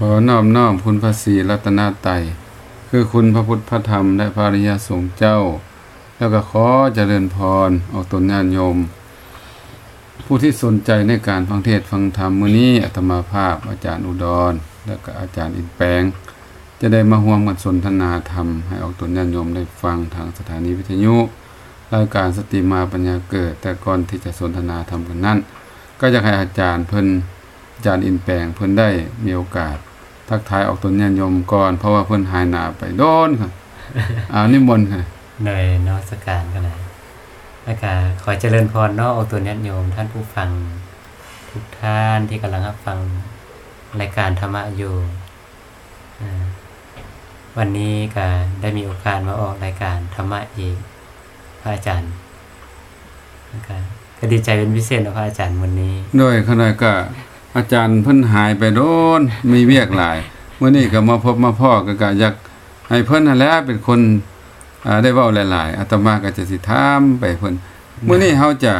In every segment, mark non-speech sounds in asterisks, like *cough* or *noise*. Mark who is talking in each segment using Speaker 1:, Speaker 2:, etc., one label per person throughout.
Speaker 1: ขอนอบน้อมคุณพระศรีรัตนไตรัยคือคุณพระพุทธพระธรรมและพระอริยสงฆ์เจ้า แล้วก็ขอเจริญพรออกตนญาณโยม ผู้ที่สนใจในการฟังเทศน์ฟังธรรมมื้อนี้อาตมาภาพอาจารย์อุดร และก็อาจารย์อินแปง จะได้มาห่วมกันสนทนาธรรม ให้ออกตนญาณโยมได้ฟังทางสถานีวิทยุรายการสติมาปัญญาเกิด แต่ก่อนที่จะสนทนาธรรมกันนั้น ก็จะให้อาจารย์เพิ่นอาจารย์อินแปงเพิ่นได้มีโอกาส ทักทายออกตนญาณโยมก่อน เพราะว่าเพิ่นหายหนาไปโดน *laughs* ค่ะ อานิมนต์ค่ะ
Speaker 2: หน่อยนอสการกันนะแล้วก็ขอเจริญพรเนอกเอาตัวเนี้ยโยมท่านผู้ฟัง ทุกท่านที่กำลังรับฟังรายการธรรมะอยู่อ่าวันนี้ก็ได้มีโอกาสมาออกรายการธรรมะอีกพระอาจารย์แล้วก็ก็ดีใจเป็นพิเศษนะพระอาจารย์วันนี้
Speaker 1: ด้วยขณะก็อาจารย์เพิ่นหายไปโดนมีเวียกหลายเมื่อนี้ก็มาพบมาพ่อก็กะอยากให้เพิ่นนั่นแหละเป็นคนอ่าได้เว้าหลาย ๆอาตมาก็จะสิถามไปเพิ่นเมื่อนี้เฮาจะ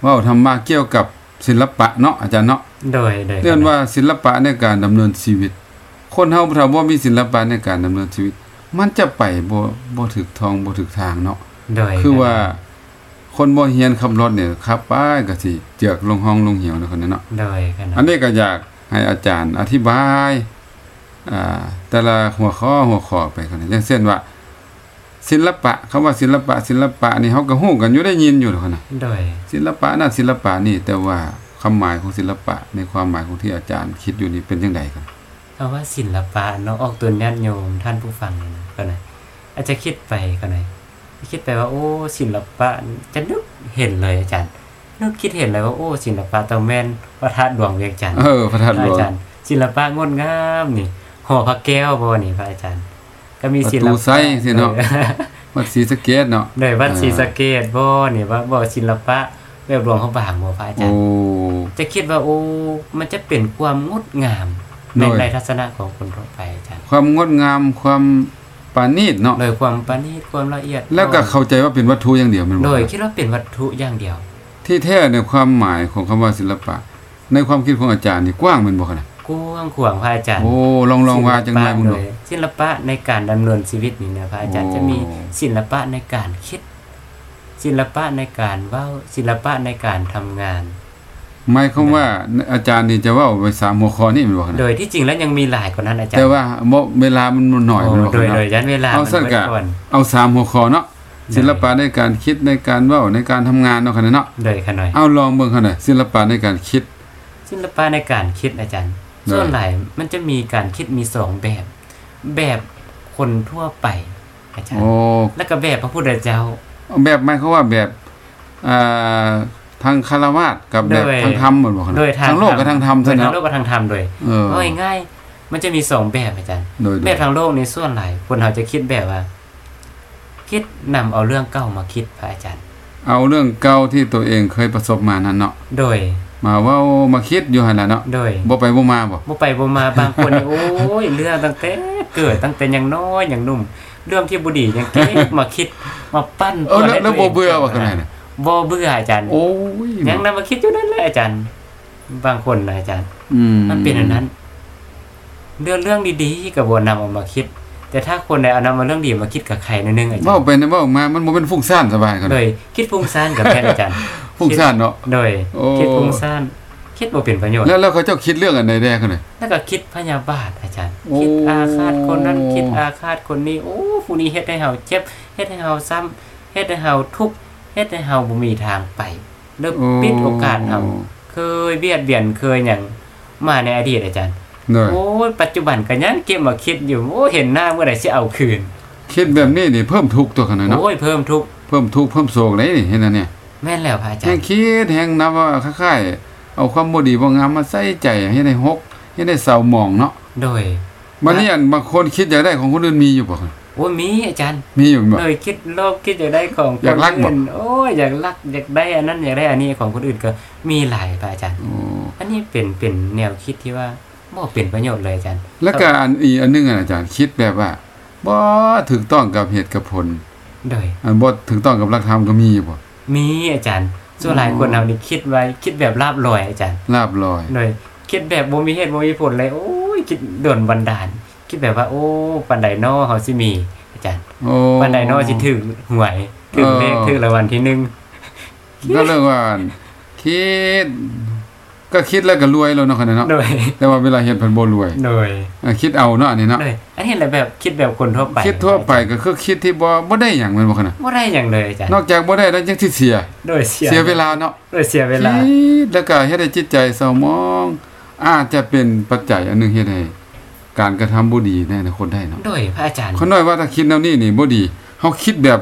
Speaker 1: เว้าธรรมะเกี่ยวกับศิลปะเนาะอาจารย์เนาะ
Speaker 2: โดยโดย
Speaker 1: เรื่องว่าศิลปะในการดำเนินชีวิต คนเฮาถ้าบ่มีศิลปะในการดำเนินชีวิต มันจะไปบ่บ่ถึกทองบ่ถึกทางเนาะ
Speaker 2: โดย
Speaker 1: คือว่าคนบ่เฮียนขับรถเนี่ยขับไปก็สิเจือกลงห้องลงเหี่ยวเนาะคนนั้นเนาะ
Speaker 2: โดยกันนะ
Speaker 1: อันนี้ก็อยากให้อาจารย์อธิบายอ่าแต่ละหัวข้อหัวข้อไปกันนะอย่างเช่นว่า ศิลปะคำว่าศิลปะ ศิลปะนี่เฮาก็ฮู้กันอยู่ได้ยินอยู่เนาะคนน่ะ
Speaker 2: โดย
Speaker 1: ศิลปะนั่นศิลปะนี่ แต่ว่าความหมายของศิลปะ ในความหมายของที่อาจารย์คิดอยู่นี่เป็นจังไดครับ
Speaker 2: คำว่าศิลปะเนอกออกตัวเนี้ยโยมท่านผู้ฟังนะก็นะอาจจะคิดไปก็นะคิดไปว่า โอ้ศิลปะจะนึกเห็นเลยอาจารย์นึกคิดเห็นเลยว่าโอ้ศิลปะตะแมนพระธาตุดวงเวียงจันทร์
Speaker 1: เออพระธาตุหลวง
Speaker 2: อาจารย์ศิลปะงดงามนี่หอพระแก้วบ่นี่พระอาจารย์ ก็มี
Speaker 1: ประ
Speaker 2: ศิล
Speaker 1: ตู
Speaker 2: ปะ
Speaker 1: ไซสิเนาะวัดศรีสะเกษเนาะ
Speaker 2: โดยวัดศรีสะเกษบ่นี่ว่าบ่ศิลปะแบบหลวงเขาบางบ่พระอาจา
Speaker 1: โอ้
Speaker 2: รย์ จะคิดว่าโอ้มันจะเป็นความงดงามใน
Speaker 1: โดย
Speaker 2: ในทัศนะของคนทั่วไปอาจารย์
Speaker 1: ความงดงามความปราณีตเนาะ
Speaker 2: โดยความประณีตความละเอียด
Speaker 1: แล้วก็เข้าใจว่าเป็นวัตถุอย่างเดียวแมันบ่
Speaker 2: โดยคิดว่าเป็นวัตถุอย่างเดียว
Speaker 1: ที่แท้ในความหมายของคำว่าศิลปะ ในความคิดของอาจารย์นี่กว้างแมันบ่คะน่ะ
Speaker 2: กว้างขวางพระอาจารย์
Speaker 1: โอ้ลองลองว่าจังไดมึงดู
Speaker 2: ศิลปะโศิลปะในการดำเนินชีวิตนี่นะพระอาจารย์
Speaker 1: โอ้
Speaker 2: จะมีศิลปะในการคิด ศิลปะในการเว้าศิลปะในการทำงาน
Speaker 1: หมายความว่าอาจารย์นี่จะเว้าไปสามหัวข้อนี่แมันบ่คะ
Speaker 2: โด
Speaker 1: น่ะ
Speaker 2: ยที่จริงแล้วยังมีหลายกว่านั้นอาจารย์
Speaker 1: แต่ว่าบ่เวลามันน้อย
Speaker 2: โอ้
Speaker 1: แมันบ่
Speaker 2: โด
Speaker 1: คะ
Speaker 2: ยโดย
Speaker 1: น่ะ
Speaker 2: ยันเวลา
Speaker 1: เอาสั้น
Speaker 2: มั
Speaker 1: กะ
Speaker 2: ไว้อน
Speaker 1: เอาสามหัวข้อเนาะศิลปะในการคิดในการเว้าในการทำงานเนาะคะน่ะเนาะ
Speaker 2: โดยขน่อย
Speaker 1: เอาลองเบิ่งคะน่ะศิลปะในการคิด
Speaker 2: ศิลปะในการคิดอาจารย์
Speaker 1: โดย
Speaker 2: ส่วนหลายมันจะมีการคิดมีสองแบบ แบบคนทั่วไปอาจารย์
Speaker 1: โอ้
Speaker 2: แล้วก็แบบพระพุทธเจ้า
Speaker 1: แบบหมายความว่าแบบอ่าทางคารวาสกับแบบ
Speaker 2: โดย
Speaker 1: ทางธรรมแมันบ่คะน่ะ
Speaker 2: โดยทาง
Speaker 1: ทางโลกกับทางธรรม
Speaker 2: โด
Speaker 1: เท่ายนั้น
Speaker 2: ทาง
Speaker 1: เนาะ
Speaker 2: โลกกับทางธรรมโดย
Speaker 1: เออ
Speaker 2: เอาง่ายๆมันจะมีสองแบบอาจารย์
Speaker 1: โดยโด
Speaker 2: แบ
Speaker 1: ย
Speaker 2: บทางโลกในส่วนหลายคนเราจะคิดแบบว่า คิดนำเอาเรื่องเก่ามาคิดพระอาจารย์
Speaker 1: เอาเรื่องเก่าที่ตัวเองเคยประสบมานั่นเนาะ
Speaker 2: โดย
Speaker 1: มาเว้ามาคิดอยู่หั่นล่ะเนาะ
Speaker 2: โดย
Speaker 1: บ่ไปบ่มาบ่
Speaker 2: บ่ไปบ่มาบางคนนี่ โอ้ยเรื่องตั้งแต่เกิดตั้งแต่ยังน้อยยังหนุ่ม เรื่องที่บุดียังเก็บมาคิดมาปั้น
Speaker 1: เออแล้ว
Speaker 2: ให้
Speaker 1: แล้ว
Speaker 2: ตั
Speaker 1: บ่
Speaker 2: ง
Speaker 1: เบื่อว่ากันไหนน่ะ
Speaker 2: บ่เบื่ออาจารย์
Speaker 1: โอ้ย
Speaker 2: ยังนำมาคิดอยู่นั่นแหละอาจารย์ บางคนนะอาจารย์
Speaker 1: อืม
Speaker 2: มันเป็นอันนั้น เรื่องเรื่องดีๆกับบนนำเออกมาคิด แต่ถ้าคนใดเอานำมาเรื่องดีมาคิดกับใครนิดนึงอาจาร
Speaker 1: เว้า
Speaker 2: ย์
Speaker 1: ไปนะเว้ามามันบ่เป็นฟุ้งซ่านสบายกัน
Speaker 2: โดยคิดฟุ้งซ่านกับแม่นอา
Speaker 1: *laughs*
Speaker 2: จารย์
Speaker 1: ฟุ้งซ่านเนาะ
Speaker 2: โดย
Speaker 1: โอ้
Speaker 2: คิดฟุ้งซ่านคิดบ่เป็นประโยชน์
Speaker 1: แล้วแล้วเขาเจ้าคิดเรื่องอันใดแด้กันน่ะ
Speaker 2: แล้วก็คิดพยาบาทอาจารย์
Speaker 1: โอ้
Speaker 2: คิดอาฆาตคนนั้นคิดอาฆาตคนนี้โอ้ผู้นี้เฮ็ดให้เฮาเจ็บเฮ็ดให้เฮาซ้ำเฮ็ดให้เฮาทุกข์เฮ็ดให้เฮาบ่มีทางไปเริ่มปิดโอกาสเฮาเคยเบียดเบียนเคยหยังมาในอดีตอาจารย์
Speaker 1: เด้อ
Speaker 2: โอ้ยปัจจุบันก็ยังเก็บมาคิดอยู่โอ้ยเห็นหน้าเมื่อไหร่สิเอาคืน
Speaker 1: คิดแบบนี้นี่เพิ่มทุกข์ตัวกันน่ะเนาะ
Speaker 2: โอ้ยเพิ่มทุกข์
Speaker 1: เพิ่มทุกข์เพิ่มโศกเลยนี่เห็นอันเนี่ย
Speaker 2: แม่นแล้วพระอาจา
Speaker 1: แห่
Speaker 2: รง ย์
Speaker 1: คิดแห่งนับว่าคล้ายๆเอาความบ่ดีบ่งามมาใส่ใจให้ได้หกให้ได้เศร้าหมองเนาะ
Speaker 2: โดย
Speaker 1: บัดนี้อันบางคนคิดอยากได้ของคนอื่นมีอยู่บ่คะ
Speaker 2: โอ้ยมีอาจารย์
Speaker 1: มีอยู่บ่
Speaker 2: โดยคิดโลกคิดอยากได้ของ
Speaker 1: อยากรักหม
Speaker 2: ค
Speaker 1: ด
Speaker 2: นอื่นโอ้ยอยากรักอยากได้อันนั้นอยากได้อันนี้ของคนอื่นก็มีหลายพระอาจารย์
Speaker 1: โอ้
Speaker 2: อันนี้เป็นเป็นแนวคิดที่ว่าบ่เป็นประโยชน์เลยอาจารย์
Speaker 1: แล้วก็อันอีกอันหนึงอะอาจารย์คิดแบบว่าบ่ถูกต้องกับเหตุกับผล
Speaker 2: โดย
Speaker 1: อันบ่ถูกต้องกับหลักธรรมก็มีบ่
Speaker 2: มีอาจารย์ส่วนหลายคนเอานี่คิดไว้คิดแบบลาบลอยอาจารย์
Speaker 1: ลาบลอย
Speaker 2: โดย คิดแบบบ่มีเหตุบ่มีผลเลย โอ้ยคิดด่วนบันดาล คิดแบบว่า โอ้ปันไดนอเฮาสิมี อาจารย์
Speaker 1: โอ้
Speaker 2: ปันไดนอสิถึงหวยถึงเลขถึงรางวัลที่หนึ่ง
Speaker 1: ก็เรื่องว่าคิด ก็คิดแล้วก็รวยแล้วเนาะคันเนาะ
Speaker 2: โดย
Speaker 1: แต่ว่าเวลาเฮ็ดเพิ่นบ่รวย
Speaker 2: โดย
Speaker 1: เออคิดเอาเนาะอันนี้เนาะ
Speaker 2: โดยอันนี้แหละแบบคิดแบบคนทั่วไป
Speaker 1: คิดทั่วไปก็คือคิดที่บ่บ่ได้หยังแม่นบ่คั่นน่ะ
Speaker 2: บ่ได้อย่างเลยอาจารย์
Speaker 1: นอกจากบ่ได้แล้วยังสิเสีย
Speaker 2: โดยเสีย
Speaker 1: เสียเวลาเนาะ
Speaker 2: โดยเสียเวลา
Speaker 1: คิดแล้วก็เฮ็ดให้จิตใจเศร้าหมอง อาจจะเป็นปัจจัยอันหนึงเฮ็ดให้การกระทำบ่ดีในอนาคตได้เนาะ
Speaker 2: โดยพระอาจารย์
Speaker 1: เขาน้อยว่าถ้าคิดแนวนี้นี่บ่ดีเขาคิดแบบ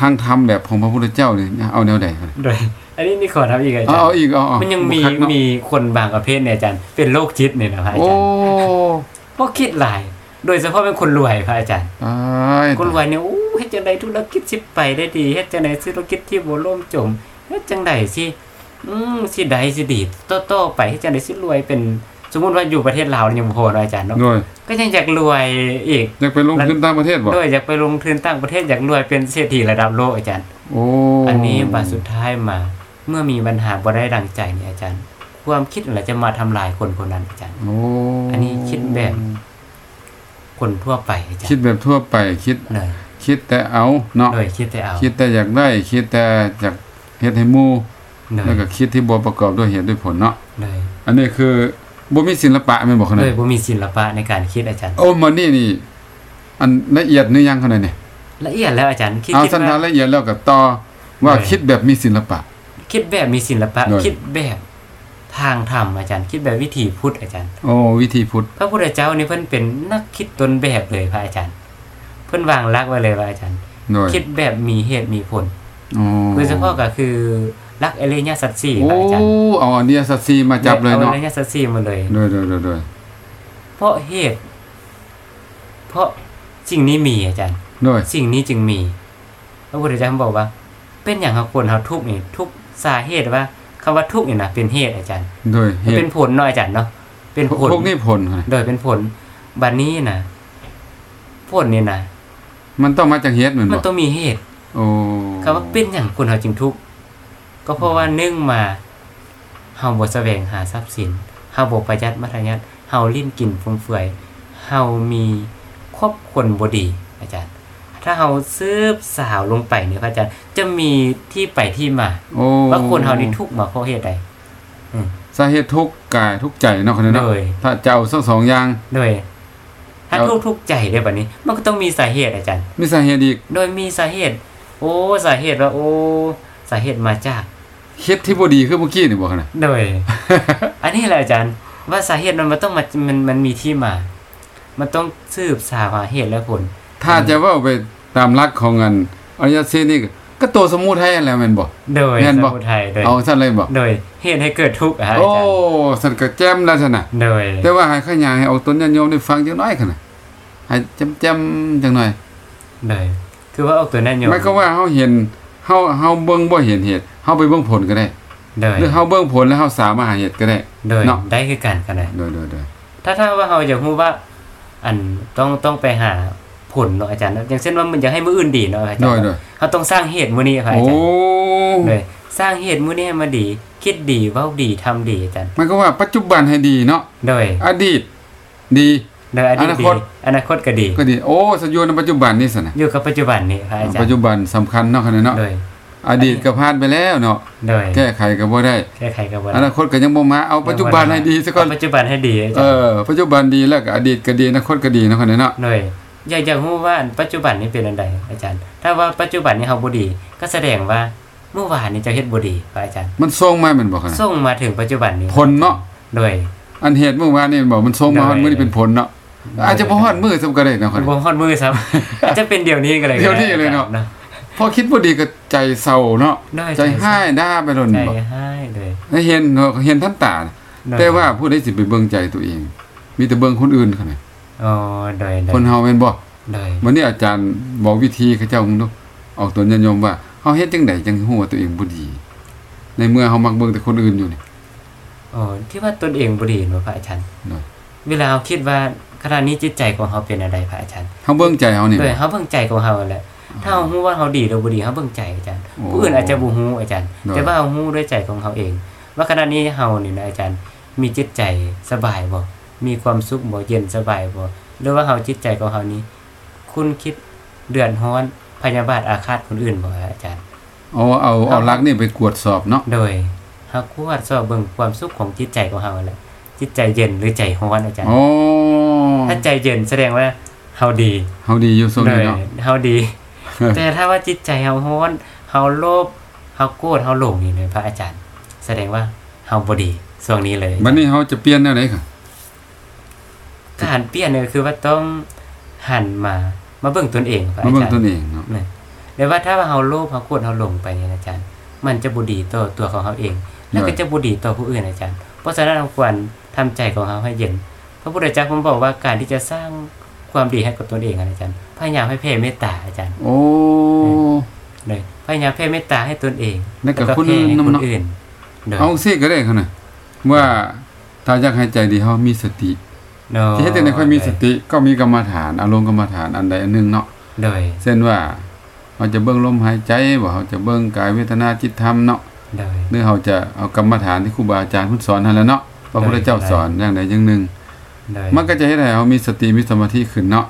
Speaker 1: ทางธรรมแบบของพระพุทธเจ้านี่เอาแนวใดครับ
Speaker 2: โดย อันนี้นี่ขอทำอีกอา
Speaker 1: เอา
Speaker 2: จาร
Speaker 1: เอา
Speaker 2: ย์
Speaker 1: อีกเอาเอา
Speaker 2: มั
Speaker 1: มัน
Speaker 2: ยังมีมีคนบางประเภทเนี่ยอาจารย์ เป็นโรคจิตเนี่ยนะพระอา
Speaker 1: โอ้
Speaker 2: จารย์เพราะคิดหลาย โดยเฉพาะเป็นคนรวยพระอาจารย์
Speaker 1: ตาย
Speaker 2: *laughs* คนรวยเนี่ยโอ้เฮ็ดจังไดธุรกิจสิไปได้ดีเฮ็ดจังไดธุรกิจที่บ่ล่มจมเฮ็ดจังไดสิอืมสิใดสิดีต่อๆไปเฮ็ดจังไดสิรวยเป็นสมมุติว่าอยู่ประเทศลาวเนี่ยยังบ่พอเนาะอาจารย์เนาะ
Speaker 1: โดย
Speaker 2: ก็ยังอยากรวยอีก
Speaker 1: อยากไปลงทุนต่างประเทศบ่
Speaker 2: โดยอยากไปลงทุนต่างประเทศอยากรวยเป็นเศรษฐีระดับโลกอาจารย์
Speaker 1: โอ้
Speaker 2: อันนี้บาทสุดท้ายมา เมื่อมีปัญหาบ่ได้ดังใจเนี่ยอาจารย์ ความคิดอะไรจะมาทำลายคนคนนั้นอาจารย์
Speaker 1: โอ้
Speaker 2: อันนี้คิดแบบ คนทั่วไปอาจาร
Speaker 1: คิด
Speaker 2: ย์
Speaker 1: แบบทั่วไปคิด
Speaker 2: เลย
Speaker 1: คิดแต่เอาเนาะ
Speaker 2: โดยคิดแต่เอา
Speaker 1: คิดแต่อยากได้คิดแต่อยากเฮ็ดให้หมู่
Speaker 2: เล
Speaker 1: แล้ว
Speaker 2: ย
Speaker 1: ก็คิดที่บ่ประกอบด้วยเหตุด้วยผลเนาะ
Speaker 2: เลย
Speaker 1: อันนี้คือบ่มีศิลปะแม่นบ่คั่น
Speaker 2: เล
Speaker 1: น่ะ
Speaker 2: ยบ่มีศิลปะในการคิดอาจารย์
Speaker 1: โอ้มันนี่นี่ อันละเอียดหรือยังคั่นน่ะนี่
Speaker 2: ละเอียดแล้วอาจารย์คิด
Speaker 1: เอา
Speaker 2: คิด
Speaker 1: สันทาน
Speaker 2: ว่า
Speaker 1: ละเอียดแล้วกับต่อว่า
Speaker 2: หน่อย
Speaker 1: คิดแบบมีศิลปะ
Speaker 2: คิดแบบมีศิลปะ
Speaker 1: หน่อย
Speaker 2: คิดแบบทางธรรมอาจารย์ คิดแบบวิถีพุทธอาจารย์
Speaker 1: โอ้วิธีพุทธ
Speaker 2: พระพุทธเจ้านี่เพิ่นเป็นนักคิดต้นแบบเลยพระอาจารย์ เพิ่นวางหลักไว้เลยว่าอาจารย์
Speaker 1: หน่อย
Speaker 2: คิดแบบมีเหตุมีผล
Speaker 1: โอ้
Speaker 2: โดยเฉพาะก็คือหลักเอเลญาสัตว์สี่พ
Speaker 1: โอ้
Speaker 2: ระอาจารย์
Speaker 1: เอาอันเนี้ยสัตว์ซีมาจับเลยเนาะ
Speaker 2: อเลญาสัตว์สี่มาเลย
Speaker 1: โดยโดยโดยโดย
Speaker 2: เพราะเหตุ เพราะสิ่งนี้มีอาจารย์
Speaker 1: โดย
Speaker 2: สิ่งนี้จึงมี พระพุทธเจ้าท่านบอกว่า เป็นอย่างเขาควรเขาทุกข์นี่ทุกข์สาเหตุว่าคำว่าทุกข์นี่นะเป็นเหตุอาจารย์
Speaker 1: โดยเห
Speaker 2: เป็
Speaker 1: ตุ
Speaker 2: นผลเนาะอาจารย์เนาะเป็นผล
Speaker 1: พวกนี้ผลค่ะ
Speaker 2: โดยเป็นผลบัดนี้นะผลนี่นะ
Speaker 1: มันต้องมาจากเหตุเหมือน
Speaker 2: มั
Speaker 1: บ่
Speaker 2: นต้องมีเหตุ
Speaker 1: โอ้
Speaker 2: คำว่าเป็นอย่างคนเขาจึงทุกข์ก็เพราะว่าเนื่องมาเฮาบ่แสวงหาทรัพย์สินเฮาบ่ประหยัดมัธยัติเฮาลิ้นกินฟุ่มเฟือยเฮามีครอบคนบ่ดี อาจารย์ ถ้าเฮาสืบสาวลงไปเนี่ยพระอาจารย์จะมีที่ไปที่มา
Speaker 1: โอ้
Speaker 2: ว่าคนเฮานี่ทุกข์มาเพราะเหตุใด
Speaker 1: สาเหตุทุกข์กายทุกข์ใจเนาะคนนี้เนาะ
Speaker 2: โดย
Speaker 1: ถ้าจะเอาทั้งสองอย่าง
Speaker 2: ด้วยถ้า
Speaker 1: แล้ว
Speaker 2: ทุกข์ทุกข์ใจได้แบบนี้ มันก็ต้องมีสาเหตุอาจารย์
Speaker 1: มีสาเหตุอีก
Speaker 2: โดยมีสาเหตุ โอ้ สาเหตุว่าโอ้ สาเหตุมาจาก
Speaker 1: คิดที่บ่ดีคือเมื่อกี้นี่บ่คั่นน่ะ
Speaker 2: โดย อันนี้แหละอาจารย์ ว่าสาเหตุมันมันต้องมามันมันมีที่มา มันต้องสืบสาวหาเหตุและผล
Speaker 1: ถ้าจะเว้าไปตามหลักของอันอริยสัจนี่ก็ก็ตัวสมุทัยนั่นแหล้วแม่นบ่
Speaker 2: โดย
Speaker 1: แม่
Speaker 2: ส
Speaker 1: นบ่
Speaker 2: มุทัยโดย
Speaker 1: เอาซั่นเลยบ่
Speaker 2: โดยเหตุให้เกิดทุกข์อะฮะอา
Speaker 1: โอ้
Speaker 2: จารย์
Speaker 1: สันก็แจ่มแล้วซั่นน่ะ
Speaker 2: โดย
Speaker 1: แต่ว่าให้ขยายให้เอาต้นญาติโยมได้ฟังจังน้อยคั่นน่ะให้จำๆจังหน่อย
Speaker 2: โดยคือว่าเอาตัวนั่นอยู่
Speaker 1: หมายความว่าเฮาเห็นเฮาเฮาเบิ่งบ่เห็นเหตุเฮาไปเบิ่งผลก็ได้
Speaker 2: โดย
Speaker 1: หรือเฮาเบิ่งผลแล้วเฮาสามารถหาเหตุก็ได้
Speaker 2: โดย
Speaker 1: เนาะ
Speaker 2: ได้คือกันกันนะ
Speaker 1: โดยโดยโดย
Speaker 2: ถ้าถ้าว่าเราจะพูดว่า อันต้องต้องไปหาผลเนาะอาจารย์เนอะอย่างเช่นว่ามันอยากให้มืออื่นดีเนาะอาจารย์
Speaker 1: โด
Speaker 2: เน
Speaker 1: ยโด
Speaker 2: อะ
Speaker 1: ย
Speaker 2: เขาต้องสร้างเหตุมื้อนี้ครับอา
Speaker 1: โอ้
Speaker 2: จารย์เลยสร้างเหตุมื้อนี้ให้มาดี คิดดีเว้าดีทำดีอาจารย์
Speaker 1: มันก็ว่าปัจจุบันให้ดีเนาะ
Speaker 2: โดย
Speaker 1: อดีตดี
Speaker 2: โดยอดีต
Speaker 1: อนา
Speaker 2: ดี
Speaker 1: คต
Speaker 2: อนาคตก็ดี
Speaker 1: ก็ดีโอ้สะยวนในปัจจุบันนี่สินะ
Speaker 2: อยู่กับปัจจุบันนี่ครับอาจาร
Speaker 1: ปัจ
Speaker 2: ย์
Speaker 1: จุบันสำคัญเนาะคั่นน่ะเนาะ
Speaker 2: โดย
Speaker 1: อดีตก็ผ่านไปแล้วเนาะ
Speaker 2: โดย
Speaker 1: แก้ไขก็บ่ได้
Speaker 2: แก้ไขกระบวน
Speaker 1: อนาคตก็ยังบ่มาเอาปัจจุบันให้ดีซะก่อน
Speaker 2: เาปัจจุบันให้ดีอา
Speaker 1: เอ
Speaker 2: จารย์
Speaker 1: อปัจจุบันดีแล้วก็อดีตก็ดีอนาคตก็ดีเนาะคนนี้เนาะ
Speaker 2: โดยอยากอยากรู้ว่าปัจจุบันนี่เป็นอันใดอาจารย์ ถ้าว่าปัจจุบันนี่เฮาบ่ดี ก็แสดงว่าเมื่อวานนี่เจ้าเฮ็ดบ่ดีครับอาจารย์
Speaker 1: มันส่งมาแม่นบ่คนนะ
Speaker 2: ส่งมาถึงปัจจุบันนี้
Speaker 1: ผลเนาะ
Speaker 2: โดย
Speaker 1: อันเหตุเมื่อวานนี่บอกมันส่งมา
Speaker 2: ได้
Speaker 1: ฮอดมื้อนี่เป็นผลเนาะอาจจะบ่ฮอดมื้อซำก็ได้เนาะคน
Speaker 2: บ่
Speaker 1: นี้
Speaker 2: ฮอดมือครับ อาจจะเป็นเดี๋ยวนี้ก็เลยก็ไ
Speaker 1: เดี๋ยวนี้เลยเนอะ
Speaker 2: อจร
Speaker 1: พอคิดบ่ดีก็ใจเศร้าเนาะ
Speaker 2: ได้
Speaker 1: ใจ
Speaker 2: ใจเศร้า
Speaker 1: ห้ายด่าไปโดน
Speaker 2: ใจ
Speaker 1: บ่
Speaker 2: ให้เลย
Speaker 1: ให้เห็นเนาะเห็นทันตาน่ะ
Speaker 2: โดย
Speaker 1: แต่ว่าผู้ใดสิไปเบิ่งใจตัวเอง มีแต่เบิ่งคนอื่นคั่นน่ะ
Speaker 2: อ๋อโดยโดย
Speaker 1: คนเฮาแม่นบ่
Speaker 2: โดย
Speaker 1: วันนี้อาจารย์บอกวิธีเขาเจ้ามึงดูออกตัวญาติโยมว่าเฮาเฮ็ดจังไดจังฮู้ว่าตัวเองบ่ดี ในเมื่อเฮามักเบิ่งแต่คนอื่นอยู่นี่
Speaker 2: อ๋อที่ว่าตนเองบุรีหนูพระอาจารย์
Speaker 1: โดย
Speaker 2: เวลาเราคิดว่าขณะนี้จิตใจของเขาเป็นอะไรพระอาจารย์
Speaker 1: เฮาเบิ่งใจเฮานี่
Speaker 2: โด
Speaker 1: บ่
Speaker 2: ยเขาเบิ่งใจของเขาแหละถ้าเขารู้ว่าเขาดีหรือบุรีเขาเบิ่งใจอาจารย์
Speaker 1: โอ้
Speaker 2: ผู้อื่นอาจจะบูฮู้อาจารย์
Speaker 1: โดย
Speaker 2: แต่ว่าเขาฮู้ด้วยใจของเขาเอง ว่าขณะนี้เขานี่นะอาจารย์ มีจิตใจสบายบ่มีความสุขบ่เย็นสบายบ่หรือว่าเฮาจิตใจของเฮานี้ คุณคิดเดือดร้อนพยาบาทอาฆาตคนอื่นบ่อาจารย์
Speaker 1: เอาเอาเอารักนี่ไปกวดสอบเนาะ
Speaker 2: โดยเฮาควรสอบเบิ่งความสุขของจิตใจของเฮาแหละจิตใจเย็นหรือใจร้อนอาจารย์
Speaker 1: โอ้
Speaker 2: ถ้าใจเย็นแสดงว่าเฮาดี
Speaker 1: เฮาดีอยู่ทรงนี้เนาะ
Speaker 2: เฮาดี
Speaker 1: *laughs*
Speaker 2: แต่ถ้าว่าจิตใจเฮาฮ้อนเฮาโลภเฮาโกรธเฮาหลงนี่เลยพระอาจารย์ แสดงว่าเฮาบ่ดีช่วงนี้เลย
Speaker 1: บัดนี้เฮาจะเปลี่ยนแนวไหนค่ะ
Speaker 2: การเปลี่ยนเนี่ยคือว่าต้องหันมามาเบิ่งตนเองพระ
Speaker 1: มา
Speaker 2: อา
Speaker 1: เบิ่ง
Speaker 2: จาร
Speaker 1: ตน
Speaker 2: ย์
Speaker 1: เองเนาะ
Speaker 2: นะแต่ว่าถ้าว่าเฮาโลภเฮาโกรธเฮาหลงไปเนี่ยอาจารย์ มันจะบ่ดีต่อตัวของเฮาเอง แล้วก็
Speaker 1: ใช่
Speaker 2: จะบ่ดีต่อผู้อื่นอาจารย์ เพราะฉะนั้นเราควรทำใจของเฮาให้เย็น พระพุทธเจ้าผมบอกว่าการที่จะสร้างความดีให้กับตนเองอะอาจารย์พยายามให้เพ่เมตตาอาจารย์
Speaker 1: โอ้
Speaker 2: เลยพยายามแผ่เมตตาให้ตนเอง
Speaker 1: แล้วก็
Speaker 2: แผ่
Speaker 1: คนอื่น
Speaker 2: ให้ค
Speaker 1: ำ
Speaker 2: น
Speaker 1: เนาะ
Speaker 2: อื่นโดย
Speaker 1: เอาสิก็ได้ค่ะน่ะว่าถ้าอยากให้ใจดีเฮามีสติ
Speaker 2: โดย
Speaker 1: ที่เฮ็ดจังได๋ค่อยมีสติก็มีกรรมฐานอารมณ์กรรมฐานอันใดอันหนึงเนาะ
Speaker 2: โดย
Speaker 1: เช่นว่าเราจะเบิ่งลมหายใจบ่เราจะเบิ่งกายเวทนาจิตธรรมเนาะ
Speaker 2: โดย
Speaker 1: หรือเราจะเอากรรมฐานที่ครูบาอาจารย์เพิ่นสอนให้แล้วเนาะพระพุทธเจ้า
Speaker 2: ได้
Speaker 1: สอนอย่างใดอย่างหนึ่ง
Speaker 2: โดย
Speaker 1: มันก็จะเฮ็ดให้เรามีสติมีสมาธิขึ้นเนาะ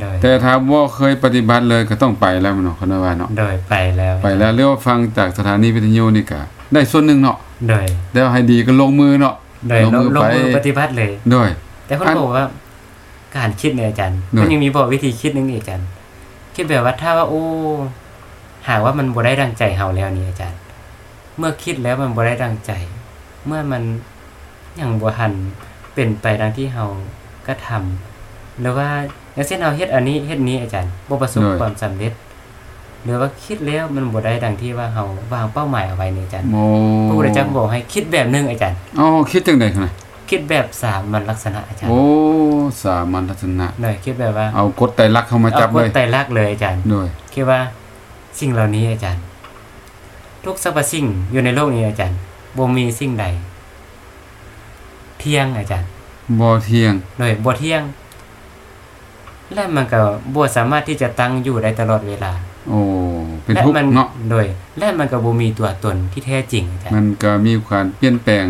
Speaker 2: โดย
Speaker 1: แต่ถ้าบ่เคยปฏิบัติเลยก็ต้องไปแล้วเนาะคณะว่าเนาะ
Speaker 2: โดยไปแล้ว
Speaker 1: ไปแล้วเรียกว่าฟังจากสถานีวิทยุนี่ก็ได้ส่วนหนึ่งเนาะ
Speaker 2: โดย
Speaker 1: แล้วให้ดีก็ลงมือเนาะ
Speaker 2: โดย
Speaker 1: ลงมือ
Speaker 2: ลงมือ
Speaker 1: ไป
Speaker 2: ปฏิบัติเลย
Speaker 1: ด้วย
Speaker 2: แต่คน
Speaker 1: อัน
Speaker 2: บอกว่าการคิดเนี่ยอาจารย์
Speaker 1: โดย
Speaker 2: มันยังมีบอกวิธีคิดหนึงอีกอาจารย์ คิดแบบว่าถ้าว่าโอ้หากว่ามันบ่ได้ดังใจเฮาแล้วนี่อาจารย์ เมื่อคิดแล้วมันบ่ได้ดังใจ เมื่อมันยังบ่หันเป็นไปดังที่เฮาก็ทำหรือว่าอย่างเช่นเฮาเฮ็ดอันนี้เฮ็ดนี้อาจารย์บ่ประสบ
Speaker 1: โดย
Speaker 2: ความสำเร็จ หรือว่าคิดแล้วมันบ่ได้ดังที่ว่าเฮาวางเป้าหมายเอาไว้นี่อาจารย์
Speaker 1: โม
Speaker 2: พระพุทธเจ้าบอกให้คิดแบบหนึงอาจารย์
Speaker 1: อ๋อคิดจังได๋คั่นน่ะ
Speaker 2: คิดแบบสามัญลักษณะอาจารย์
Speaker 1: โอ้สามัญลักษณะ
Speaker 2: หน่อยคิดแบบว่า
Speaker 1: เอากฎไตรลักษณ์เข้ามาจับ
Speaker 2: เอาก
Speaker 1: เล
Speaker 2: ฎ
Speaker 1: ย
Speaker 2: ไตรลักษณ์เลยอาจารย์
Speaker 1: ด้วย
Speaker 2: คิดว่าสิ่งเหล่านี้อาจารย์ ทุกสรรพสิ่งอยู่ในโลกนี้อาจารย์บ่มีสิ่งใด เที่ยงอาจารย์
Speaker 1: บ่เที่ยง
Speaker 2: โดยบ่เที่ยง และมันก็บ่สามารถที่จะตั้งอยู่ได้ตลอดเวลา
Speaker 1: โอ้เป็น
Speaker 2: และ
Speaker 1: ทุกข์
Speaker 2: มั
Speaker 1: เนาะ
Speaker 2: โดย และมันก็บ่มีตัวตนที่แท้จริงอาจาร
Speaker 1: มั
Speaker 2: ย์
Speaker 1: นก็มีการเปลี่ยนแปลง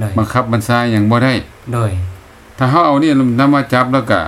Speaker 2: โดย
Speaker 1: บังคับบัญชาอย่างบ่ได้
Speaker 2: โดย
Speaker 1: ถ้าเฮาเอานี่นำมาจับแล้วก็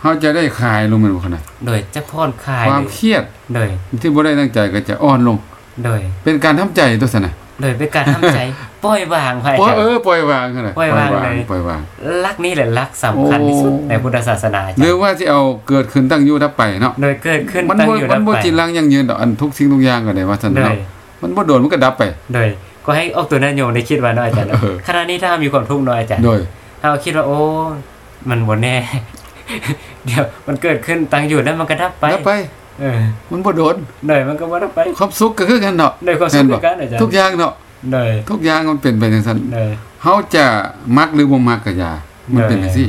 Speaker 1: เฮาจะได้คลายลงแมันบ่คั่นน่ะ
Speaker 2: โดยจะผ่อนคลาย
Speaker 1: ความเครียด
Speaker 2: โดย
Speaker 1: ที่บ่ได้ตั้งใจก็จะอ่อนลง
Speaker 2: โดย
Speaker 1: เป็นการทำใจตัวซั่นน่ะ
Speaker 2: โดยเป็นการทำ
Speaker 1: *laughs*
Speaker 2: ใจ ปล่อยวางไป
Speaker 1: ปล่อย
Speaker 2: อาจารย์
Speaker 1: เออปล่อยวางคั่นน่ะ
Speaker 2: ปล่อยวางเลย
Speaker 1: ปล่อยวาง
Speaker 2: ลักนี่แหละลักสำคัญที่สุด
Speaker 1: โอ้
Speaker 2: ในพุทธศาสนาอาจารย์
Speaker 1: หรือว่าสิเอาเกิดขึ้นตั้งอยู่ดับไปเนาะ
Speaker 2: โดยเกิดขึ้น
Speaker 1: มัน
Speaker 2: ตั้ง
Speaker 1: บ่
Speaker 2: อยู่
Speaker 1: มั
Speaker 2: ดั
Speaker 1: น
Speaker 2: บ
Speaker 1: บ่
Speaker 2: ไป
Speaker 1: จริงลังอยังยืนดอกอันทุกสิ่งทุกอย่างก็ได้ว่าซั่น
Speaker 2: โด
Speaker 1: เนาะ
Speaker 2: ย
Speaker 1: มันบ่โดนมันก็ดับไป
Speaker 2: โดยก็ให้ออกตัวนั้นโยมได้คิดว่าเน้อยอาจารย์เนอะ
Speaker 1: เออ
Speaker 2: ขณะนี้ถ้ามีความทุกข์เน้อยอาจารย์
Speaker 1: โดย
Speaker 2: ถ้าเราคิดว่าโอ้มันบ่แน่ *laughs* เดี๋ยวมันเกิดขึ้นตั้งอยู่แล้วมันก็ดับไป
Speaker 1: ดับไป
Speaker 2: เออ
Speaker 1: มันบ่โดน
Speaker 2: โดยมันก็บ่ดับไป
Speaker 1: ความสุขก็คือกันเนาะ
Speaker 2: โดยความสุขด้วยกันอาจารย์
Speaker 1: ทุกอย่างเนาะ
Speaker 2: โดย
Speaker 1: ทุกอย่างมันเป็นไปจังซั่น
Speaker 2: โดย
Speaker 1: เฮาจะมักหรือบ่มักก็อย่ามันเป็นจังซี่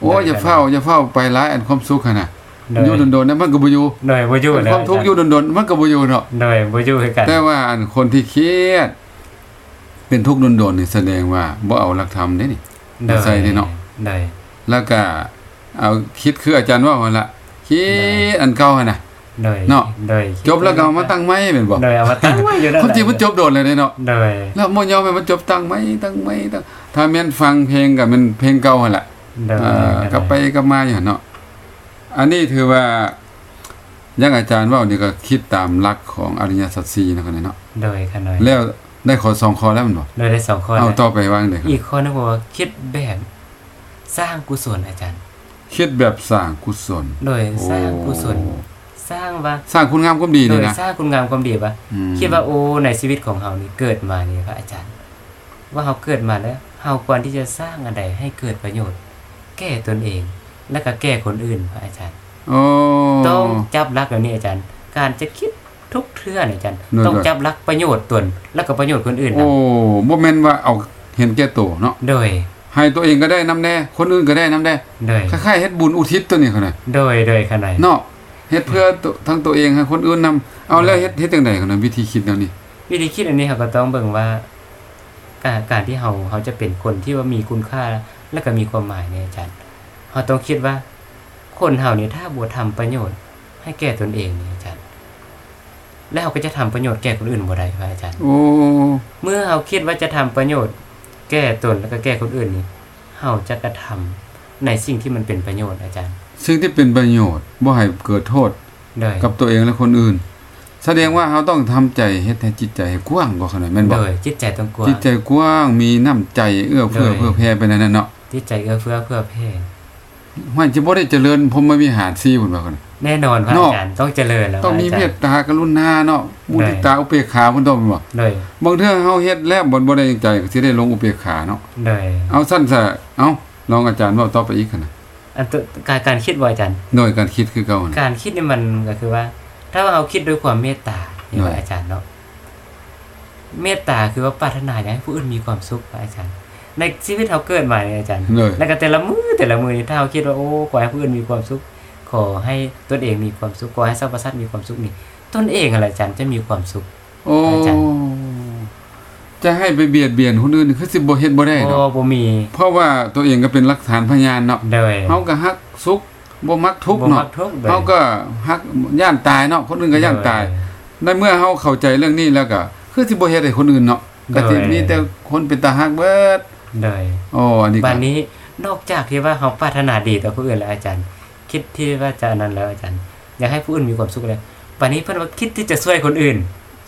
Speaker 1: โอ้
Speaker 2: ได้
Speaker 1: อย่าเฝ้าอย่าเฝ้าไปร้ายอันความสุขหั่นน่ะ
Speaker 2: โดย
Speaker 1: อยู่โดนๆนั้นมันก็บ่อยู่
Speaker 2: โดยบ่อยู่
Speaker 1: อัน
Speaker 2: แล้ว
Speaker 1: ความทุกข์อยู่โดนๆมันก็บ่อยู่เนาะ
Speaker 2: โดยบ่อยู่คือกัน
Speaker 1: แต่ว่าอันคนที่เครียด เป็นทุกข์โดนๆนี่แสดงว่าบ่เอาหลักธรรมเด้นี่
Speaker 2: โดย
Speaker 1: ใส่นี่เนอะ
Speaker 2: โดย
Speaker 1: แล้วก็เอาคิดคืออาจารย์ว่าหั่นล่ะคิด
Speaker 2: ได้
Speaker 1: อันเก่าหั่นน่ะ
Speaker 2: โดย
Speaker 1: เนอะ
Speaker 2: โดย
Speaker 1: จบแล้วก็เอามาตั้งไม้แม่นบ่
Speaker 2: โดยเอามาตั้งไว้อยู่นั่น
Speaker 1: ความจริงมันจบโดนแล้วเด้เนาะ
Speaker 2: โดย
Speaker 1: แล้วบ่ยอมให้มันจบตั้งไม้ตั้งไม้ตั้งถ้าแม่นฟังเพลงก็มันเพลงเก่าหั่นล่ะ
Speaker 2: โดย
Speaker 1: เอ่อกลับไปกลับมาอย่างเนาะ อันนี้ถือว่าอยังอาจารย์เว่านี่ก็คิดตามหลักของอริยสัจสี่นะคนนี้เนาะ
Speaker 2: โดยค่ะหน่อย
Speaker 1: แล้วได้ขอสองคอแล้วมันบ่
Speaker 2: โดยได้สองข้อ
Speaker 1: เอา
Speaker 2: แล้ว
Speaker 1: ต่อไปว่างเลยครับ
Speaker 2: อีกคนนึงบอกว่าคิดแบบสร้างกุศลอาจารย์
Speaker 1: คิดแบบสร้างกุศล
Speaker 2: โดยสร้างกุศล
Speaker 1: โอ้
Speaker 2: สร้างว่า
Speaker 1: สร้างคุณงามความดี
Speaker 2: โด
Speaker 1: นี่
Speaker 2: ย
Speaker 1: นะ
Speaker 2: สร้างคุณงามความดีว่า
Speaker 1: อืม
Speaker 2: คิดว่าโอ้ในชีวิตของเฮานี่เกิดมานี่พระอาจารย์ ว่าเฮาเกิดมาแล้วเฮาควรที่จะสร้างอันใดให้เกิดประโยชน์ แก่ตนเอง และก็แก่คนอื่นพระอาจารย์
Speaker 1: โอ้
Speaker 2: ต้องจับหลักแบบนี้อาจารย์ การจะคิดทุกเทื่อนี่อาจารย์
Speaker 1: นั่นๆ
Speaker 2: ต้องจับหลักประโยชน์ตน และก็ประโยชน์คนอื่น
Speaker 1: โอ้
Speaker 2: นะ
Speaker 1: บ่แม่นว่าเอาเห็นแก่ตัวเนาะ
Speaker 2: โดย
Speaker 1: ให้ตัวเองก็ได้น้ำแน่ คนอื่นก็ได้น้ำแน่
Speaker 2: โดย
Speaker 1: คล้ายๆเฮ็ดบุญอุทิศตัวนี้คนน่ะ
Speaker 2: โดยโดยขนาด
Speaker 1: เนาะเฮ็ดเพื่อตัวทั้งตัวเองให้คนอื่นนำเอาแล้วเฮ็ดเฮ็ดจังได๋คนน่ะวิธีคิดแนวนี้
Speaker 2: วิธีคิดอันนี้เราก็ต้องเบิ่งว่าการการที่เราเราจะเป็นคนที่ว่ามีคุณค่าและก็มีความหมายเนี่ยอาจารย์เราต้องคิดว่า คนเราเนี่ยถ้าบวชทำประโยชน์ ให้แก่ตนเองเนี่ยอาจารย์ แล้วเราก็จะทำประโยชน์แก่คนอื่นบ่ได้ครับอาจารย์
Speaker 1: โอ้
Speaker 2: เมื่อเราคิดว่าจะทำประโยชน์ แ แก้ตนแล้วก็แก้คนอื่นนี่เฮาจะกระทำในสิ่งที่มันเป็นประโยชน์อาจารย์
Speaker 1: สิ่งที่เป็นประโยชน์บ่ให้เกิดโทษ
Speaker 2: โดย
Speaker 1: กับตัวเองและคนอื่น แสดงว่าเราต้องทำใจเฮ็ดให้จิตใจกว้างกว่าขนาดแม่นบ่
Speaker 2: โดยจิตใจต้องกลัวาง
Speaker 1: จิตใจกว้างมีน้ำใจเอื้อเฟื้อ
Speaker 2: เลย
Speaker 1: เพื่อแผ่ไปนั่นน่ะเนาะ
Speaker 2: จิตใจเอื้อเฟื้อเพื่อเพศ
Speaker 1: ว่าจะบ่ได้เจริญพรหมวิหาร4พุ่นว่าคั่น
Speaker 2: แน่นอนพระ
Speaker 1: เนาะ
Speaker 2: อาจารย์ต้องเจริญแล้ว
Speaker 1: ต้องมี
Speaker 2: พ
Speaker 1: เม
Speaker 2: ระาจาร
Speaker 1: ต
Speaker 2: ย์
Speaker 1: ตากรุณาเนาะมุทิตาอุเบกขาเพิ่นต้องมีบ่
Speaker 2: โดย
Speaker 1: บางเทื่อเฮาเฮ็ดแล้วบ่บ่ได้ใจก็สิได้ลงอุเบกขาเนาะ
Speaker 2: โดย
Speaker 1: เอาสั้นซะเอ้าลองอาจารย์เว้าต่อไปอีกคั่นน่ะ
Speaker 2: อันตัวการการคิดบ่อาจารย์
Speaker 1: โดยการคิดคือเก่าน่ะ
Speaker 2: การคิดเนี่ยมันก็คือว่า ถ้าเราคิดด้วยความเมตตาเนี่ย
Speaker 1: หน่
Speaker 2: ว่า
Speaker 1: อย
Speaker 2: อาจารย์เนาะเมตตาคือว่าปรารถนาอยากให้ผู้อื่นมีความสุขนะอาจารย์ ในชีวิตเราเกิดมาเนี่ยอาจารย์
Speaker 1: เลย
Speaker 2: แล้วก็แต่ละมือแต่ละมือนี่ถ้าเราคิดว่าโอ้ขอให้ผู้อื่นมีความสุข ขอให้ตนเองมีความสุขขอให้สรรพสัตว์มีความสุขนี่ตนเองอะไรอาจารย์จะมีความสุข
Speaker 1: โอ้
Speaker 2: อาจารย์
Speaker 1: จะให้ไปเบียดเบียนคนอื่นคือสิบ่เฮ็ดบ่ได้
Speaker 2: โอ้
Speaker 1: เนาะ
Speaker 2: บ่มี
Speaker 1: เพราะว่าตัวเองก็เป็นหลักฐานพยานเนาะ
Speaker 2: โดย
Speaker 1: เฮาก็ฮักสุขบ่มักทุกข์
Speaker 2: บ่
Speaker 1: เนาะ
Speaker 2: มักทุกข์โดย
Speaker 1: เฮาก็ฮักย่านตายเนาะคนอื่นก็ย่านตาย
Speaker 2: โด
Speaker 1: ในเมื่อเฮาเข้าใจเรื่องนี้แล้วก็คือสิบ่เฮ็ดให้คนอื่นเนาะก็สิ
Speaker 2: เออ
Speaker 1: มีแต่คนเป็นตาฮักเบิด
Speaker 2: โดย
Speaker 1: อ๋ออันนี้ก็
Speaker 2: บ้านนี้นอกจากที่ว่าเขาปรารถนาดีต่อผู้อื่นแล้วอาจารย์ คิดที่ว่าจะอันนั้นแล้วอาจารย์ อยากให้ผู้อื่นมีความสุขแล้วบ้านนี้เพื่อนว่าคิดที่จะช่วยคนอื่น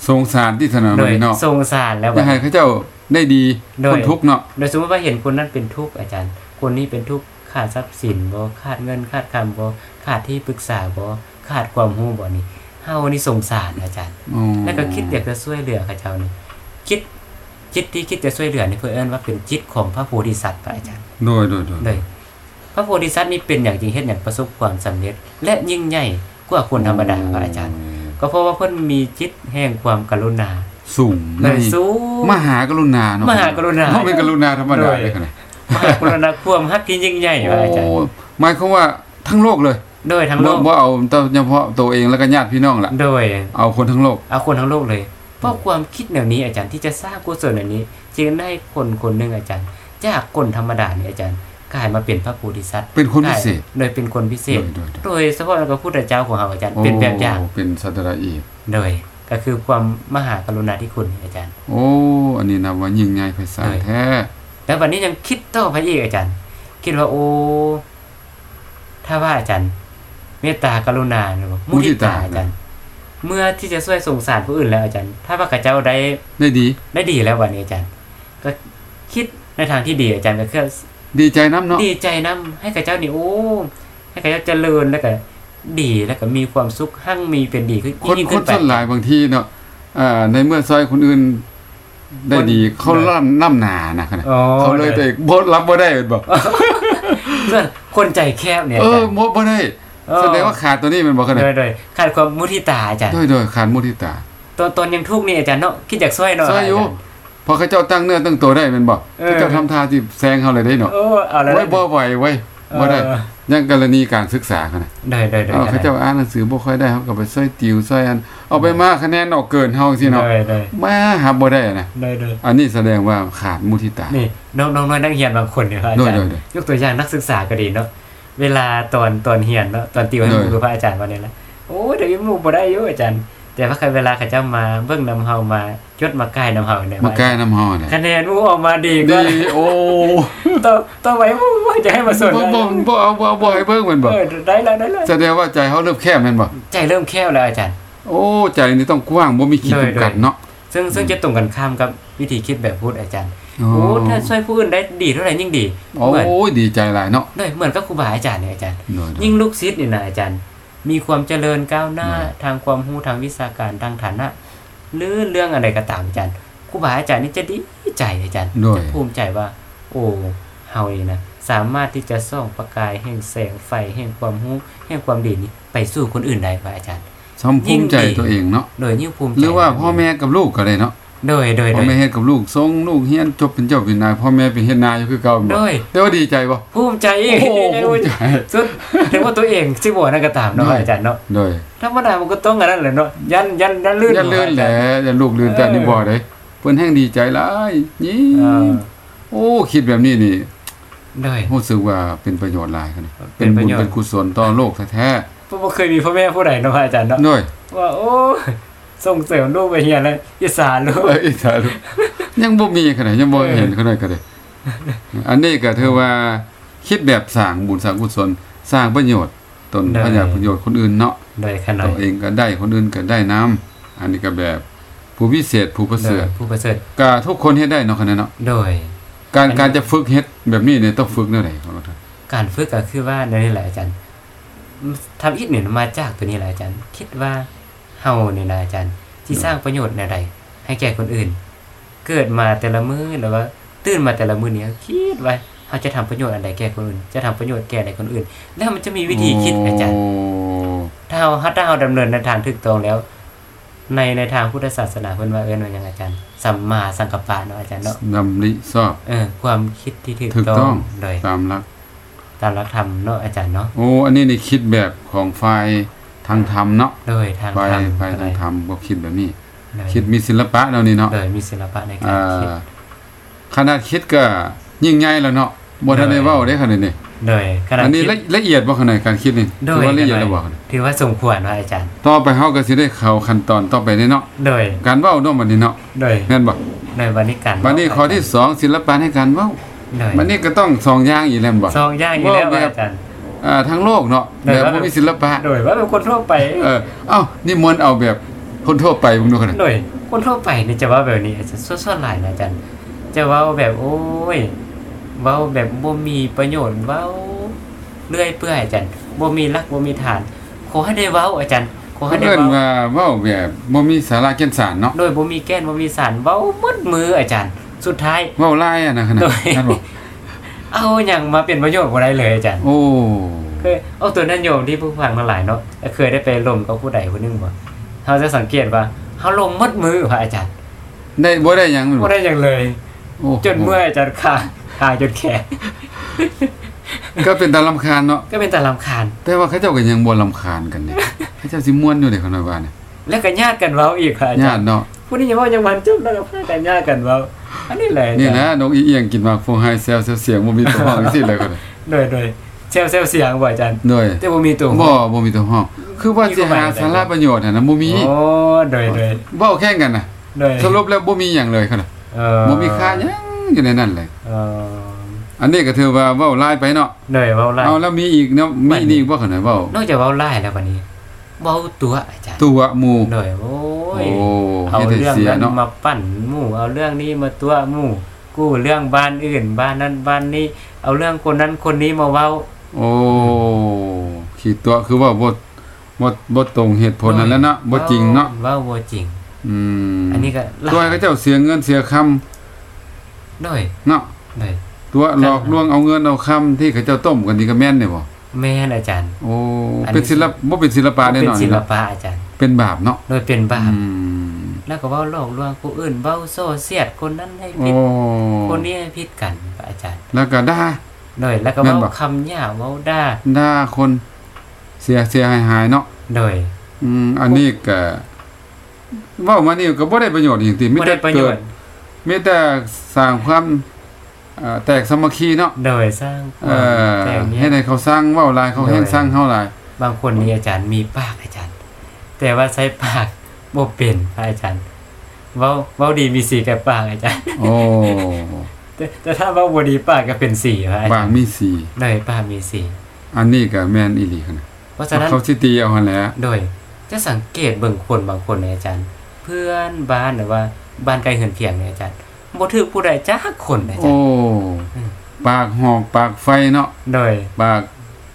Speaker 1: สงสารที่สนาม
Speaker 2: โดย
Speaker 1: บินเนาะ
Speaker 2: สงสารแล้ว
Speaker 1: จะ
Speaker 2: บัด
Speaker 1: ให้
Speaker 2: นี้
Speaker 1: เขาเจ้าได้ดี
Speaker 2: โดย
Speaker 1: คนทุกข์เนาะ
Speaker 2: โดยสมมติว่าเห็นคนนั้นเป็นทุกข์อาจารย์ คนนี้เป็นทุกข์ขาดทรัพย์สินบ่ขาดเงินขาดคำบ่ขาดที่ปรึกษาบ่ขาดความรู้บ่นี่เฮานี่สงสารอาจารย์
Speaker 1: อ๋อ
Speaker 2: แล้วก็คิดอยากจะช่วยเหลือเขาเจ้านี่คิดคิดที่คิดจะช่วยเหลือนี่เพื่อเอิ้นว่าเป็นจิตของพระโพธิสัตว์พระอาจารย์
Speaker 1: โดยโดยโดย
Speaker 2: เลยพระโพธิสัตว์นี่เป็นอย่างจริงเฮ็ดอย่างประสบความสำเร็จ และยิ่งใหญ่กว่าคนธรรมดาครับอาจารย์ ก็เพราะว่าเพิ่นมีจิตแห่งความกรุณา
Speaker 1: สูง
Speaker 2: เล
Speaker 1: ใน
Speaker 2: ยสู้
Speaker 1: มหากรุณาเนาะ
Speaker 2: มหากรุณา
Speaker 1: เะเป็นกรุณาธรรมดาเลยขนาด
Speaker 2: มหากรุณาความฮักที่ยิ่งใหญ่ครับอาจารย์
Speaker 1: โอ้หมายความว่าทั้งโลกเลย
Speaker 2: โดยทั้งโล
Speaker 1: บ่
Speaker 2: ก
Speaker 1: บ่เอาแต่เฉพาะตัวเองแล้วก็ญาติพี่น้องล่ะ
Speaker 2: โดย
Speaker 1: เอาคนทั้งโลก
Speaker 2: เอาคนทั้งโลกเลยเพราะความคิดแนวนี้อาจารย์ที่จะสร้างกุศลแนวนี้ จึงได้คนคนหนึ่งอาจารย์ จากคนธรรมดาเนี่ยอาจารย์กลายมาเป็นพระโพธิสัตว์
Speaker 1: เป็นคนพิเศษ
Speaker 2: โดยเป็นคนพิเศษ
Speaker 1: โดยโดย
Speaker 2: โดยเฉพาะแล้วก็พุทธเจ้าของเราอาจารย์
Speaker 1: โอ้
Speaker 2: เป็นแบบอย่าง
Speaker 1: เป็นสัตระอีก
Speaker 2: โดยก็คือความมหากรุณาธิคุณอาจารย์
Speaker 1: โอ้ อันนี้นับว่ายิ่งใหญ่ไพศาล
Speaker 2: เลย
Speaker 1: แท้
Speaker 2: แล้ววันนี้ยังคิดต่อไปอีกอาจารย์ คิดว่าโอ้ถ้าว่าอาจารย์ เมตตากรุณาเนอะ
Speaker 1: มุทิตา
Speaker 2: อาจารย์ เมื่อที่จะช่วยสงสารผู้อื่นแล้วอาจารย์ ถ้าว่าข้าเจ้าได้
Speaker 1: ได้ดี
Speaker 2: ได้ดีแล้ววันนี้อาจารย์ ก็คิดในทางที่ดีอาจารย์ก็คือ
Speaker 1: ดีใจน้ำเนาะ
Speaker 2: ดีใจนํให้ข้าเจ้านี่โอ้ให้ข้าเจ้าเจริญแล้วก็ดีแล้วก็มีความสุขหั่งมีเป็นดีขึ้น
Speaker 1: คน
Speaker 2: ยิ่ง
Speaker 1: ค
Speaker 2: ขึ้
Speaker 1: น
Speaker 2: นไป
Speaker 1: ส่วนหลายบางทีเนาะอ่าในเมื่อซอยคนอื่น ได้ดี
Speaker 2: คน
Speaker 1: เขาล่ำน้ำหนานะขนาด
Speaker 2: อ๋อ
Speaker 1: เขาเลย
Speaker 2: เลย
Speaker 1: แต่บ่รับบ่ได้เป็นบ่
Speaker 2: เพื่อนคนใจแคบเนี่ย
Speaker 1: เอ
Speaker 2: อา
Speaker 1: อ
Speaker 2: จารย์
Speaker 1: บ่บ่ได้
Speaker 2: เออ
Speaker 1: แสดงว่าขาดตัวนี้แมันบ่ขนาด
Speaker 2: โดยโดยขาดความมุทิตาอาจารย์
Speaker 1: โดยโดยขาดมุทิตา
Speaker 2: ตอนตอนยังทุกข์นี่อาจารย์เนาะคิดอยากช่วยเนาะ
Speaker 1: ซอยอยู่
Speaker 2: าจาร
Speaker 1: พอเขาเจ้าตั้งเนื้อตั้งตัวได้แมันบอก
Speaker 2: เออ
Speaker 1: เขาเจ้าทำท่าที่แซงเขาเลยได้เนาะ
Speaker 2: เออเอาแล้ว
Speaker 1: ไว้
Speaker 2: นะ
Speaker 1: บ่ไหวไว้
Speaker 2: เออ
Speaker 1: บ่ได้ยังกรณีการศึกษาเขานะ
Speaker 2: ได้ได้ได้
Speaker 1: เอาเขาเจ้าอ่านหนังสือบ่ค่อยได้เขาก็ไปซอยติวซอยอันเอาไปมาคะแนนออกเกินเฮาสิเนาะ
Speaker 2: ได้ได้
Speaker 1: มาหาบ่ได้นะ
Speaker 2: ได้ได้
Speaker 1: อันนี้แสดงว่าขาดมุทิตา
Speaker 2: นี่น้องน้องน้อยนักเรียนบางคนเนี่ยครับอาจาร
Speaker 1: ได้
Speaker 2: ย์
Speaker 1: ได้ได้
Speaker 2: ยกตัวอย่างนักศึกษาก็ดีเนาะเวลาตอนตอนเรียนเนาะตอนติวให้
Speaker 1: ได้
Speaker 2: หมู่คือพระอาจารย์วันนี้ละโอ้ยเดี๋ยวนี้หมู่บ่ได้อยู่อาจารย์ แต่ว่าใครเวลาเขาเจ้ามาเบิ่งนำเฮามาจดมาใกล้นำเฮาเนี่ย
Speaker 1: มาแก้น้ำาฮอนะ
Speaker 2: คะแนนหมู่ออกมาดี
Speaker 1: ดี
Speaker 2: ก็
Speaker 1: โอ้
Speaker 2: ต้องต้องไว้หมู่ว่าจะให้มาสน
Speaker 1: บ่บ่บ่เอาบ่บ่ให้เบิ่งแมันบ่
Speaker 2: เออได้แล้วได้แล้ว
Speaker 1: แสดงว่าใจเขาเริ่มแคบแม่นบ่
Speaker 2: ใจเริ่มแคบแล้วอาจารย์
Speaker 1: โอ้ใจนี่ต้องกว้างบ่มีขีด
Speaker 2: ได้
Speaker 1: จำกัด
Speaker 2: ได้
Speaker 1: เนาะ
Speaker 2: ซึ่งซึ่งจะตรงกันข้ามกับวิธีคิดแบบพูดอาจารย์
Speaker 1: โอ้
Speaker 2: โอ้ถ้าช่วยผู้อื่นได้ดีเท่าไหร่ยิ่งดี เหมือน
Speaker 1: โอ้ยดีใจหลายเนาะ
Speaker 2: ด้วยเหมือนกับครูบาอาจารย์เนี่ยอาจารย์
Speaker 1: ได้ได้
Speaker 2: ยิ่งลูกศิษย์เนี่ยนะอาจารย์ มีความเจริญก้าวหน้า
Speaker 1: อืม
Speaker 2: ทางความรู้ทางวิชาการทางฐานะหรือเรื่องอะไรก็ตามอาจารย์ครูบาอาจารย์นี่จะดีใจอาจารย์
Speaker 1: ได้
Speaker 2: ภูมิใจว่า โอ้เฮานี่นะสามารถที่จะส่องประกายแห่งแสงไฟแห่งความรู้แห่งความดีนี้ไปสู่คนอื่นได้ป่ะอาจารย์
Speaker 1: สมภูมิใจตัวเองเนาะ
Speaker 2: โดยยิ่งภูมิใจ
Speaker 1: หรือว่าพ่อแม่กับลูกก็ได้เนาะ
Speaker 2: โดยโดย
Speaker 1: พ่
Speaker 2: โด
Speaker 1: อย แม่เฮ็ดกับลูกส่งลูกเฮียนจบเป็นเจ้าเป็นนายพ่อแม่เป็นเฮ็ดนายอยู่คือเก่าบ่
Speaker 2: โดย
Speaker 1: แต่ว่าดีใจบ่
Speaker 2: ภูมิใจอี
Speaker 1: โอ้
Speaker 2: ก
Speaker 1: โหภูมิใจ
Speaker 2: สุดถึงว่า *laughs* ตัวเองสิบ่นั่นก็ตามเนาะ
Speaker 1: ได้
Speaker 2: อาจารย์เนาะ
Speaker 1: โดย
Speaker 2: ธรรมดามันก็ต้องอันนั้นแหละเนาะยันยันยันลื่น
Speaker 1: อย่าลื่นแหละอย่าลูกลื่นแต่นี่บ่ได้เพิ่นแห่งดีใจหลายนี่
Speaker 2: เออ
Speaker 1: โอ้คิดแบบนี้นี่
Speaker 2: ได้
Speaker 1: รู้สึกว่าเป็นประโยชน์หลายคัน
Speaker 2: เป็
Speaker 1: เป็น
Speaker 2: นป
Speaker 1: บุ
Speaker 2: ระ
Speaker 1: ญ
Speaker 2: โยชน์
Speaker 1: เป็นกุศลต่อโลกแท้
Speaker 2: เพราะบ่เคยมีพ่อแม่ผู้ใดเนาะพระอาจารย์เนาะ
Speaker 1: ๆโดย
Speaker 2: ว่าโอ้ส่งเสริมลูกไปเฮียนแล้วอิสานลูก
Speaker 1: เอ้ยสาธุยังบ่มีขนาดยังบ่
Speaker 2: เออ
Speaker 1: เห็นเขาได้ก็ได้ อันนี้ก็ถือว่าคิดแบบสร้างบุญสร้างกุศลสร้างประโยชน์ตน
Speaker 2: ได้
Speaker 1: ประโยชน์ประโยชน์คนอื่นเนาะ
Speaker 2: โดยขน
Speaker 1: ตั
Speaker 2: ม
Speaker 1: วเองก็ได้คนอื่นก็ได้น้ำอันนี้ก็แบบผู้พิเศษผู้ประ
Speaker 2: โด
Speaker 1: เสริ
Speaker 2: ย
Speaker 1: ฐ
Speaker 2: ผู้ประเสริฐ
Speaker 1: ก็ทุกคนเฮ็ดได้เนาะคันนั้นเนาะ
Speaker 2: โดย
Speaker 1: การ
Speaker 2: อันนี้
Speaker 1: การจะฝึกเฮ็ดแบบนี้เนี่ยต้องฝึกแนวไหนของเราท่าน
Speaker 2: การฝึกก็คือว่าในนี่แหละอาจารย์ทำอีกหนึ่งมาจากตัวนี้แหละอาจารย์ คิดว่าเฮาเนี่ยนะอาจารย์ที่สร้างประโยชน์ในใดให้แก่คนอื่น เกิดมาแต่ละมือหรือว่า ตื่นมาแต่ละมือเนี่ยคิดว่าเราจะทำประโยชน์อะไรแก่คนอื่น จะทำประโยชน์แก่ใดคนอื่น แล้วมันจะมีวิธีคิดอาจารย์
Speaker 1: โอ้
Speaker 2: ถ้าเราถ้าเราดำเนินในทางถูกต้องแล้ว ในในทางพุทธศาสนาเพิ่นว่าเอิ้นว่าหยังอาจารย์สัมมาสังกัปปะเนาะอาจารย์เนาะ
Speaker 1: ดำริชอบ
Speaker 2: เออความคิดที่ถูก
Speaker 1: ถูก
Speaker 2: ต้
Speaker 1: ต้
Speaker 2: อ
Speaker 1: อง ง
Speaker 2: โดย
Speaker 1: ตามหลัก
Speaker 2: ตามหลักธรรมเนาะอาจารย์เนาะ
Speaker 1: โอ้อันนี้ในคิดแบบของฝ่ายทางธรรมเนาะ
Speaker 2: โดยทาง
Speaker 1: ฝ่าย
Speaker 2: ธรรม
Speaker 1: ฝ่าย
Speaker 2: โด
Speaker 1: ทาง
Speaker 2: ย
Speaker 1: ธรรมก็คิดแบบนี้
Speaker 2: โดย
Speaker 1: คิดมีศิลปะแล้วนี่เนาะ
Speaker 2: โดยมีศิลปะในการ
Speaker 1: อ่า
Speaker 2: คิด
Speaker 1: ขนาดคิดก็ยิ่งใหญ่แล้วเนาะบ่ทันได้
Speaker 2: ได้
Speaker 1: เว้าได้ขนาดนี้
Speaker 2: โดยขณะ
Speaker 1: อันนี้
Speaker 2: คิด
Speaker 1: ละละเอียดบ่ขนาดการคิดนี่
Speaker 2: โด
Speaker 1: ถือ
Speaker 2: ย
Speaker 1: ว่าละเอียด
Speaker 2: โด
Speaker 1: แล้ว
Speaker 2: ย
Speaker 1: บ่ขนาด
Speaker 2: ถือว่าสมควรว่าอาจารย์
Speaker 1: ต่อไปเฮาก็สิได้เข้าขั้นตอนต่อไปนี่เนาะ
Speaker 2: โดย
Speaker 1: การเว้าเนาะบัดนี้เนาะ
Speaker 2: โดย
Speaker 1: แม่นบ่
Speaker 2: โดยวันนี้กัน
Speaker 1: บัดนี้ข้อที่สองศิลปะในการเว้า
Speaker 2: โดย
Speaker 1: บัดนี้ก็ต้องสองอย่างอีกแล้วบ่
Speaker 2: สองอย่างอยู่แล้ว
Speaker 1: ว่าแบบ
Speaker 2: อาจารย์
Speaker 1: อ่าทั้งโลกเนาะ
Speaker 2: ได้
Speaker 1: แบบ
Speaker 2: ว่า
Speaker 1: บ่มีศิลปะ
Speaker 2: โดยว่าเป็นคนทั่วไป
Speaker 1: เออเอ้านี่มวนเอาแบบคนทั่วไปบ่ดูขนาด
Speaker 2: หน่อยคนทั่วไปเนี่ยจะเว่าแบบนี้อาจจะส่วนๆหลายนะอาจารย์จะเว่าแบบโอ้ยเว่าแบบบ่มีประโยชน์เว่าเลื่อยเปื่อยอาจารย์บ่มีรักบ่มีฐานขอให้ได้เว้าอาจารย์ขอให้ได้
Speaker 1: เพิ่น
Speaker 2: เว้า
Speaker 1: ว่าเว้าแบบบ่มีสาระแก่นสารเนาะ
Speaker 2: โดยบ่มีแก้นบ่มีสารเว้าหมดมืออาจารย์ สุดท้าย
Speaker 1: เว้าลายอะนะขนาด
Speaker 2: โดย
Speaker 1: นั่นบ่
Speaker 2: เอาหยังมาเป็นประโยชน์บ่ได้เลยอาจารย์
Speaker 1: โอ้
Speaker 2: เคยเอาตัวนั้นโยมที่ผู้ฟังทั้งหลายเนาะเคยได้ไปลมกับผู้ใดผู้หนึงบ่เฮาจะสังเกตว่าเฮาลมหมดมือพระอาจารย์
Speaker 1: ได้บ่ได้หยังมัน
Speaker 2: บ่
Speaker 1: บ่
Speaker 2: ได้หยังเลย
Speaker 1: โอ้
Speaker 2: จนเมื่อยอาจารย์ขาขาจนแขน
Speaker 1: ก็เป็นตาลำคาญเนาะ
Speaker 2: ก็เป็นแต่ลำคาญ
Speaker 1: แต่ว่าเขาเจ้าก็ยังบ่ลำคาญกัน
Speaker 2: *laughs*
Speaker 1: เนี่ยเขาเจ้าสิม่วนอยู่เด้คนน้อยว่าเนี่ย
Speaker 2: แล้วก็ญาติกันเว้าอีกค่ะอาจา
Speaker 1: ญาร ติ
Speaker 2: ย์
Speaker 1: เนาะ
Speaker 2: ผู้นี้ยังว่ายังมันจุ๊บแล้วก็พากันญาติกันเว้าอันนี้แหละอา
Speaker 1: นี่
Speaker 2: จารย์
Speaker 1: นะนกอีเอียงกินหมากฟูไฮเซลเสียงบ่มีตัวห้องจังซี่เลยก็ได้
Speaker 2: โดยโดยเซลเซลเสียงบ่อาจารย์
Speaker 1: ด้วย
Speaker 2: แต่บ่มีตัว
Speaker 1: บ่บ่มีตัวห้องคือว่าสิหาสาระประโยชน์น่ะนะบ่มี
Speaker 2: โอ้โดยโดย
Speaker 1: เว้าแข่งกันน่ะ
Speaker 2: โดย
Speaker 1: สรุปแล้วบ่มีหยังเลยคั่นน่ะ
Speaker 2: เอ่อ
Speaker 1: บ่มีค่าหยังอยู่ในนั้นเลย
Speaker 2: เอ่อ
Speaker 1: อันนี้ก็ถือว่าเว้าลายไปเนาะ
Speaker 2: โดยเว้าไล่
Speaker 1: เอาแล้วมีอีกเนาะมีนี่อีกบ่คั่นน่ะเว้าน
Speaker 2: อกจากเว้าไล่แล้วบัดนี้เว้าตัวอาจารย์
Speaker 1: ตัวหมู่
Speaker 2: โดยโอ้
Speaker 1: โอ้
Speaker 2: ยเอา
Speaker 1: เฮ็ดให้
Speaker 2: เรื่อง
Speaker 1: เสีย
Speaker 2: นั้น
Speaker 1: เนาะ
Speaker 2: มาปั่นหมู่ เอาเรื่องนี้มาตัวหมู่ กู้เรื่องบ้านอื่น บ้านนั้นบ้านนี้ เอาเรื่องคนนั้นคนนี้มาเว้า
Speaker 1: โอ้ขีดตัวคือว่าบ่บ่บ่ตรงเหตุผลนั่นแหล้วเนาะบ่จริงเนาะ
Speaker 2: ว่าบ่จริง
Speaker 1: อืม
Speaker 2: อันนี้ก็ลา
Speaker 1: ตัวก็เจ้าเสียเงินเสียคำ
Speaker 2: ด้อย
Speaker 1: เนาะ
Speaker 2: ด้อย
Speaker 1: ตัวหลอกลวงเอาเงินเอาคำที่เขาเจ้าต้มกันนี่ก็แม่นเนี่ยบ่
Speaker 2: แม่นอาจารย์
Speaker 1: โอ้
Speaker 2: อันนี้
Speaker 1: เป็นศิลปบ่เป็นศิลปะแน่
Speaker 2: เป็น
Speaker 1: นอน
Speaker 2: ศิล
Speaker 1: เนาะ
Speaker 2: ปะอาจารย์
Speaker 1: เป็นบาปเนาะ
Speaker 2: โดยเป็นบาป
Speaker 1: อืม
Speaker 2: แล้วก็เว้าหลอกลวงผู้อื่นเว้าโซ่เสียดคนนั้นให้
Speaker 1: โอ้
Speaker 2: ผิดคนนี้ให้ผิดกันอาจารย์
Speaker 1: แล้วก็ด่า
Speaker 2: โดยแล้วก็
Speaker 1: แม่
Speaker 2: เว้าน
Speaker 1: บ่
Speaker 2: คำหยาบเว้าด่า
Speaker 1: ด่าคนเสียเสียหายหายๆเนาะ
Speaker 2: โดย
Speaker 1: อืมอันนี้ก็เว้ามานี่ก็บ่ได้ประโยชน์หยังติมี
Speaker 2: บ่
Speaker 1: แต่
Speaker 2: ได้ประโย
Speaker 1: เกิ
Speaker 2: ช
Speaker 1: ด
Speaker 2: น์
Speaker 1: มีแต่สร้างความเอ่อแตกสามัคคีเนาะ
Speaker 2: โดยสร้างค
Speaker 1: เอ
Speaker 2: วาม
Speaker 1: อ
Speaker 2: แต่อย่างเนี้ย
Speaker 1: ให้ได้เขาสร้างเว้าลายเขาแห้ง
Speaker 2: โดย
Speaker 1: สร้างเฮาลาย
Speaker 2: บางคนนี่อาจารย์มีปากอาจารย์ แต่ว่าใช้ปากบ่เป็นพระอาจารย์เว้าเว้าดีมีสีแก่ปากอาจารย์
Speaker 1: โอ้
Speaker 2: แต่แต่ถ้าเว้าบ่ดีปากก็เป็นสีพระอา
Speaker 1: บา
Speaker 2: จางรย์
Speaker 1: มีสี
Speaker 2: โดยปากมีสี
Speaker 1: อันนี้ก็แม่นอีหลีคั่นน่ะ
Speaker 2: เพราะฉะนั้น
Speaker 1: เขาสิตีเอาหั่นแหละ
Speaker 2: โดยจะสังเกตเบิ่งคนบางคนในยอาจารย์ เพื่อนบ้านหรือว่าบ้านไกลเหินเพียงในยอาจารย์บ่ถือผู้ใดจักคนนะอาจา
Speaker 1: โอ้
Speaker 2: รย์ อืม
Speaker 1: ปากหอกปากไฟเนาะ
Speaker 2: โดย
Speaker 1: ปาก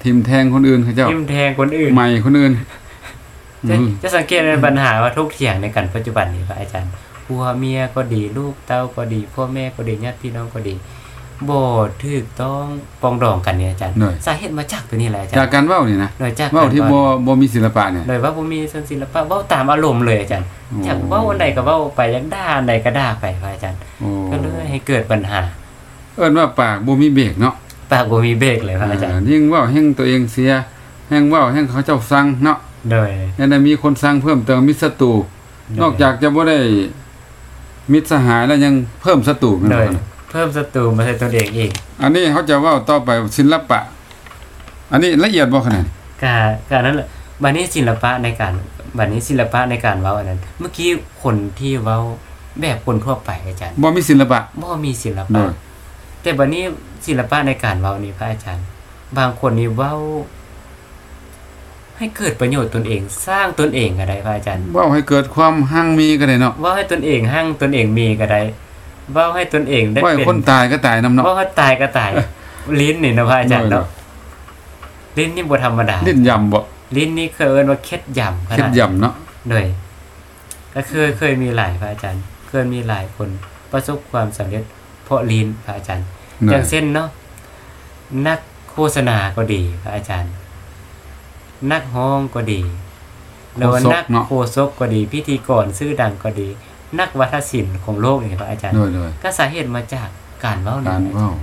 Speaker 1: ทิมแทงคนอื่นเขาเจ้า
Speaker 2: ทิมแทงคนอื่น
Speaker 1: ใหม่คนอื่น
Speaker 2: จะ
Speaker 1: อืม
Speaker 2: จะสังเกตในปัญหาว่าทุกเถียงในกันปัจจุบันนี้พระอาจารย์ผัวเมียก็ดีลูกเต้าก็ดีพ่อแม่ก็ดีญาติพี่น้องก็ดีบ่ถูกต้องปรองดองกันเนี่ยอาจารย์ สาเหตุมาจากตัวนี้แหละอาจาร
Speaker 1: จาก
Speaker 2: ย์
Speaker 1: การเว้านี่นะ
Speaker 2: โดยจาก
Speaker 1: เว้าที่บ่
Speaker 2: ก่อน
Speaker 1: บ่มีศิลปะเนี่ย
Speaker 2: โดยว่าบ่มีเชิงศิลปะเว้าตามอารมณ์เลยอาจารย์อยากเว้าอันใดก็เว้าไปอยากด่าอันใดก็ด่าไปพระอาจารย์
Speaker 1: โอ้
Speaker 2: ก็เลยให้เกิดปัญหา
Speaker 1: เอิ้นว่าปากบ่มีเบรกเนาะ
Speaker 2: ปากบ่มีเบรกเลยพระอาจารย์
Speaker 1: เยิ่งเว่าแห่งตัวเองเสีย แห่งเว่าแห่งเขาเจ้าสั่งเนาะ
Speaker 2: โดย
Speaker 1: แล้วได้มีคนสั่งเพิ่มเติมมิตรศัตรู นอกจากจะบ่ได้มิตรสหายแล้วยังเพิ่มศัตรูแม่น
Speaker 2: โด
Speaker 1: บ่
Speaker 2: ย
Speaker 1: ครับ
Speaker 2: เพิ่มศัตรูมาใส่ตัวเองอีก
Speaker 1: อันนี้เขาจะเว่าต่อไปศิลปะ อันนี้ละเอียดบ่ขนาดนี้
Speaker 2: กาการนั้นแหละบัดนี้ศิลปะในการบัดนี้ศิลปะในการเว้าอันนั้น เมื่อกี้คนที่เว้าแบบคนทั่วไปอาจารย์
Speaker 1: บ่มีศิลปะ
Speaker 2: บ่มีศิล
Speaker 1: โด
Speaker 2: ปะ
Speaker 1: ย
Speaker 2: แต่บัดนี้ศิลปะในการเว้านี่พระอาจารย์ บางคนนี่เว้า ให้เกิดประโยชน์ตนเอง สร้างตนเองก็ได้พระอาจารย์
Speaker 1: เว้าให้เกิดความหั่งมีก็ได้เนาะ
Speaker 2: เว้าให้ตนเองหั่งตนเองมีก็ได้เว้าให้ตนเองได้
Speaker 1: ว่าให้
Speaker 2: เป็น
Speaker 1: คนตายก็ตายนํเนาะ
Speaker 2: เว้าให้ตายก็ตาย ลิ้นนี่นะพระอาจารย์เนาะลิ้นนี่บ่ธรรมดา
Speaker 1: ดิ้นย่ํบ่
Speaker 2: ลิ้นนี่เคยเอิ้นว่าเคล็ดย่ำข
Speaker 1: เฮ็
Speaker 2: นา
Speaker 1: ด
Speaker 2: ด
Speaker 1: ย่ํเนาะ
Speaker 2: หน่วยก็เคยเคยมีหลายพระอาจารย์ เคยมีหลายคนประสบความสำเร็จ เพราะลีนพระอาจารย์
Speaker 1: หน่อย่
Speaker 2: อายงเช่นเนาะนักโฆษณาก็ดีพระอาจารย์ นักห้องก็ดีแล้วานักโฆษกก็ดี พิธีกรชื่อดังก็ดี นักวัฒนศิลป์ของโลกนี่พระอาจารย์
Speaker 1: หน่อยเลย
Speaker 2: ก็สาเหตุมาจากการเล่านี่
Speaker 1: การ
Speaker 2: พระอาจารย์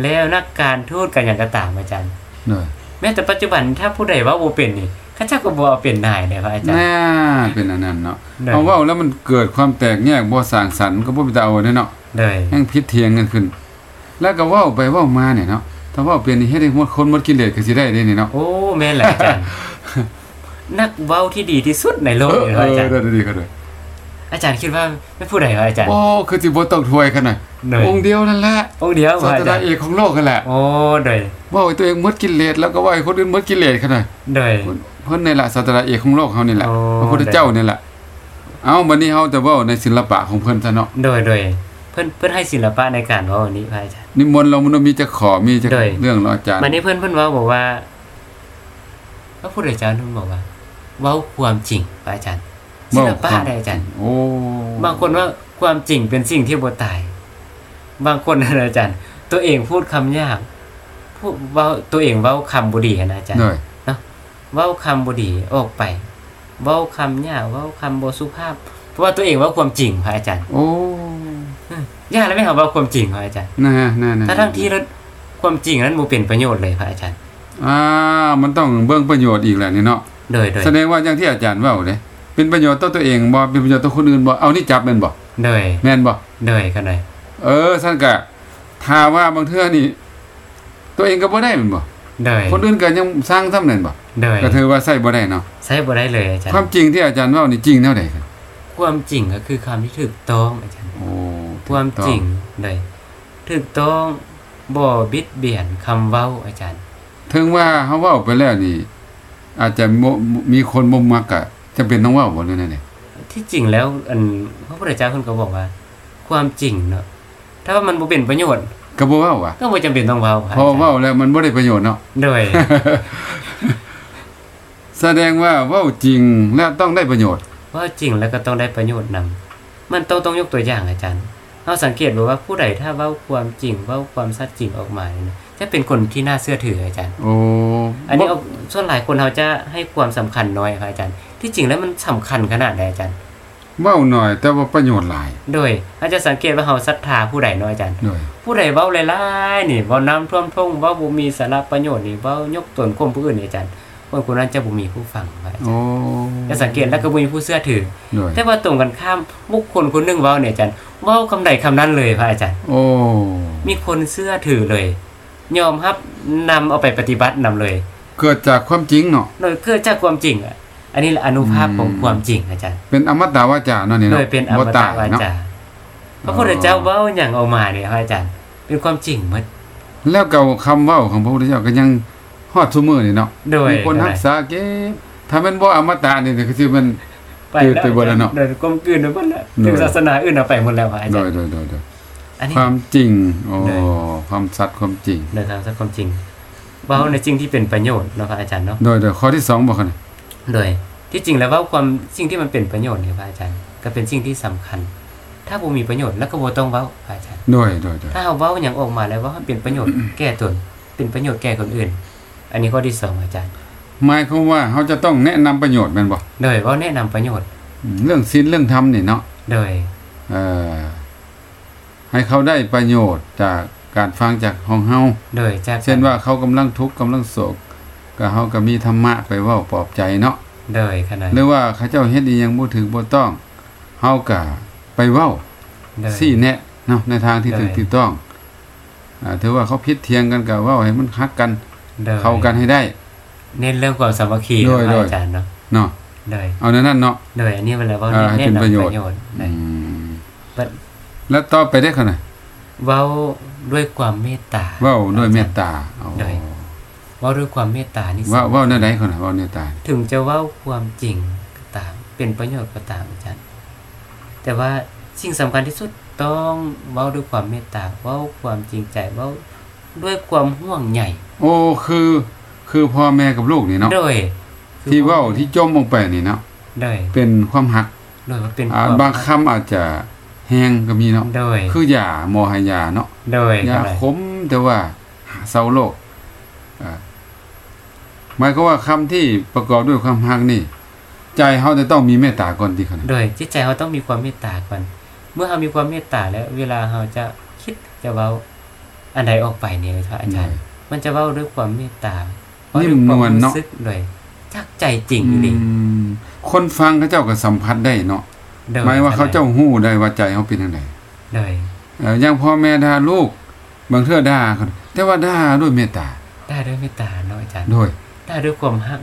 Speaker 1: เว้า
Speaker 2: แล้วนักการทูตกันอย่างกระตามอาจารย์
Speaker 1: หน่อย
Speaker 2: แม้แต่ปัจจุบันถ้าผู้ใดเว่าโบเป็นนี่เข้าเจ้าก็บเอาเป็นนายเลยพระอาจารย์
Speaker 1: น่าเป็นอันนั้นเนาะ
Speaker 2: หน่วย
Speaker 1: เอาเว้าแล้วมันเกิดความแตกแยกบ่สร้างสรรค์ก็บ่เป็นตาเอาเด้อเนาะ
Speaker 2: หน่วย
Speaker 1: แห่งพิษเทียงกันขึ้น แล้วก็เว้าไปเว้ามาเนี่ยเนาะ ถ้าเว้าเปลี่ยนนี่เฮ็ดให้หมดคนหมดกิเลสก็สิได้เด้นี่เนาะ
Speaker 2: โอ้แม่นแหละอาจารย์ *laughs* นักเว้าที่ดีที่สุดในโล
Speaker 1: เอก อ
Speaker 2: เลย
Speaker 1: เอ
Speaker 2: ค
Speaker 1: อ
Speaker 2: รับอาจารย์
Speaker 1: ได้ดีก็ได้
Speaker 2: อาจารย์คิดว่าไม่พูดใดครับอาจารย์
Speaker 1: โอ้คือสิบ่ต้องถวยกันน่ะ
Speaker 2: หน่อย
Speaker 1: องค์เดียวนั่นแหละ
Speaker 2: องค์เดียวค
Speaker 1: ศาส
Speaker 2: รับอา
Speaker 1: ดา
Speaker 2: จารย์
Speaker 1: เอกของโลกกันแหละ
Speaker 2: โอ้หน่อย
Speaker 1: เว้าให้ตัวเองหมดกิเลสแล้วก็เว้าให้คนอื่นหมดกิเลสกันน่ะ
Speaker 2: หน่อย
Speaker 1: เพิ่นเพิ่นนี่แหละศาสดาเอกของโลกเฮานี่แหละ
Speaker 2: โอ้
Speaker 1: พระพุทธเจ้านี่แหละ เอาบัดนี้เฮาจะเว้าในศิลปะของเพิ่นซะเนาะ
Speaker 2: หน่อยหน่อยเพื่อนเพื่อนให้ศิลปะในการเว้าวันนี้ครับอาจารย์
Speaker 1: นิมนต์เรามันมีจะขอมีจะ
Speaker 2: ได้
Speaker 1: เรื่องเนาะอาจารย์
Speaker 2: วันนี้เพื่อนเพื่อนเว้าบอกว่าพระพุทธเจ้าท่านบอกว่า เว้าความจริงครับอาจารย์ ศิลปะได้อาจารย์
Speaker 1: โอ้
Speaker 2: บางคนว่าความจริงเป็นสิ่งที่บ่ตาย บางคนนะอาจารย์ ตัวเองพูดคำยากพูดเว้าตัวเองเว้าคำบุดีนะอาจารย์
Speaker 1: เลย
Speaker 2: เว้าคำบ่ดีออกไป เว้าคำหยาบเว้าคำบ่สุภาพ เพราะว่าตัวเองเว้าความจริงพระอาจารย์
Speaker 1: โอ้
Speaker 2: ยากแล้วไม่หาเว้าความจริงพระอาจารย์
Speaker 1: น่าน่าน่า
Speaker 2: ถ้าทั้งที่แล้วความจริงนั้นบ่เป็นประโยชน์เลยพระอาจารย์
Speaker 1: อ่ามันต้องเบิ่งประโยชน์อีกแหละนี่เนาะ
Speaker 2: โดยโดย
Speaker 1: แสดงว่าอย่างที่อาจารย์เว่าเลยเป็นประโยชน์ต่อตัวเองบ่เป็นประโยชน์ต่อคนอื่นบ่เอานี่จับแม่นบ่
Speaker 2: โดย
Speaker 1: แม่นบ่
Speaker 2: โดยกันหน่อย
Speaker 1: เออท่านก็ถ้าว่าบางเทื่อนี่ ตัวเองก็บ่ได้แม่นบ่
Speaker 2: โดย
Speaker 1: คนอื่นก็ยังสร้างซ้ำนั่นบ่
Speaker 2: โดย
Speaker 1: ก็ถือว่าใช้บ่ได้เนาะ
Speaker 2: ใช้บ่ได้เลยอาจารย์
Speaker 1: ความจริงที่อาจารย์เว้านี่จริงแนวใดครับ
Speaker 2: ความจริงก็คือคำที่ถูกต้องอาจารย์
Speaker 1: โอ้
Speaker 2: ความจริงโดยถูกต้องบ่บิดเบียนคำเว้าอาจารย์
Speaker 1: ถึงว่าเฮาเว้าไปแล้วนี่ อาจจะบ่มีคนบ่มักก็จํเป็นต้องเว้าบ่หรือนั่นนี่
Speaker 2: ที่จริงแล้วอันพระพุทธเจ้าเพิ่นก็บอกว่า ความจริงเนาะถ้าว่ามันบ่เป็นประโยชน์
Speaker 1: ก็บ่เว้าว่ะ
Speaker 2: ก็บ่จำเป็นต้องเว้าค่ะ
Speaker 1: เพอเว้าแล้วมันบ่ได้ประโยชน์เนาะ
Speaker 2: โดย
Speaker 1: แสดงว่าเว้าจริงและต้องได้ประโยชน์
Speaker 2: ว่าจริงแล้วก็ต้องได้ประโยชน์นำมันต้องต้องยกตัวอย่างอาจารย์เราสังเกตดูว่าผู้ใดถ้าเว้าความจริงเว้าความสัตย์จริงออกมาเนี่ยนะจะเป็นคนที่น่าเชื่อถืออาจารย์
Speaker 1: โอ้
Speaker 2: อันนี้เอาส่วนหลายคนเขาจะให้ความสำคัญน้อยครับอาจารย์ ที่จริงแล้วมันสำคัญขนาดใดอาจารย์
Speaker 1: เว้าหน่อยแต่ว่าประโยชน์หลาย
Speaker 2: โดยอาจจะสังเกตว่าเขาศรัทธาผู้ใดเน้อยอาจารย์
Speaker 1: ด้วย
Speaker 2: ผู้ใดเว้าหลายๆนี่เว้าน้ำท่วมท่งเว้าบ่มีสาระประโยชน์นี่เว้ายกตนข่มผู้อื่นนี่อาจารย์คนคนนั้นจะบ่มีผู้ฟังครับอาจารย์
Speaker 1: โอ้
Speaker 2: จะสังเกตแล้วก็บ่มีผู้เชื่อถือ
Speaker 1: ด้วย
Speaker 2: แต่ว่าตรงกันข้ามบุคคลคนหนึงเว้าเนี่ยอาจารย์เว้าคำใดคำนั้นเลยพระอาจารย์
Speaker 1: โอ้
Speaker 2: มีคนเสื้อถือเลย ยอมรับนำเอาไปปฏิบัตินำเลย
Speaker 1: เกิดจากความจริงเนาะ
Speaker 2: โดยเกิดจากความจริงอะอันนี้แหละอนุภาพ
Speaker 1: อืม
Speaker 2: ของความจริงอาจารย์
Speaker 1: เป็นอมตะวาจาเนาะนี่
Speaker 2: โด
Speaker 1: เนาะ
Speaker 2: ยเป็นอม
Speaker 1: บ่
Speaker 2: ตะ
Speaker 1: ตายว
Speaker 2: า
Speaker 1: เนาะ
Speaker 2: จาพระพุทธเจ้าเว้าอย่างออกมาเนี่ยพระอาจารย์ เป็นความจริงหมด
Speaker 1: แล้วก็คำเว้าของพระพุทธเจ้าก็ยังฮอดซุมื้อนี่เนาะ
Speaker 2: โดย
Speaker 1: มีคนรักษาเก็บถ้ามันบ่อมตะนี่ก็คือมัน
Speaker 2: ไปแล้ว
Speaker 1: ไปบนแล้วเนอะ
Speaker 2: โดยกลมกลืนไปหมดแล้ว
Speaker 1: โดย
Speaker 2: ถึงศาสนาอื่นเอาไปหมดแล้วพระอา
Speaker 1: โด
Speaker 2: จาร
Speaker 1: ย
Speaker 2: ย์
Speaker 1: โดยโดยโดย
Speaker 2: อันนี้
Speaker 1: ความจริงโอ้
Speaker 2: โดย
Speaker 1: ความสัตย์ความจริง
Speaker 2: เดินทางสักความจริงเว้าในจริงที่เป็นประโยชน์เนาะพระอาจารย์เนาะ
Speaker 1: โดยโดยข้อที่สองบ่คั่นน่ะ
Speaker 2: โดยที่จริงแล้วว่าความสิ่งที่มันเป็นประโยชน์เนี่ยพระอาจารย์ ก็เป็นสิ่งที่สำคัญ ถ้าบ่มีประโยชน์แล้วก็บ่ต้องเว้าพระอาจารย์
Speaker 1: โดยโดยโดย
Speaker 2: ถ้าเอาเว้าอย่างออกมาแล้วว่ามันเป็นประโยชน์ แก่ตนเป็นประโยชน์แก่คนอื่น อันนี้ข้อที่สองอาจารย์
Speaker 1: หมายความว่าเฮาจะต้องแนะนำประโยชน์แม่นบ่
Speaker 2: โดยเว่าแนะนำประโยชน์
Speaker 1: อืมเรื่องศีลเรื่องธรรมนี่เนาะ
Speaker 2: โดย
Speaker 1: เอ่อให้เขาได้ประโยชน์จากการฟังจากของเฮา
Speaker 2: โดยจาก
Speaker 1: เช่นว่าเขากำลังทุกข์กำลังโศกก็เฮาก็มีธรรมะไปเว้าปลอบใจเนาะ
Speaker 2: โดยขนาด
Speaker 1: หรือว่าเขาเจ้าเฮ็ดอีหยังบ่ถึงบ่ต้องเฮาก็ไปเว้า
Speaker 2: โดย
Speaker 1: ซี่แนะเนาะในทางที่
Speaker 2: ได้
Speaker 1: ถูกที่ต้องอ่าถือว่าเขาผิดเทียงกันก็เว้าให้มันคักกัน
Speaker 2: โดย
Speaker 1: เข้ากันให้ได้
Speaker 2: เน้นเรื่องความสามัคคี
Speaker 1: โดย
Speaker 2: นะพ
Speaker 1: โด
Speaker 2: ระ
Speaker 1: ย
Speaker 2: อาจารย์เนาะ
Speaker 1: เนาะ
Speaker 2: โดย
Speaker 1: เอาในนั้นเนาะ
Speaker 2: โดยอันนี้เวลาเว่า
Speaker 1: อ่าให้
Speaker 2: แนะ
Speaker 1: เป็นป
Speaker 2: นำ
Speaker 1: ระโย
Speaker 2: ป
Speaker 1: ชน์
Speaker 2: ระโยชน์โด
Speaker 1: อื
Speaker 2: ย
Speaker 1: ม
Speaker 2: บัด
Speaker 1: แล้วต่อไปได้ขนาด
Speaker 2: เว้าด้วยความเมตตา
Speaker 1: เว้าด้วยเมตตาเอา
Speaker 2: ได้ เว้าด้วยความเมตตานี่
Speaker 1: เว้า
Speaker 2: สำคัญ
Speaker 1: เว้าในวใดคนน่ะเว้าเมตตา
Speaker 2: ถึงจะเว้าความจริงก็ตาม เป็นประโยชน์ก็ตามอาจารย์แต่ว่าสิ่งสำคัญที่สุดต้องเว้าด้วยความเมตตาเว้าความจริงใจเว้าด้วยความห่วงใย
Speaker 1: โอ้คือ คือพ่อแม่กับลูกนี่เนาะ
Speaker 2: โดย
Speaker 1: ที่เว้าที่จมลงไปนี่เนาะ
Speaker 2: โดย
Speaker 1: เป็นความหัก
Speaker 2: โดยว่าเป็น
Speaker 1: อ่า
Speaker 2: ความ
Speaker 1: บางคำอาจจะแห้งก็มีเนาะ
Speaker 2: โดย
Speaker 1: คืออย่าโมหายาเนาะ
Speaker 2: โดย
Speaker 1: ยา
Speaker 2: อะไร
Speaker 1: ขมแต่ว่าเศร้าโลกอ่าหมายความว่าคำที่ประกอบด้วยความหักนี่ ใจเฮาจะต้องมีเมตตาก่อนที่ขนาด
Speaker 2: โดยจิตใจเราต้องมีความเมตตาก่อนเมื่อเรามีความเมตตาแล้ว เวลาเราจะคิดจะเว้าอันใดออกไปเนี่ยครับอาจารย์ มันจะเว้าด้วยความเมตตาเว้า
Speaker 1: นิ่
Speaker 2: ด้
Speaker 1: ม
Speaker 2: ย
Speaker 1: น
Speaker 2: คว
Speaker 1: ลเนาะ
Speaker 2: รู้สึกด้วยจากใจจริง
Speaker 1: อื
Speaker 2: นี่
Speaker 1: มคนฟังเขาเจ้าก็สัมผัสได้เนาะ
Speaker 2: โดย
Speaker 1: หมายว่าเขาเจ้าหู้ได้ว่าใจเฮาเป็นจังได
Speaker 2: โดย
Speaker 1: เอ่ออย่างพ่อแม่ด่าลูก บางเทื่อด่าเขาแต่ว่าด่าด้วยเมตตา
Speaker 2: ได้ด้วยเมตตาเนาะอาจารย์
Speaker 1: ด้วย
Speaker 2: ได้ด้วยความฮัก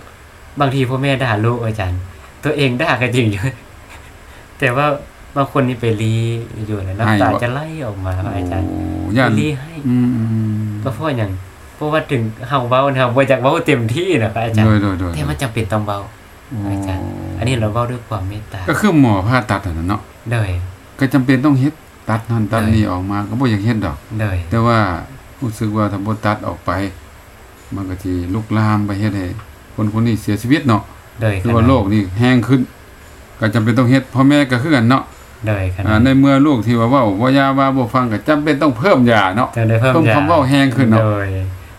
Speaker 2: บางทีพ่อแม่ด่าลูกอาจารย์ ตัวเองด่ากันจริงอยู่ *laughs* แต่ว่าบางคนนี่ไปรีอยู่นะน้ำตาจะไหลออกมาครับอาจารย์
Speaker 1: โอ้
Speaker 2: ไป
Speaker 1: ย่าน
Speaker 2: รีให้
Speaker 1: อืม
Speaker 2: ก็เพราะอย่างเพราะว่าถึงเฮาเว้านะครับบ่อยากเว้าเต็มที่นะครับอาจาร
Speaker 1: โด
Speaker 2: ย์
Speaker 1: ยโดยโดย
Speaker 2: แต่มันจำเป็นต้องเว้า อาจารย์ อันนี้เราเว้าด้วยความเมตตา
Speaker 1: ก็คือหมอผ่าตัดอะนะเนาะ
Speaker 2: โดย
Speaker 1: ก็จำเป็นต้องเฮ็ดตัดนั่นตัด
Speaker 2: ได้
Speaker 1: นี่ออกมาก็บ่อยากเฮ็ดดอก
Speaker 2: โดย
Speaker 1: แต่ว่ารู้สึกว่าถ้าบ่ตัดออกไป มันก็สิลุกลามไปเฮ็ดให้คนคนนี้เสียชีวิตเนาะ
Speaker 2: โดย
Speaker 1: คือว่าโลกนี่แห้งขึ้น ก็จำเป็นต้องเฮ็ดพ่อแม่ก็คือกันเนาะ
Speaker 2: โดยขนา
Speaker 1: อ่า
Speaker 2: ด
Speaker 1: ในเมื่อลูกที่ว่าเว้าบ่ยาว่าบ่ฟังก็จำเป็นต้องเพิ่มยาเนาะ
Speaker 2: จะได้เพิ่ม
Speaker 1: ต้อง
Speaker 2: ยา
Speaker 1: คำเว้าแห้งขึ้นเนอะ
Speaker 2: โดย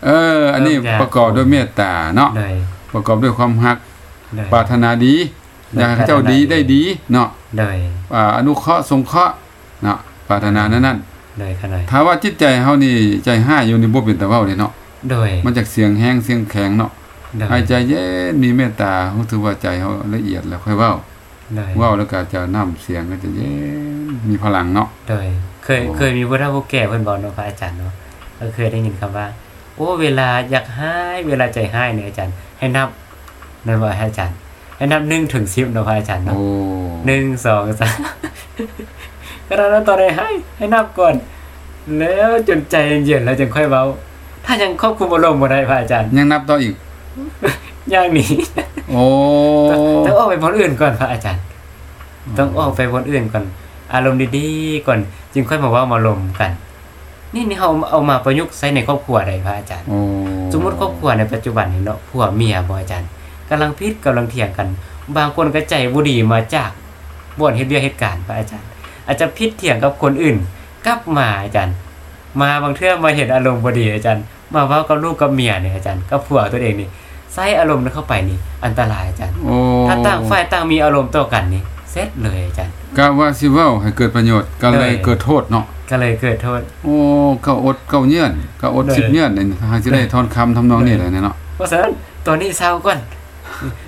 Speaker 1: เออ อันนี้
Speaker 2: เพิ่มยา
Speaker 1: ประกอบด้วยเมตตาเนาะ
Speaker 2: โดย
Speaker 1: ประกอบด้วยความฮัก
Speaker 2: โดย
Speaker 1: ปรารถนาดีอยากให้เจ้าดีได้ดีเนาะ
Speaker 2: โดย
Speaker 1: อ่าอนุเคราะห์สงเคราะห์เนาะปรารถนานั้นๆ
Speaker 2: โดยขนาด
Speaker 1: ถ้าว่าจิตใจเฮานี่ใจห้าอยู่นี่บ่เป็นตะเว้าเด้เนาะ
Speaker 2: โดย
Speaker 1: มันจากเสียงแห้งเสียงแข็งเนาะ
Speaker 2: โดย
Speaker 1: ให้ใจเย็นมีเมตตาเฮาถือว่าใจเฮาละเอียดแล้วค่อยเว้า
Speaker 2: โดย
Speaker 1: เว้าแล้วก็จะนำเสียงก็จะเย็นมีพลังเนาะ
Speaker 2: โดยเคย
Speaker 1: โอ้
Speaker 2: เคยมีผู้เฒ่าผู้แก่เพิ่นบอกเนาะพระอาจารย์เนาะก็เคยได้ยินคำว่า โอ้เวลาอยากให้เวลาใจให้เนี่ยอาจารย์ ให้นับนั่นว่าให้อาจารย์ ให้นับ1ถึง10เนาะพระอาจารย์เนาะ
Speaker 1: โอ้
Speaker 2: 1 2 3ก็เราตอนใดให้ ให้นับก่อน แล้วจนใจเย็นๆแล้วจึงค่อยเว้า ถ้ายังควบคุมอารมณ์บ่ได้พระอาจารย์
Speaker 1: ยังนับต่ออีก
Speaker 2: อย่างนี้
Speaker 1: โอ้
Speaker 2: ต้องออกไปพ้นอื่นก่อนพระอาจารย์ ต้องออกไปพ้นอื่นก่อน อารมณ์ดีๆก่อน จึงค่อยมาเว่ามาลมกัน นี่นี่เขาเอามาประยุกต์ใช้ในครอบครัวใดพระอาจารย์
Speaker 1: โอ้
Speaker 2: สมมติครอบครัวในปัจจุบันนี้เนาะผัวเมียบ่อาจารย์กำลังพิษกำลังเถียงกัน บางคนก็ใจบุดีมาจากบ่อนเฮ็ดเรื่องเหตุการณ์พระอาจารย์ อาจจะพิษเถียงกับคนอื่น กลับมาอาจารย์ มาบางเทื่อมาเห็นอารมณ์บดีอาจารย์ มาเว้ากับลูกกับเมียเนี่ยอาจารย์กับผัวตัวเองนี่ใส่อารมณ์นั้นเข้าไปนี่อันตรายอาจารย์
Speaker 1: โอ้
Speaker 2: ถ้าต่างฝ่ายต่างมีอารมณ์ต่อกันนี่เสร็จเลยอาจารย์
Speaker 1: กะว่าสิเว้าให้เกิดประโยชน์ก็เล
Speaker 2: ได้
Speaker 1: ยเกิดโทษเนาะ
Speaker 2: ก็เลยเกิดโทษ
Speaker 1: โอ้เก็อดเก็เยื่อนเก็อด
Speaker 2: ได้
Speaker 1: สิบเยื่อนนี่ทางสิได้
Speaker 2: ได้
Speaker 1: ทอนคำทำนองนี้แหละเนี่ยเนาะ
Speaker 2: เพราะฉะนั้นตัวนี้เศร้าก่อน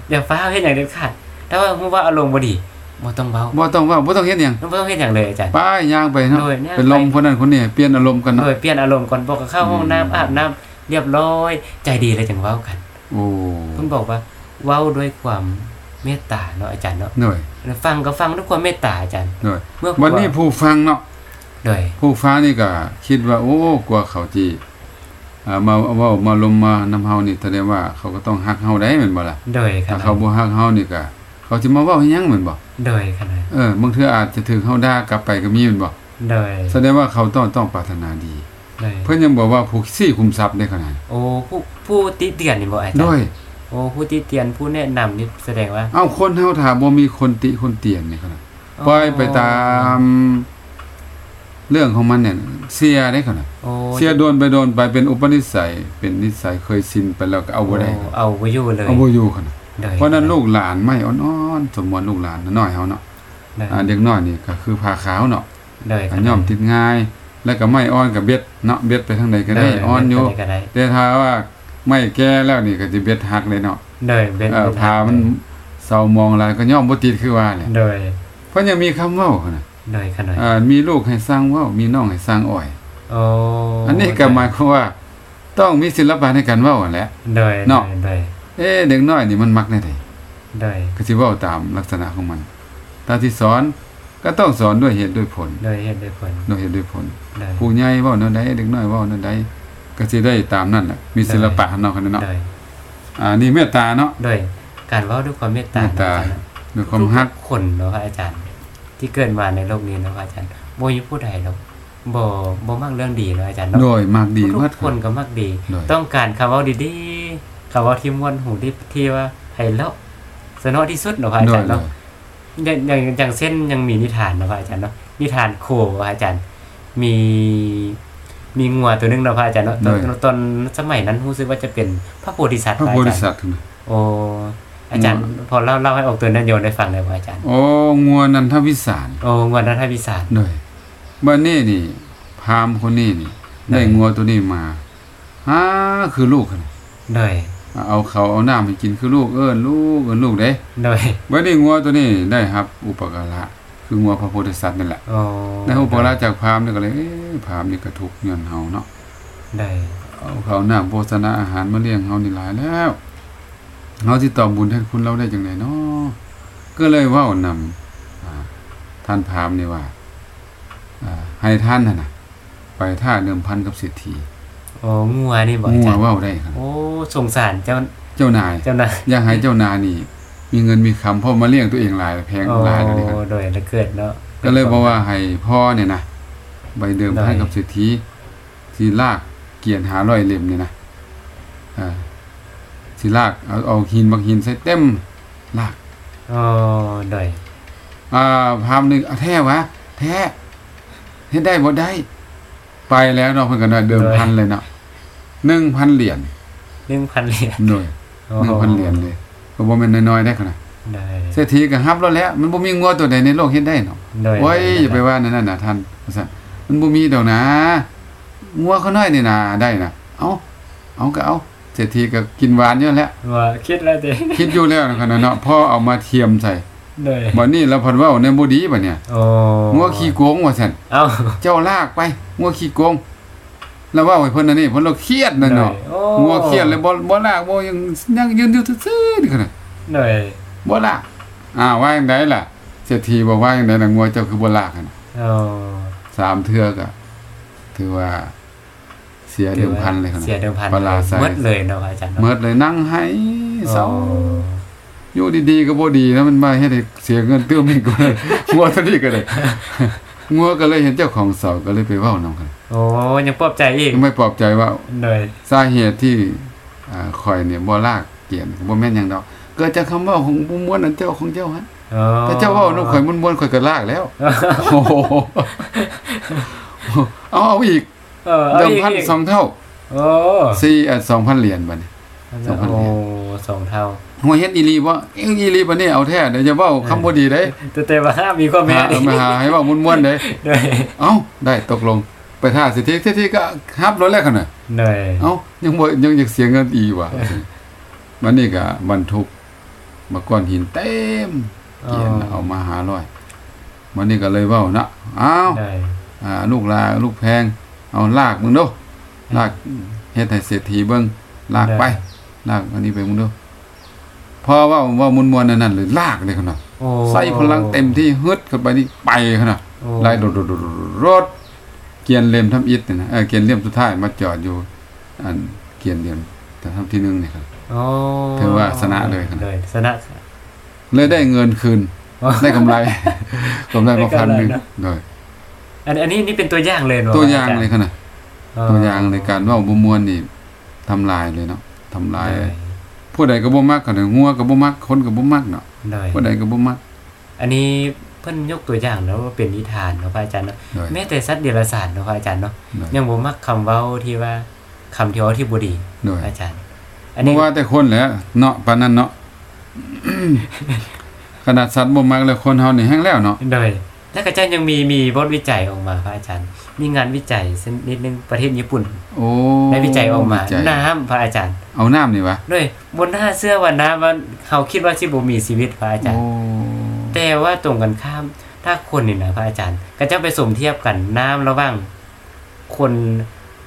Speaker 2: อย่าฟ้าวเฮ็ดอย่างเด็ดขาดถ้าว่าพูดว่าอารมณ์บ่ดีบ่ต้องเบา
Speaker 1: บ่ต้องเว้าบ่ต้องเฮ็ดหยัง
Speaker 2: บ่ต้องเฮ็ดอย่างเลยอาจารย์
Speaker 1: ไป้ายย่างไปเนาะ
Speaker 2: โดยย่าง
Speaker 1: เป็นลม
Speaker 2: ไป
Speaker 1: คนนั้นคนนี้เปลี่ยนอารมณ์กันเนาะ
Speaker 2: โดยเปลี่ยนอารมณ์ก่อนบอกก็เข้าห้องน้ำอาบน้ำเรียบร้อย ใจดีแล้วจังเว้ากัน
Speaker 1: โอ้
Speaker 2: เพิ่นบอกว่าเว้าด้วยความเมตตาเนาะอาจารย์เนาะ
Speaker 1: หน่อย
Speaker 2: แล้วฟังก็ฟังด้วยความเมตตาอาจารย์
Speaker 1: หน่อย
Speaker 2: เมื่อ
Speaker 1: วันนี้ผู้ฟังเนาะ
Speaker 2: โดย
Speaker 1: ผู้ฟังนี่ก็คิดว่า โอ้กลัวเขาจีอ่ามาเว้ามาลมมานำเฮานี่แสดงว่าเขาก็ต้องฮักเฮาได้แม่นบ่ล่ะ
Speaker 2: โดยข
Speaker 1: ถ้า
Speaker 2: นาด
Speaker 1: เขาบ่ฮักเฮานี่ก็เขาสิมาเว้าให้หยังแม่นบ่
Speaker 2: โดยขนาด
Speaker 1: เออบางเทื่ออาจจะถูกเฮาด่ากลับไปก็มีแม่นบ่
Speaker 2: โดย
Speaker 1: แสดงว่าเขาต้องต้องปรารถนาดี
Speaker 2: โดย
Speaker 1: เพิ่นยังบอกว่าผู้ซี่คุมทรัพย์ได้ขนาด
Speaker 2: โอ้ผู้ผู้ติเตียนนี่บ่อาจารย์
Speaker 1: ด้วย
Speaker 2: โอ้ผู้ที่เตียนผู้แนะนำนี่แสดงว่า
Speaker 1: เอ้าคนเฮาถ้าบ่มีคนติคนเตียนนี่ขนาดปล่อยไปตาม เรื่องของมันเนี่ยเสียได้ขนาด
Speaker 2: โอ้
Speaker 1: เสียโดนไปโดนไปเป็นอุปนิสัย เป็นนิสัยเคยชินไปแล้วก็เอาบ่ได้
Speaker 2: โเอาไว้อยู่เลย
Speaker 1: เอาบ่อยู่คั่นน่ะ
Speaker 2: โดย
Speaker 1: เพราะฉะนั้นลูกหลานไม่อ่อนๆสมมวนลูกหลานน้อยๆเฮาเนาะ
Speaker 2: โดย
Speaker 1: อ่าเด็กน้อยนี่ก็คือผ้าขาวเนาะ
Speaker 2: โดย
Speaker 1: ก็ย่อมติดง่าย แล้วก็ไม่อ่อนก็เบ็ดเนาะเบ็ดไปทางใดก็ได้
Speaker 2: โ
Speaker 1: อ่อนอยู่
Speaker 2: ไปไหก็ได้
Speaker 1: แต่ถ้าว่าไม่แก่แล้วนี่ก็สิเบ็ดหักเลยเนาะ
Speaker 2: โดยเป็น
Speaker 1: เออผ้ามันเศร้ามองหลายก็ย่อมบ่ติดคือว่าแหละ
Speaker 2: โดย
Speaker 1: เพราะยังมีคำเว้าคั่นน่ะ
Speaker 2: โดยขนาด
Speaker 1: อ่ามีลูกให้สร้างเว้ามีน้องให้สร้างอ้อย
Speaker 2: โอ้
Speaker 1: อันนี้ก็หมายความว่า ต้องมีศิลปะในการเว้าหั่นแหละ
Speaker 2: โดย
Speaker 1: เนาะ
Speaker 2: โดย
Speaker 1: เอ๊ะเด็กน้อยนี่มันมักแน่ใด
Speaker 2: โดย
Speaker 1: ก็สิเว้าตามลักษณะของมัน ตาที่สอน ก็ต้องสอนด้วยเหตุด้วยผล
Speaker 2: โดยเหตุโดยผล
Speaker 1: ด้วยเหตุด้วยผล
Speaker 2: โดย
Speaker 1: ผู้ใหญ่เว้าแนวใดเด็กน้อยเว้าแนวใดก็สิได้ตามนั่นแหละมีศิลปะเนาะคันนเนาะ
Speaker 2: โดย
Speaker 1: อ่านี่เมตตาเนาะ
Speaker 2: โดยการเว่าด้วยความเมตตา
Speaker 1: เมตตา
Speaker 2: อาจารย์นะ
Speaker 1: ด้วยความฮัก
Speaker 2: ทุคนเนาะพระอาจารย์ ที่เกิดมาในโลกนี้เนาะพระอาจารย์บ่มีผู้ใดหรอกบ่บ่มักเรื่องดีเนาะอาจารย์เนาะ
Speaker 1: โดยมากดี
Speaker 2: ทุ
Speaker 1: มาก
Speaker 2: กคนก็มักดี
Speaker 1: โดย
Speaker 2: ต้องการคำเว่าดีๆคำเว่าที่ม่วนหูที่ที่ว่าไพเราะสนอที่สุดเนาะพระอา
Speaker 1: โด
Speaker 2: จาย รย์เนาะอย่างอย่างอย่างเช่นยังมีนิทานเนาะพระอาจารย์เนาะนิทานโคพระอาจารย์ มีมีงัวตัวหนึงเนาะพระอาจารย์เนาะตอนตอนสมัยนั้นรู้สึกว่าจะเป็นพระโพธิสัตว์
Speaker 1: พระโพ
Speaker 2: พระอา
Speaker 1: ธิ
Speaker 2: จารย์
Speaker 1: สัตว์นะ
Speaker 2: โอ้อาจารย์
Speaker 1: งัว
Speaker 2: พอเล่าเล่าให้ออกตัวนั้นโยนได้ฟังเลยพระอาจารย์
Speaker 1: โอ้งัวนันทวิสาร
Speaker 2: โอ้งัวนัทพิสาร
Speaker 1: โดยบันนี้นี่ พราหมณ์คนนี้นี่ ได้
Speaker 2: ได้
Speaker 1: งัวตัวนี้มาฮาคือลูกหั่น
Speaker 2: โดย
Speaker 1: เอาเขาวเอาน้ำให้กินคือลูกเอิ้นลูกเอิ้นลูกเด้
Speaker 2: โดย
Speaker 1: บันนี้งัวตัวนี้ได้ครับ อุปการะคืองัวพระโพธิสัตว์นั่นแหละ
Speaker 2: โอ้
Speaker 1: ได้อุปการะจากพราหมณ์นี่ก็เลยเอ๊ะพราหมณ์นี่ก็ทุกข์ย้อนเฮาเนาะ
Speaker 2: โดย
Speaker 1: เอาเขาวหน้าโภชนาอาหารมาเลี้ยงเฮานี่หลายแล้วเฮาสิตอบบุญแทนคุณเราได้จังไดเนาะก็เลยเว้านำอ่าท่านพราหมณ์นี่ว่าอ่าให้ท่านน่ะนะไปท่าเดิมพันกับเศรษฐี
Speaker 2: โอ้งัวนี่บอกอา
Speaker 1: งัว
Speaker 2: จารย์
Speaker 1: เว้าได้ครับ
Speaker 2: โอ้สงสารเจ้า
Speaker 1: เจ้านาย
Speaker 2: เจ้านาย
Speaker 1: อยากให้เจ้านายนี่ มีเงินมีคำเพราะมาเลี้ยงตัวเองหลายแพง
Speaker 2: โอ้
Speaker 1: หลายแล้วนี่ครับ
Speaker 2: โดยละเกิดเนาะ
Speaker 1: ก็เลยบอกว่าให้พ่อเนี่ยนะไปเดิมพันกับเศรษฐีที่ลากเกียรติหาร้อยเล่มเนี่ยนะอ่าที่ลากเอาเอาหินบางหินใส่เต็มลาก
Speaker 2: โอ้โดย
Speaker 1: อ่าพามหนึ่งอ่ะแท้วะ แท้เฮ็ดได้บ่ได้ ไปแล้วเนาะเพิ่นก็น่ะเดิมพันเลยเนาะหนึ่งพันเหรียญ
Speaker 2: หนึ่งพันเหรียญ
Speaker 1: หน่วย
Speaker 2: โอ้
Speaker 1: หนึ่งพันเหรียญเลยก็บ่แม่นน้อยๆได้ขนาด
Speaker 2: โดย
Speaker 1: เศรษฐีก็ฮับแล้วแหล้วมันบ่มีงัวตัวใดในโลกเฮ็ดได้เนาะ
Speaker 2: โดย
Speaker 1: โอ้ยอย่าไปว่านั่นน่ะนะท่านว่าซั่นมันบ่มีดอกนะงัวเขาน้อยนี่น่ะได้น่ะเอ้าเอาก็เอาเศรษฐีก็กินหวานอยู่แล้ว
Speaker 2: ว่าคิดแล้วเด้ *laughs*
Speaker 1: คิดอยู่แล้วนะขนาดเนาะพ่อเอามาเทียมใส่
Speaker 2: โดย
Speaker 1: บัดนี้แล้วเพิ่นเว้าในบ่ดีบัดเนี่ย
Speaker 2: โอ้
Speaker 1: งัวขี้โกงว่าซั่น
Speaker 2: เอ้า
Speaker 1: เจ้าลากไปงัวขี้โกง แล้วว่าไอ้เพิ่นนั่นนี่เพิ่นเราเครียดนั่นเนาะ
Speaker 2: โดยโอ้
Speaker 1: งัวเครียดเลยบ่บ่ลากบ่ยังยังยืนอยู่ซื่อๆนี่คั่นน่ะ
Speaker 2: โดย
Speaker 1: บ่ลากอ่าว่าจังไดล่ะเศรษฐีบอกว่าจังไดล่ะงัวเจ้าคือบ่ลากหั่นน่ะ
Speaker 2: โอ้
Speaker 1: สามเทื่อก็ถือว่า เสียเดิมพันเลยคั่น
Speaker 2: เสีย
Speaker 1: น่ะ
Speaker 2: เดิมพัน
Speaker 1: ปลาร้าใส่
Speaker 2: หมดเลยเนาะอาจารย์นาะ
Speaker 1: เมิดเลยนั่งให้เศร้า
Speaker 2: โอ้
Speaker 1: อยู่ดีๆก็บ่ดีนะมันมาเฮ็ดให้เสียเงินเตื้มอีกก็เลย *laughs* งัวตัวนี้ก็เลย *laughs* งัวก็เลยเห็นเจ้าของเศร้าก็เลยไปเว้านำกัน
Speaker 2: โอ้ยังปลอบใจอีก
Speaker 1: ไม่ปลอบใจว่า
Speaker 2: โดย
Speaker 1: สาเหตุที่อ่าคอยเนี่ยบ่ลากเกียนบ่แม่นหยังดอก เกิดจากคำเว้าของผู้ม่วนอันเจ้าของเจ้าฮะ
Speaker 2: โอ้
Speaker 1: ถ้าเจ้าเว้านกข่อยม่วนๆข่อยก็ลาก
Speaker 2: *laughs*
Speaker 1: แล้วโอ้โหเอาเอาอีก
Speaker 2: เออเอา
Speaker 1: เดิม
Speaker 2: อีก
Speaker 1: พัน
Speaker 2: อีก
Speaker 1: สองเท่า
Speaker 2: โอ้
Speaker 1: สี่เอ่อสองพันเหรียญบัดนี้ สองพันเหรี
Speaker 2: โอ้
Speaker 1: ยญ
Speaker 2: สองเท่า
Speaker 1: หัวเฮ็ดอีหลีบ่เอ็งอีหลีบัดนี้เอาแท้เดี๋ยวจะเว้าคำบ่ดีเด้
Speaker 2: แต่แต่ว่า *laughs* ห้ามมีก็แม่
Speaker 1: หา
Speaker 2: ดิ
Speaker 1: เอามาหาให้เว้าม่วนๆเด้
Speaker 2: เหนื่อย
Speaker 1: เอ้าได้ตกลงไปท่าสิทธิสิทธิก็ฮับรถแล้วคั่นน่ะ
Speaker 2: เหนื่อย
Speaker 1: เอ้ายังบ่ยังอยากเสียเงินอีกว่ะวันนี้ก็บรรทุกมาก้อนหินเต็มเกียนเอามาหาร้อยวันนี้ก็เลยเว้านะอ้าว
Speaker 2: เหนื่อย
Speaker 1: อ่าลูกลาลูกแพง เอาลากมึงดูลากเฮ็ดให้เศรษฐีเบิ่งลากไป ลากอันนี้ไปมึงดูพอเว่าเว่ามวนๆนั่นๆเลยลากเลยขนาด
Speaker 2: โอ้
Speaker 1: ใส่พลังเต็มที่ฮึดเข้าไปนี่ไปขนาด
Speaker 2: โอ้
Speaker 1: ไล่โดดๆๆรถเกียนเล่มทำอิฐนี่นะเออเกียนเล่มสุดท้ายมาจอดอยู่ อันเกียนเล่มแต่ทำที่หนึงนี่ครับ
Speaker 2: โอ้
Speaker 1: ถือว่าชนะเลยครับ
Speaker 2: เลยชนะ
Speaker 1: เลยได้เงินคืน
Speaker 2: อ๋อ
Speaker 1: ได้กำ
Speaker 2: *laughs*
Speaker 1: ไร กำไรมา
Speaker 2: ได้กำไร
Speaker 1: พันหนึ่ง
Speaker 2: นะ
Speaker 1: โดย
Speaker 2: อันอันนี้นี่เป็นตัวอย่างเลยเหร
Speaker 1: ตัวอย่างเลยขนาด
Speaker 2: เออ
Speaker 1: ตัวอย่างในการเว่าบ่มวนนี่ทำลายเลยเนาะทำลาย
Speaker 2: เหนื่อย
Speaker 1: ผู้ใดก็บ่มักกันงัวก็บ่มักคนก็บ่มักเนาะ
Speaker 2: เหนื่อย
Speaker 1: ผู้ใดก็บ่มัก
Speaker 2: อันนี้เพิ่นยกตัวอย่างแล้วว่าเป็นนิทานเนาะพระอาจารย์เนาะ
Speaker 1: โดย
Speaker 2: แม้แต่สัตว์เดรัจฉานเนาะพระอาจารย์เนาะ
Speaker 1: โดย
Speaker 2: ยังบ่มักคำเว้าที่ว่าคำที่เว้าที่บ่ดี
Speaker 1: โดย
Speaker 2: พระอาจารย์ อัน
Speaker 1: บ่
Speaker 2: นี้
Speaker 1: ว่าแต่คนแหละเนาะปานนั้นเนาะ
Speaker 2: *coughs*
Speaker 1: ขนาดสัตว์บ่มักแล้วคนเฮานี่แห้งแล้วเนาะ
Speaker 2: เหนื่อยแล้วก็เจ้ายังมีมีบทวิจัยออกมาพระอาจารย์ มีงานวิจัยสักนิดนึงประเทศญี่ปุ่น
Speaker 1: โอ้
Speaker 2: ได้วิจัยออกมา
Speaker 1: วิจัย
Speaker 2: น้ำพระอาจารย์
Speaker 1: เอาน้ำนี่วะ
Speaker 2: ด้วยบนหน้าเสื้อวันน้ำว่าเขาคิดว่าชิบมีชีวิตพระอาจาร
Speaker 1: โอ้
Speaker 2: ย์ แต่ว่าตรงกันข้ามถ้าคนนี่นะพระอาจารย์ ก็จะไปสมเทียบกันน้ำระหว่างคน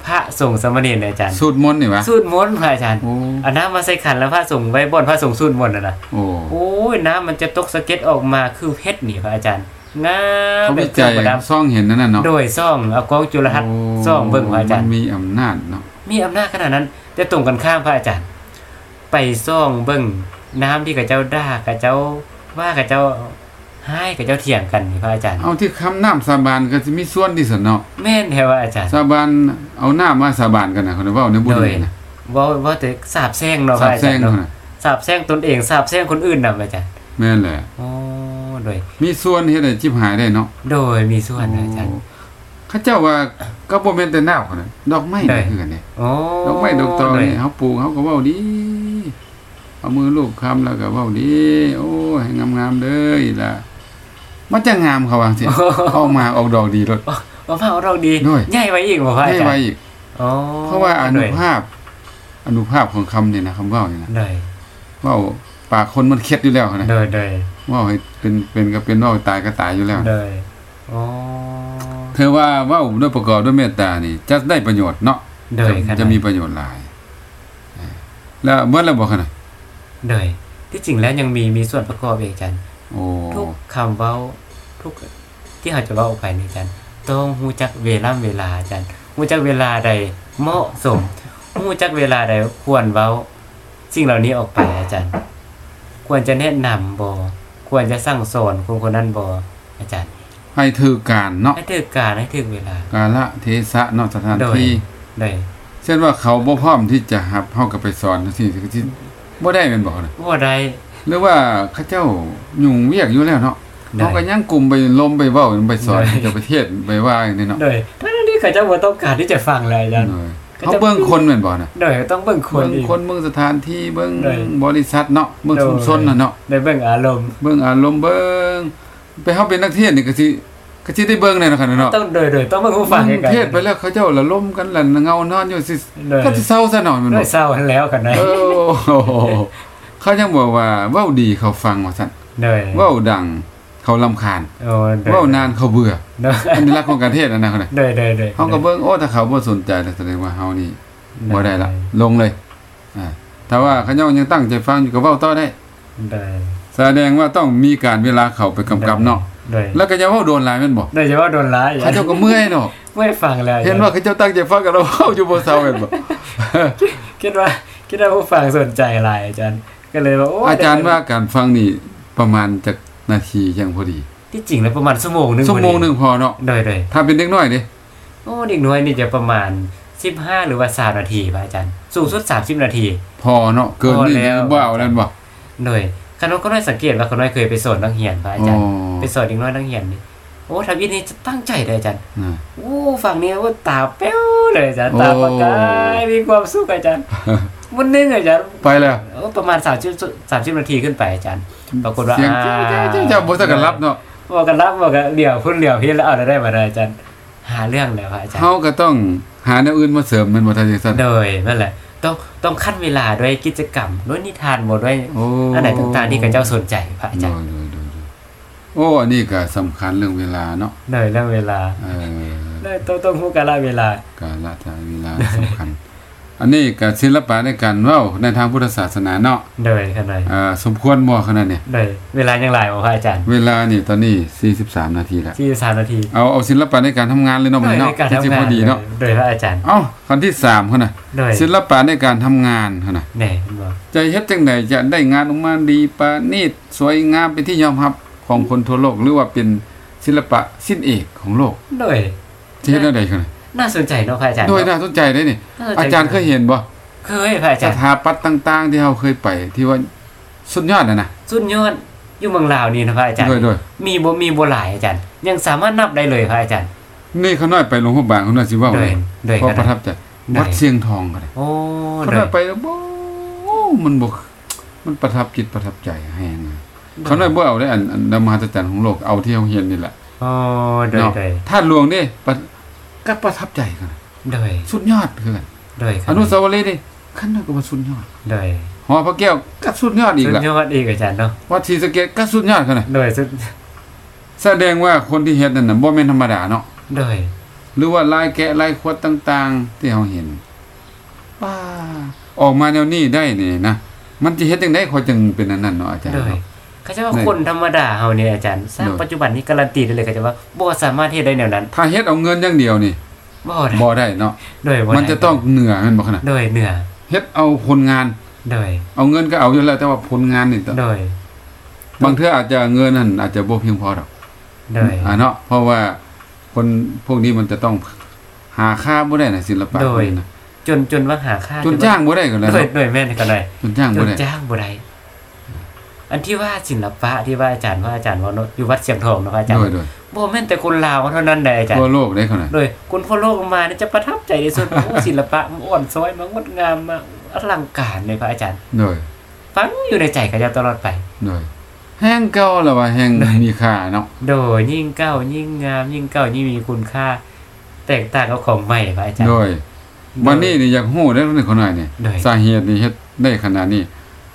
Speaker 2: พระสงฆ์สามเณรนะอาจารย์
Speaker 1: สูตรมนต์นี่วะ
Speaker 2: สูตรมนต์พระอาจารย์
Speaker 1: โอ้
Speaker 2: เอาน้ำมาใส่ขันแล้วพระสงฆ์ไว้บนพระสงฆ์สูตรมนต์นะนะ
Speaker 1: โอ้
Speaker 2: โอ้ยน้ำมันจะตกสะเก็ดออกมาคือเพชรนี่พระอาจารย์ งาม
Speaker 1: เขา
Speaker 2: แบ
Speaker 1: วิ
Speaker 2: บ
Speaker 1: จัย
Speaker 2: ประดับ
Speaker 1: ซ่องเห็นนั่นน่ะเนาะ
Speaker 2: โดยซ่องเอากล้องจุลทรรศน์
Speaker 1: โ
Speaker 2: ซ่องเบิ่งของอาจารย์
Speaker 1: มันมีอำนาจเนาะ
Speaker 2: มีอำนาจขนาดนั้น แต่ตรงกันข้ามพระอาจารย์ ไปซ่องเบิ่งน้ำที่กับเจ้าด่ากับเจ้าว่ากับเจ้าให้กับเจ้าเถียงกันนี่พระอาจารย์
Speaker 1: เอาที่คำน้ำสาบานก็สิมีส่วนที่สนเนาะ
Speaker 2: แม่นแท้ว่าอาจารย์
Speaker 1: สาบานเอาหน้ามาสาบานกันน่ะเขาเว้าในบุญ
Speaker 2: โดย
Speaker 1: นะ
Speaker 2: ว่าว่าแต่สาบแช่งเนาะพ
Speaker 1: สา
Speaker 2: ระ
Speaker 1: บ
Speaker 2: อา
Speaker 1: แซ
Speaker 2: จารง ย์
Speaker 1: เขา
Speaker 2: เนาะ
Speaker 1: น่ะ
Speaker 2: สาบแช่งตนเองสาบแช่งคนอื่นนํอาจารย์
Speaker 1: แม่นแหละ
Speaker 2: โอ้โดย
Speaker 1: มีส่วนเฮ็ดให้จิบหายได้เนาะ
Speaker 2: โดยมีส่วนนะอาจารย์
Speaker 1: โอ้เขาเจ้าว่าก็บ่แม่นแต่หน้าเขาน่ะดอกไม้นี่คือกันเนี่ย
Speaker 2: โอ้
Speaker 1: ดอกไม้ดอกตอง
Speaker 2: โดย
Speaker 1: นี่เขาปลูกเขาก็เว้าดี เอามือลูกคำแล้วก็เว้าดี โอ้ยให้งามๆเลยล่ะ มันจะงามเขาว่าสิ ออกมาออกดอกดีรถ
Speaker 2: มะพร้าวเราดี
Speaker 1: ด้วย
Speaker 2: ใหญ่ไว้อีกบ่พ่ออา
Speaker 1: ให้
Speaker 2: จาร
Speaker 1: ไว
Speaker 2: ย์
Speaker 1: อีก
Speaker 2: อ๋อ
Speaker 1: เพราะว่าอนุ
Speaker 2: ห
Speaker 1: ภาพ อนุภาพของคำเนี่ยนะคำเว้าเนี่ยนะ
Speaker 2: น่อย
Speaker 1: เว้าปากคนมันเคล็ดอยู่แล้วนะ
Speaker 2: หน่อยหน่อย
Speaker 1: เว้าให้เป็นเป็นก็เป็นเว้าตายก็ตายอยู่แล้ว
Speaker 2: หน่อยโอ้
Speaker 1: เธอว่าเว้าด้วยประกอบด้วยเมตตานี่ จะได้ประโยชน์เนาะ
Speaker 2: หน่อยข
Speaker 1: จะ
Speaker 2: นาด
Speaker 1: จะมีประโยชน์หลายอ่าแล้วเมื่อเราบอกขนาด
Speaker 2: หน่อยที่จริงแล้วยังมีมีส่วนประกอบอีกอาจารย์
Speaker 1: โอ้
Speaker 2: ทุกคำเว้าทุกที่เราจะเว้าออกไปนี่อาจารย์ต้องฮู้จักเวลาเวลาอาจารย์ฮู้จักเวลาใดเหมาะสมฮู้จักเวลาใดควรเว้าสิ่งเหล่านี้ออกไปอาจารย์ ควรจะแนะนำบ่ควรจะสั่งสอนคนคนนั้นบ่อาจารย์
Speaker 1: ให้ถือการเนาะ
Speaker 2: ให้ถึงการให้ถึงเวลา
Speaker 1: กาละเทศะนอกสถาน
Speaker 2: โดย
Speaker 1: ที่
Speaker 2: ได้
Speaker 1: เช่นว่าเขาบ่พร้อมที่จะหับเฮากับไปสอนจังซี่ที่บ่ได้แม่นบ่นะ
Speaker 2: บ่ได้
Speaker 1: หรือว่าเขาเจ้ายุ่งเวียกอยู่แล้วเนาะ
Speaker 2: ได้
Speaker 1: เฮาก็ยังกลุ่มไปลมไปเว้าไปสอนจะไปเทศไปว่าอย่างนี้เนาะ
Speaker 2: โดยทั้งที่เขาเจะบ่ต้องการที่จะฟังเลยอาจารย์
Speaker 1: เออ
Speaker 2: ก็จะ
Speaker 1: เขาเบิ่งคนแม่นบ่นะ
Speaker 2: โดยต้องเบิ่งคน
Speaker 1: เบิ่ง
Speaker 2: อีก
Speaker 1: คนเบิ่งสถานที่เบิ่ง
Speaker 2: ได้
Speaker 1: บริษัทเนาะเบิ่ง
Speaker 2: โดย
Speaker 1: ชุมชนน่ะเนาะ
Speaker 2: ได้เบิ่งอารมณ์
Speaker 1: เบิ่งอารมณ์เบิ่งไปเฮาเป็นนักเทศน์นี่ก็สิก็สิได้เบิ่งแน่เนาะคั่นเนาะ
Speaker 2: ต้องโดยโดยต้องเบิ่งผู้ฟังกัน
Speaker 1: เทศน์ไปแล้วเขาเจ้าละล่มกันละเงานอนอยู่สิ
Speaker 2: โดย
Speaker 1: ก็สิเศร้าซะหน่อยแม่น
Speaker 2: โด
Speaker 1: บ่
Speaker 2: ยเศร้าแล้วกันนะ
Speaker 1: เออเขายังบอกว่าเว้าดีเขาฟังว่าสั่น
Speaker 2: โดย
Speaker 1: เว้าดังเขาลำคาญ
Speaker 2: โอ้โดย
Speaker 1: เว้านานเขาเบื่อ
Speaker 2: โดย
Speaker 1: อันนี้รักของการเทศน์อันนะเขาเนี่ย
Speaker 2: โดยโดยโดย
Speaker 1: เขาก็เบิ่งโอ้ถ้าเขาบ่สนใจน่ะแสดงว่าเฮานี่บ่ได้ละลงเลยอ่าถ้าว่าเขายังยังตั้งใจฟังอยู่ก็เว้าต่อได้
Speaker 2: โดย
Speaker 1: แสดงว่าต้องมีการเวลาเขาไปกำกับเนาะ
Speaker 2: โดย
Speaker 1: แล้วก็จะเว้าโดนหลายแม่นบ่
Speaker 2: โดยเฉพาะโดนร้าย
Speaker 1: เขาเจ้าก็เมื่อยเนาะ
Speaker 2: ไม่ฟังแล้ว
Speaker 1: เห็นว่าเขาเจ้าตั้งใจฟังกันแล้วเว้าอยู่บ่เซาแม่นบ่
Speaker 2: คิดว่าคิดว่าผู้ฟังสนใจหลายอาจารย์ ก็เลยว่าโอ้
Speaker 1: อาจารย์ว่าการฟังนี่ประมาณจักนาทียังพอดี
Speaker 2: ที่จริงแล้วประมาณชั่วโมงหนึง
Speaker 1: ชั่วโมงหนึงพอเนาะ
Speaker 2: โดยโดย
Speaker 1: ถ้าเป็นเด็กน้อยดิ
Speaker 2: โอ้เด็กน้อยนี่จะประมาณ 15 หรือว่า3นาทีป่ะอาจารย์ สูงสุด 30 นาที
Speaker 1: พอเนาะเกินนี่
Speaker 2: พอแล้ว
Speaker 1: บ่เอาแล้วบ่
Speaker 2: หน่อยคณะก็น้อยสังเกตว่าคณะน้อยเคยไปสอนนักเรียนป่ะอา
Speaker 1: อ๋อ
Speaker 2: จารย์ ไปสอนเด็กน้อยนักเรียนนี่โอ้ทำอีนี่จะตั้งใจเลยอาจารย์
Speaker 1: นะ
Speaker 2: โอ้ฝั่งนี้ว่าตาเป้วเลยอาจารย์
Speaker 1: โอ้
Speaker 2: ตาประกายมีความสุขอา
Speaker 1: *laughs*
Speaker 2: จารย์วันหนึงอาจารย์
Speaker 1: ไปแล้ว
Speaker 2: โอ้ประมาณ30 30นาทีขึ้นไปอาจารย์ ปรากฏว่า
Speaker 1: เสียง
Speaker 2: อ่า
Speaker 1: เจ้าเจ้าเจ้าบ่สักกันรับเนาะ
Speaker 2: บอกกันรับบอกกันเหลี่ยวพุ่นเหลี่ยวพี่แล้วเอาอะไรได้มาได้อาจารย์ หาเรื่องแล้วป่ะอาจารย์
Speaker 1: เฮาก็ต้องหาแนวอื่นมาเสริมแมันบ่ทันจังซั่น
Speaker 2: โดยนั่นแหละต้องต้องขั้นเวลาด้วยกิจกรรมด้วยนิทานหมดด้วย
Speaker 1: โอ้
Speaker 2: อันไหนต่างๆที่กับเจ้าสนใจพระอาจารย์
Speaker 1: โดยโดยโดยโอ้อันนี้ก็สำคัญเรื่องเวลาเนาะ
Speaker 2: หน่อยเรื่องเวลา
Speaker 1: เออ
Speaker 2: หน่อยต้องต้องพูดกันละเวลา
Speaker 1: กาลทาเวลาสำคัญ อันนี้ก็ศิลปะในการเว้าในทางพุทธศาสนาเนาะ
Speaker 2: โดยขนาด
Speaker 1: เอ่อสมควรบ่ขนาดเนี่ย
Speaker 2: โดยเวลายังหลายบ่พระอาจารย์
Speaker 1: เวลานี่ตอนนี้ 43 นาทีแล้ว
Speaker 2: ที่สามนาที
Speaker 1: เอาเอาศิลปะในการทำงานเลยเนาะมัน
Speaker 2: โดย
Speaker 1: เนาะ
Speaker 2: ในการ
Speaker 1: ที่สิ
Speaker 2: ทำงา
Speaker 1: พอนดีเนาะ
Speaker 2: โดยพระอาจารย์
Speaker 1: เอ้าคันที่สามเขานะ
Speaker 2: โดย
Speaker 1: ศิลปะในการทำงานเขานะ
Speaker 2: แหน่คุณบอก
Speaker 1: จะเฮ็ดจังไดจะได้งานออกมาดีประณีตสวยงามเป็นที่ยอมรับของคนทั่วโลก หรือว่าเป็นศิลปะสิ้นเอกของโลก
Speaker 2: โดย
Speaker 1: จะเฮ็ดจังได๋เขานะ
Speaker 2: น่าสนใจเนาะพระอาจารย์
Speaker 1: ด้วย
Speaker 2: เนาะ
Speaker 1: น่าสนใจเด้นี่
Speaker 2: น่สนใจ
Speaker 1: อาจารย์เคยเห็นบ่
Speaker 2: เคยพระ
Speaker 1: ส
Speaker 2: อาจารย์
Speaker 1: ถาปัตย์ต่าง ๆ ที่เราเคยไปที่ว่าสุดยอดน่ะนะ
Speaker 2: สุดยอดอยู่เมืองลาวนี่นะพระอาจารย์
Speaker 1: ด้วยด้วย
Speaker 2: มีบ่มีบ่หลายอาจารย์ ยังสามารถนับได้เลยพระอาจารย์
Speaker 1: นี่เขาน้อยไปหลวงพ่อบางเขาน่อยสิเว่า
Speaker 2: โด
Speaker 1: เลย ย
Speaker 2: โดย
Speaker 1: เพราะ
Speaker 2: ข
Speaker 1: ประ
Speaker 2: นา
Speaker 1: ทั
Speaker 2: ด
Speaker 1: บใจ
Speaker 2: ได้
Speaker 1: วัดเสียงทองก็ได้
Speaker 2: โอ้
Speaker 1: เขา
Speaker 2: โด
Speaker 1: น้อย ยไปแล้วบ่มันบ่มันประทับจิตประทับใจแฮงเลย เขาหน่อยบ่เอาได้อันอันมหัศจรรย์ของโลกเอาที่เฮาเห็นนี่แหละ
Speaker 2: อ๋อโดย
Speaker 1: เนาะ
Speaker 2: โดย
Speaker 1: ท่านหลวงนี่ประก็ประทับใจกัน
Speaker 2: โดย
Speaker 1: สุดยอดคือกัน
Speaker 2: โดย
Speaker 1: อนุสาวรีย์นี่ขั้นนั้นก็ว่าสุดยอด
Speaker 2: โดย
Speaker 1: หอพระแก้วก็สุดยอดอีก
Speaker 2: สุด
Speaker 1: ล่ะ
Speaker 2: ยอดอีกอาจารย์เนาะ
Speaker 1: วัดศรีสะเกษก็สุดยอดกันนะ
Speaker 2: โดยสุด
Speaker 1: แสดงว่าคนที่เฮ็ดนั่นน่ะบ่แม่นธรรมดาเนาะ
Speaker 2: โดย
Speaker 1: หรือว่าลายแกะลายขวดต่างๆ ที่เฮาเห็นว้าออกมาแนวนี้ได้นี่นะมันสิเฮ็ดจังได๋ขอยจึงเป็นอันนั้นเนาะอาจารย์
Speaker 2: โดย
Speaker 1: เนาะ
Speaker 2: เขาจะว่าคนธรรมดาเฮาเนี่ยอาจารย์สร้าง
Speaker 1: เนอะ
Speaker 2: ปัจจุบันนี้การันตีได้เลยเขาจะว่าบ่สามารถเฮ็ดได้แนวนั้น
Speaker 1: ถ้าเฮ็ดเอาเงินอย่างเดียวนี่
Speaker 2: บ่ได้
Speaker 1: บ่ได้เนาะ
Speaker 2: โดยบ่ได้
Speaker 1: มันจะต้องเหนื่อยแมันบ่ขนาด
Speaker 2: โดยเหนือ
Speaker 1: เฮ็ดเอาผลงาน
Speaker 2: โดย
Speaker 1: เอาเงินก็เอาอยู่แล้ว แต่ว่าผลงานนี่ต้อง
Speaker 2: โดย
Speaker 1: บางเทื่ออาจจะเงินนั่นอาจจะบ่เพียงพอดอก
Speaker 2: โดย
Speaker 1: อ่าเนาะเพราะว่าคนพวกนี้มันจะต้องหาค่าบ่ได้นะศิลปะ
Speaker 2: โด
Speaker 1: พวย กนี้นะ
Speaker 2: จนจนว่าหาค่า
Speaker 1: จนจ้างบ่ได้กันแล้ว
Speaker 2: โดย
Speaker 1: เนาะ
Speaker 2: โดยแม่นก็ได้
Speaker 1: จนจ้าง
Speaker 2: จ
Speaker 1: บ่
Speaker 2: น
Speaker 1: ได้
Speaker 2: จ้างบ่ได้อันที่ว่าศิลปะที่ว่าอาจารย์ว่าอาจารย์ว่าเนอะอยู่วัดเสียงทองเนอะพระอาจาร
Speaker 1: โด
Speaker 2: ย์
Speaker 1: ยโดย
Speaker 2: บ่แม่นแต่คนลาวเท่านั้นได้อาจารย์
Speaker 1: ทั่วโลกได้ขนาด
Speaker 2: โดยคุณพ่อโลกมาเนี่ยจะประทับใจในส่วนของศิลปะมันอ่อนซ้อยมันงดงามมาอลังการเลยพระอาจารย์
Speaker 1: โดย
Speaker 2: ฟังอยู่ในใจกระยาตลอดไป
Speaker 1: โดยแห้งเก่าแล้วว่าแห้งมีค่าเนาะ
Speaker 2: โดยยิ่งเก่ายิ่งงาม ยิ่งเก่ายิ่งมีคุณค่า แตกต่างกับของใหม่พระอาจารย์
Speaker 1: โดย วันนี้นี่อยากฮู้ได้เรื่องคนหน่อยนี่
Speaker 2: โดย
Speaker 1: สาเหตุนี่เฮ็ดได้ขนาดนี้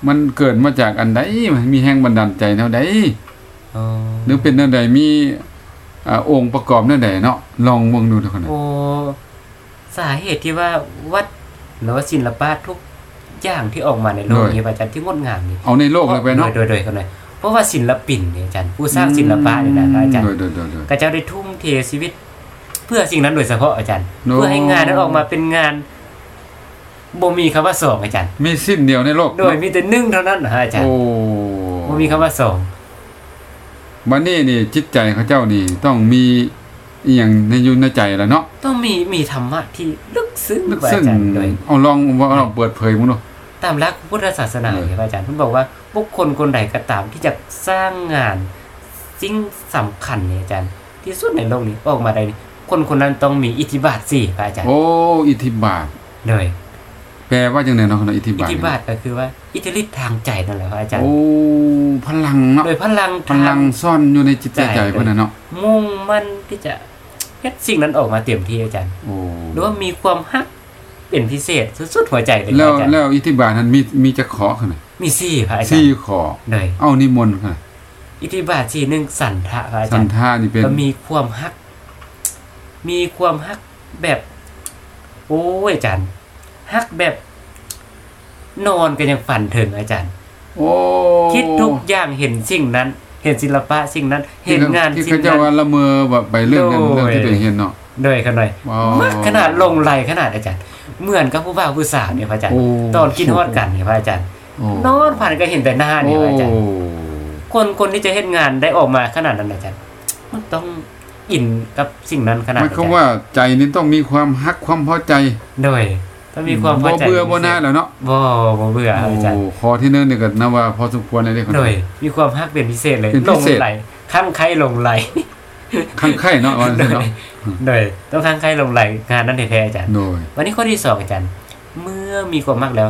Speaker 1: มันเกิดมาจากอันใดมันมีแรงบันดาลใจแนวใด
Speaker 2: โอ้
Speaker 1: หรือเป็นแนวใดมีอ่าองค์ประกอบแนวใดเนาะลองมองดูเถอะคนนั้น
Speaker 2: โอ้สาเหตุที่ว่าวัดหรือว่าศิลปะทุกอย่างที่ออกมาในโลกนี้พระอาจารย์ที่งดงามนี่
Speaker 1: เอาในโลกเลยไปเนาะ
Speaker 2: โดยโดยเขาหน่อยเพราะว่าศิลปินเนี่ยอาจารย์ผู้สร้างศิลปะเนี่ยนะพระอาจารย์
Speaker 1: โดยโดยโดยโดย
Speaker 2: กระเจ้าได้ทุ่มเทชีวิต เพื่อสิ่งนั้นโดยเฉพาะอาจารย์
Speaker 1: โน้
Speaker 2: เพื่อให้งานนั้นออกมาเป็นงานบ่มีคำว่าสองอาจารย์
Speaker 1: มีสิ้นเดียวในโลก
Speaker 2: โดยมีแต่หนึ่งเท่านั้นนะฮะอาจารย์
Speaker 1: โอ้
Speaker 2: บ่มีคำว่าสอง
Speaker 1: บัดนี้นี่จิตใจเขาเจ้านี่ต้องมีอีหยังในอยู่ในใจแล้วเนาะ
Speaker 2: ต้องมีมีธรรมะที่ลึกซึ้ง
Speaker 1: ลึก
Speaker 2: ว่า
Speaker 1: ซึ้ง
Speaker 2: อาจารย์โดย
Speaker 1: เอาลองว่าเราเปิดเผยมึงดู
Speaker 2: ตามหลักพุทธศาสนา
Speaker 1: โดย
Speaker 2: เนี่ยพระอาจารย์ท่านบอกว่าบุคคลคนใดก็ตามที่จะสร้างงานสิ่งสำคัญเนี่ยอาจารย์ ที่สุดในโลกนี้ออกมาได้นี่คนคนนั้นต้องมีอิทธิบาทสี่พระอาจารย์
Speaker 1: โอ้อิทธิบาท
Speaker 2: โดย
Speaker 1: แปลว่าจังไดเนาะคนนั้นอิทธิ
Speaker 2: อิท
Speaker 1: บาท
Speaker 2: ธิ
Speaker 1: เนี่ย
Speaker 2: บาทก็คือว่าอิทธิฤทธิ์ทางใจนั่นแหละพระอาจารย์
Speaker 1: โอ้พลังเนาะ
Speaker 2: โดยพลัง
Speaker 1: พ
Speaker 2: ทาง
Speaker 1: ลังซ่อนอยู่ในจิตใจ
Speaker 2: ใจ
Speaker 1: ใจเพิ่นน่ะเนาะ
Speaker 2: มุ่งมั่นที่จะเฮ็ดสิ่งนั้นออกมาเต็มที่อาจารย์
Speaker 1: โอ้
Speaker 2: หรือว่ามีความฮักเป็นพิเศษสุดๆหัวใจเลย
Speaker 1: แล้ว
Speaker 2: อาจารย์
Speaker 1: แล้วอิทธิบาทนั้นมีมีจะขอขนาด
Speaker 2: มีสี่พระอาจาร
Speaker 1: สี่
Speaker 2: ย์
Speaker 1: ขอ
Speaker 2: โดย
Speaker 1: เอานิมนต์ค่ะ
Speaker 2: อิทธิบาทสี่หนึ่งสันทะพระอา
Speaker 1: สั
Speaker 2: จาร
Speaker 1: น
Speaker 2: ย์
Speaker 1: ทานี่เป็น
Speaker 2: ก็มีความฮัก มีความฮักแบบ โอ้ยอาจารย์ฮักแบบ นอนก็ยังฝันถึงอาจารย์
Speaker 1: โอ้
Speaker 2: คิดทุกอย่างเห็นสิ่งนั้น เห็นศิลปะสิ่งนั้น เห็นงาน
Speaker 1: ที่
Speaker 2: สิ่
Speaker 1: เขา
Speaker 2: ง
Speaker 1: เจะ
Speaker 2: นั้น
Speaker 1: ว่าละเมอแบบไปเรื่องนั้น
Speaker 2: โดย
Speaker 1: เรื่องที่ตัวเองเห็นเนาะ
Speaker 2: โดยกันหน่อย
Speaker 1: ว้ว
Speaker 2: มากขนาดลงไหลขนาดอาจารย์ เหมือนกับผู้บ่าวผู้สาวเนี่ยพระอาจารย์
Speaker 1: โอ้
Speaker 2: ตอนกินฮอดกันเนี่ยพระอาจารย์
Speaker 1: โอ้
Speaker 2: นอนผ่านก็เห็นแต่หน้าเนี่ยพระอาจารย์
Speaker 1: โอ้
Speaker 2: คนคนที่จะเฮ็ดงานได้ออกมาขนาดนั้นอาจารย์มันต้องอินกับสิ่งนั้นขนาด
Speaker 1: หมั
Speaker 2: อาน จาร
Speaker 1: ก็
Speaker 2: ย์
Speaker 1: ว่าใจนี่ต้องมีความฮักความพอใจ
Speaker 2: โดยต้องมีความพ
Speaker 1: บ่
Speaker 2: อใจ
Speaker 1: เบื่อบ่หน้าแล้วเนาะ
Speaker 2: บ่บ่เบื่ออาจารย์
Speaker 1: โอ้ขอที่เนิ่นนี่ก็นับว่าพอสมควรเลยเด้อคน
Speaker 2: โด
Speaker 1: นั้
Speaker 2: ย
Speaker 1: น
Speaker 2: มีความฮักเป็นพิเศษเลย
Speaker 1: เป็น
Speaker 2: ล
Speaker 1: พิ
Speaker 2: ง
Speaker 1: เศษ
Speaker 2: ไหลข้างใครลงไหล
Speaker 1: ข้างไข่เนาะว่าซั่นเนาะ
Speaker 2: โดยต้องข้างใครลงไหลงานนั้นแท้ๆอาจารย์
Speaker 1: โดย
Speaker 2: วันนี้ข้อที่สองอาจารย์ เมื่อมีความมากแล้ว